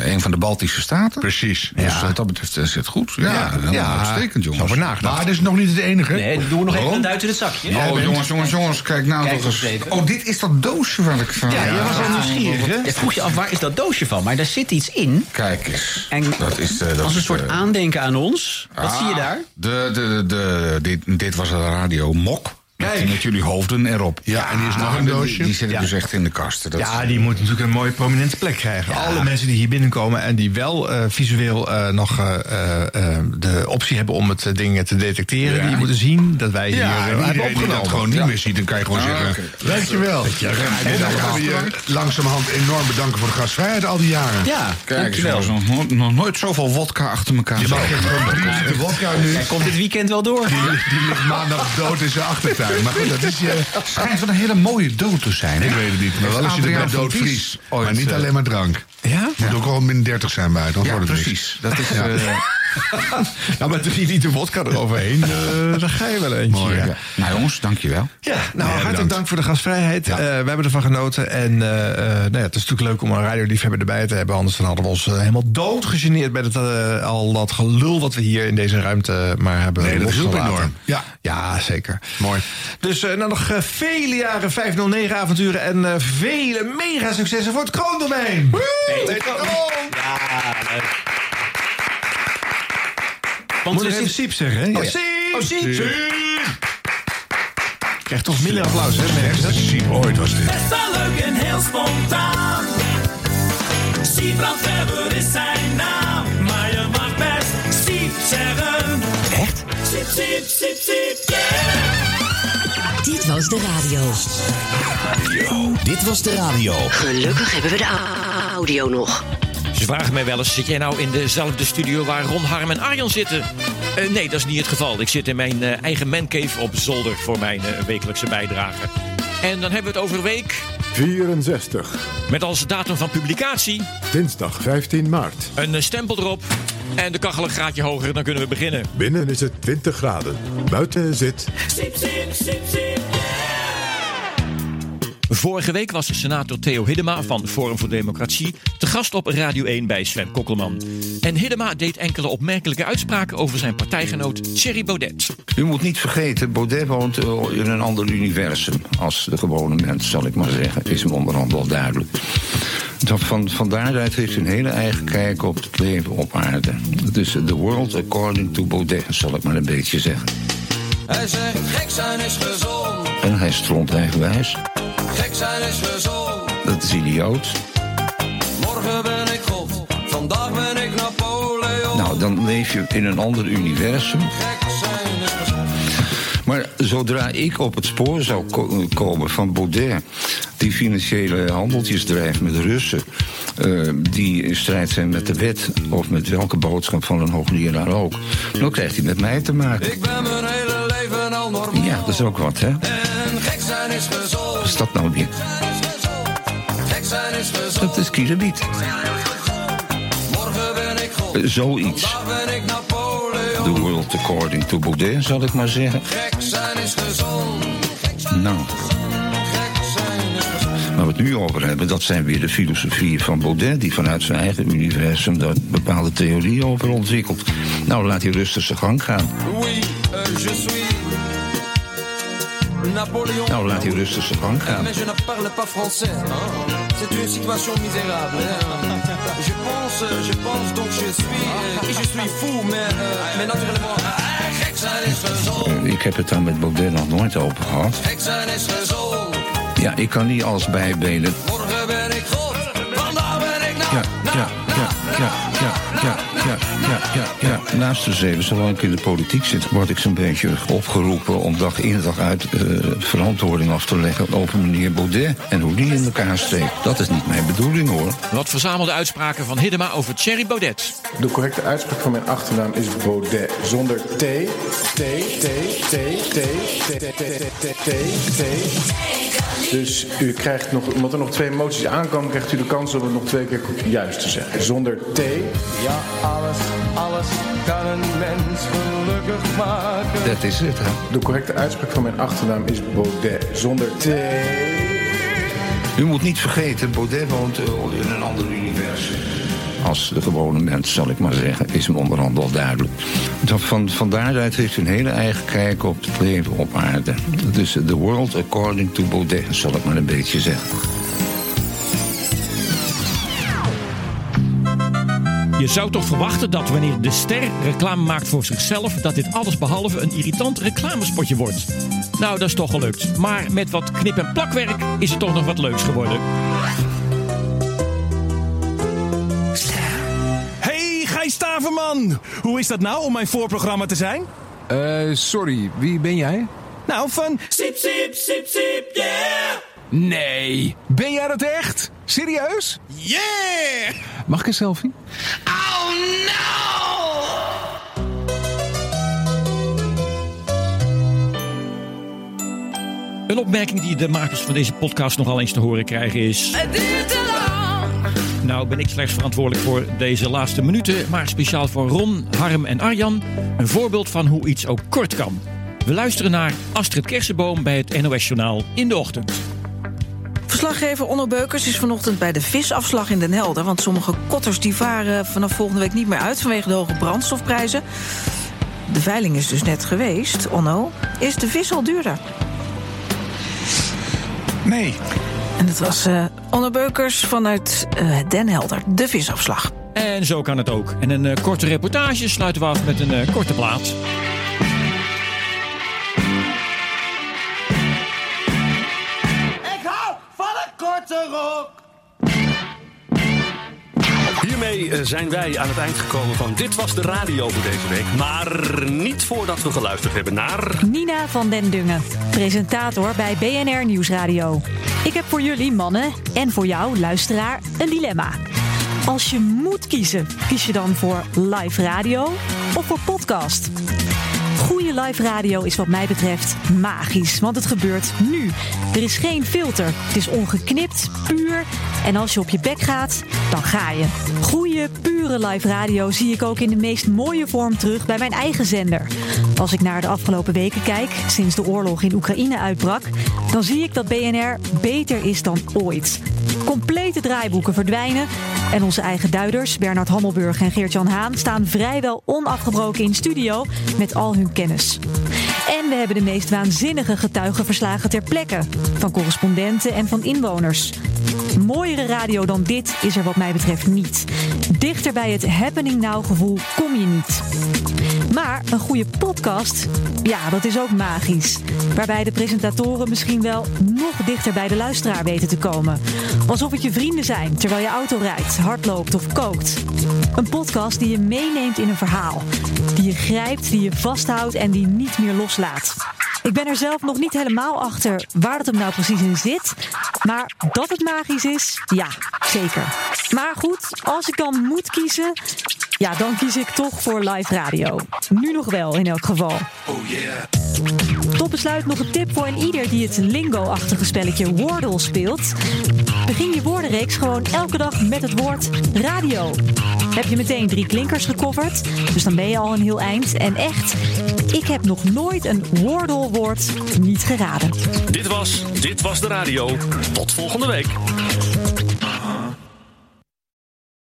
S10: een van de Baltische staten. Precies. Dus
S6: Ja.
S10: wat dat betreft eh, is het goed. Ja,
S6: Ja.
S10: helemaal
S6: Ja.
S10: uitstekend, jongens.
S6: Over nagedacht.
S10: Maar dit is nog niet het enige.
S3: Nee, doen we nog even
S10: Waarom?
S3: een duit in het zakje.
S10: oh, jongens, jongens, jongens, kijk nou
S3: Kijk
S10: toch
S3: eens
S10: eens.
S3: even.
S10: Oh, dit is dat doosje waar ik van. Ah.
S3: Ja, jij was wel nieuwsgierig, hè?
S10: Ja,
S3: Ik vroeg je af, waar is dat doosje van? Maar daar zit iets in.
S10: Kijk eens.
S3: En
S10: Dat is, eh, dat
S3: als een
S10: is,
S3: soort
S10: eh,
S3: aandenken aan ons. Wat
S10: Ah,
S3: zie je daar?
S10: De, de, de, de- dit, dit was de radio Mok. Met, met jullie hoofden erop. Ja, en hier is nog een doosje. Die zit ik dus echt in de kast. Dat
S6: ja,
S2: eh,
S6: die moet natuurlijk een mooie prominente plek krijgen. Alle mensen die hier binnenkomen en die wel eh, visueel eh, nog eh, eh, eh, de optie hebben om het eh, ding te detecteren,
S2: Ja.
S6: die moeten zien dat wij hier
S2: Ja,
S6: eh,
S2: en
S6: hebben
S2: iedereen die
S6: opgenomen.
S2: dat gewoon niet meer ziet, dan kan je gewoon
S6: Ah,
S2: zeggen... eh,
S6: oké.
S2: Dankjewel. En dan gaan we je langzamerhand enorm bedanken voor de gastvrijheid al die jaren.
S10: kijk eens, jongens, nog, nooit- nog nooit zoveel wodka achter elkaar.
S2: Je mag
S10: Zo.
S2: echt gewoon drie liter wodka nu.
S10: Hij komt
S3: dit weekend wel door.
S2: Die, die ligt maandag dood in zijn achtertuin. Maar goed, dat is eh, je...
S10: Schijnt wel een hele mooie dood te zijn.
S2: Ik weet het niet, maar wel als je erbij doodvries. Maar
S10: eh,
S2: niet alleen maar drank.
S6: Ja?
S2: Moet ook al min 30 zijn bij, dan
S10: Ja,
S2: wordt het
S10: precies.
S2: niks.
S10: Dat is,
S2: Ja. Nou,
S10: eh,
S6: Ja, maar drie liter wodka eroverheen, eh daar ga je wel eentje.
S10: Mooi.
S6: ja.
S10: Ja. Nou jongens, dankjewel.
S6: Ja, nou, hartelijk dank voor de gastvrijheid. Eh, we hebben ervan genoten. En eh, eh, nou ja, het is natuurlijk leuk om een radioliefhebber erbij te hebben. Anders dan hadden we ons eh, helemaal doodgegeneerd met het, eh, al dat gelul wat we hier in deze ruimte maar hebben.
S2: Nee, dat is ook
S6: losgelaten.
S2: enorm. Ja.
S6: ja, zeker. Mooi. Dus eh, nou nog eh, vele jaren 509-avonturen en eh, vele mega-successen voor het kroondomein. Hey,
S3: Ja, leuk.
S6: Want
S3: Want
S6: Moet
S3: er
S6: ik even
S3: zit...
S6: Siep zeggen, hè?
S3: Oh,
S6: Ja.
S3: Siep.
S6: Oh, Siep.
S3: Siep.
S6: Krijgt toch minder applaus, hè? mensen?
S2: Siep ooit was dit.
S5: Best wel leuk en heel spontaan. Siebrand Weber is zijn naam. Maar je mag best Siep zeggen. Echt? Siep, Siep, Siep, Siep,
S11: Dit was de radio.
S39: Dit was de radio.
S11: Gelukkig hebben we de a- audio nog.
S39: Ze vragen mij wel eens, zit jij nou in dezelfde studio waar Ron, Harm en Arjan zitten? Eh, nee, dat is niet het geval. Ik zit in mijn eh, eigen mancave op zolder voor mijn eh, wekelijkse bijdrage. En dan hebben we het over week
S44: 64.
S39: met als datum van publicatie
S44: Dinsdag 15 maart.
S39: een eh, stempel erop. En de kachel een graadje hoger, dan kunnen we beginnen.
S44: Binnen is het 20 graden. Buiten zit
S5: Siep, Siep, Siep, Siep.
S39: Vorige week was senator Theo Hiddema van Forum voor Democratie te gast op Radio 1 bij Sven Kokkelman. En Hiddema deed enkele opmerkelijke uitspraken over zijn partijgenoot Thierry Baudet.
S33: U moet niet vergeten, Baudet woont eh, in een ander universum als de gewone mens, zal ik maar zeggen. Is hem onderhand wel duidelijk. Dat van, van daaruit heeft hij een hele eigen kijk op het leven op aarde. Dus the world according to Baudet, zal ik maar een beetje zeggen.
S19: Hij zegt gek zijn is gezond,
S33: En hij stront eigenwijs.
S19: gek zijn is gezond.
S33: Dat is idioot.
S19: Morgen ben ik God, vandaag ben ik Napoleon.
S33: Nou, dan leef je in een ander universum. Maar zodra ik op het spoor zou ko- komen van Baudet, die financiële handeltjes drijft met Russen, eh, die in strijd zijn met de wet of met welke boodschap van een hoogleraar ook, dan krijgt hij met mij te maken.
S19: Ik ben mijn hele leven al normaal.
S33: Ja, dat is ook wat, hè?
S19: En gek zijn is gezond.
S33: Wat is dat nou weer?
S19: Gek zijn is gezond.
S33: Dat is Eh, kilobiet.
S19: Morgen ben ik God.
S33: Eh, Zoiets.
S19: Vandaag ben ik Napoleon.
S33: The world according to Baudet, zal ik maar zeggen.
S19: Gek zijn is gezond.
S33: Nou. Waar we het nu over hebben, dat zijn weer de filosofieën van Baudet... die vanuit zijn eigen universum daar bepaalde theorieën over ontwikkelt. Nou, laat hij rustig zijn gang gaan.
S19: Oui, euh, je suis Napoléon.
S33: Nou, laat hij rustig zijn gang gaan.
S19: Mais je ne parle pas français. hein. C'est une situation misérable. hein. Je pense, euh, je pense donc je suis. euh, Et je suis fou, mais, euh, mais naturellement. ah, Gek zijn is gezond.
S33: Eh, Ik heb het daar met Baudet nog nooit over gehad.
S19: Gek zijn is gezond.
S33: Ja, ik kan niet alles bijbenen.
S19: Morgen ben ik God. Vandaag ben ik
S33: Ja, ja, ja, ja, ja, ja, ja, ja, ja, ja. Naast de zeven, zolang ik in de politiek zit, word ik zo'n beetje opgeroepen om dag in dag uit eh, verantwoording af te leggen over meneer Baudet en hoe die in elkaar steekt. Dat is niet mijn bedoeling hoor.
S39: Wat verzamelde uitspraken van Hiddema over Thierry Baudet.
S5: De correcte uitspraak van mijn achternaam is Baudet. Zonder T. T, T, T, T, T, T, T, T, T, T. Dus u krijgt nog, omdat er nog twee moties aankomen, krijgt u de kans om het nog twee keer juist te zeggen. Zonder T.
S19: Ja, alles, alles kan een mens gelukkig maken.
S33: Dat is het, hè?
S5: De correcte uitspraak van mijn achternaam is Baudet. Zonder T.
S33: U moet niet vergeten, Baudet woont eh, in een ander universum. Als de gewone mens, zal ik maar zeggen, is hem onderhand al duidelijk. Dat van, van daaruit heeft hij een hele eigen kijk op het leven op aarde. Dus eh, the world according to Baudet, zal ik maar een beetje zeggen.
S39: Je zou toch verwachten dat wanneer de ster reclame maakt voor zichzelf, dat dit alles behalve een irritant reclamespotje wordt. Nou, dat is toch gelukt. Maar met wat knip- en plakwerk is het toch nog wat leuks geworden.
S9: Hey, Gijs Staverman! Hoe is dat nou om mijn voorprogramma te zijn? Eh, sorry, wie ben jij? Nou, van... Sip, sip, sip, sip, yeah! Nee, ben jij dat echt? Serieus? Yeah!
S45: Mag ik een selfie?
S19: Oh no!
S39: Een opmerking die de makers van deze podcast nogal eens te horen krijgen is.
S19: Het duurt te lang.
S39: Nou ben ik slechts verantwoordelijk voor deze laatste minuten, maar speciaal voor Ron, Harm en Arjan een voorbeeld van hoe iets ook kort kan. We luisteren naar Astrid Kersenboom bij het NOS-journaal in de ochtend.
S46: Verslaggever Onno Beukers is vanochtend bij de visafslag in Den Helder. Want sommige kotters die varen vanaf volgende week niet meer uit vanwege de hoge brandstofprijzen. De veiling is dus net geweest, Onno. Is de vis al duurder?
S47: Nee.
S46: En dat was eh Onno Beukers vanuit eh, Den Helder, de visafslag.
S39: En zo kan het ook. En een eh, korte reportage sluiten we af met een eh, korte plaat.
S19: Ik hou van een korte rok.
S28: Hiermee eh, zijn wij aan het eind gekomen van Dit was de radio voor deze week. Maar niet voordat we geluisterd hebben naar.
S32: Nina van den Dungen, presentator bij BNR Nieuwsradio. Ik heb voor jullie, mannen, en voor jou, luisteraar, een dilemma. Als je moet kiezen, kies je dan voor live radio of voor podcast? Goede live radio is wat mij betreft magisch, want het gebeurt nu. Er is geen filter, het is ongeknipt, puur. En als je op je bek gaat, dan ga je. Goede, pure live radio zie ik ook in de meest mooie vorm terug bij mijn eigen zender. Als ik naar de afgelopen weken kijk, sinds de oorlog in Oekraïne uitbrak, dan zie ik dat BNR beter is dan ooit. Complete draaiboeken verdwijnen en onze eigen duiders, Bernard Hammelburg en Geert-Jan Haan, staan vrijwel onafgebroken in studio met al hun kennis. En we hebben de meest waanzinnige getuigenverslagen ter plekke. Van correspondenten en van inwoners. Mooiere radio dan dit is er wat mij betreft niet. Dichter bij het happening now gevoel kom je niet. Maar een goede podcast, ja, dat is ook magisch. Waarbij de presentatoren misschien wel nog dichter bij de luisteraar weten te komen. Alsof het je vrienden zijn terwijl je auto rijdt, hardloopt of kookt. Een podcast die je meeneemt in een verhaal. Die je grijpt, die je vasthoudt en die niet meer loslaat. Ik ben er zelf nog niet helemaal achter waar het hem nou precies in zit. Maar dat het magisch is, ja, zeker. Maar goed, als ik dan moet kiezen, ja, dan kies ik toch voor live radio. Nu nog wel, in elk geval.
S48: Oh yeah.
S32: Tot besluit nog een tip voor een ieder die het lingo-achtige spelletje Wordle speelt. Begin je woordenreeks gewoon elke dag met het woord radio. Heb je meteen drie klinkers gecoverd, dus dan ben je al een heel eind. En echt, ik heb nog nooit een Wordle-woord niet geraden.
S22: Dit was Dit Was De Radio. Tot volgende week.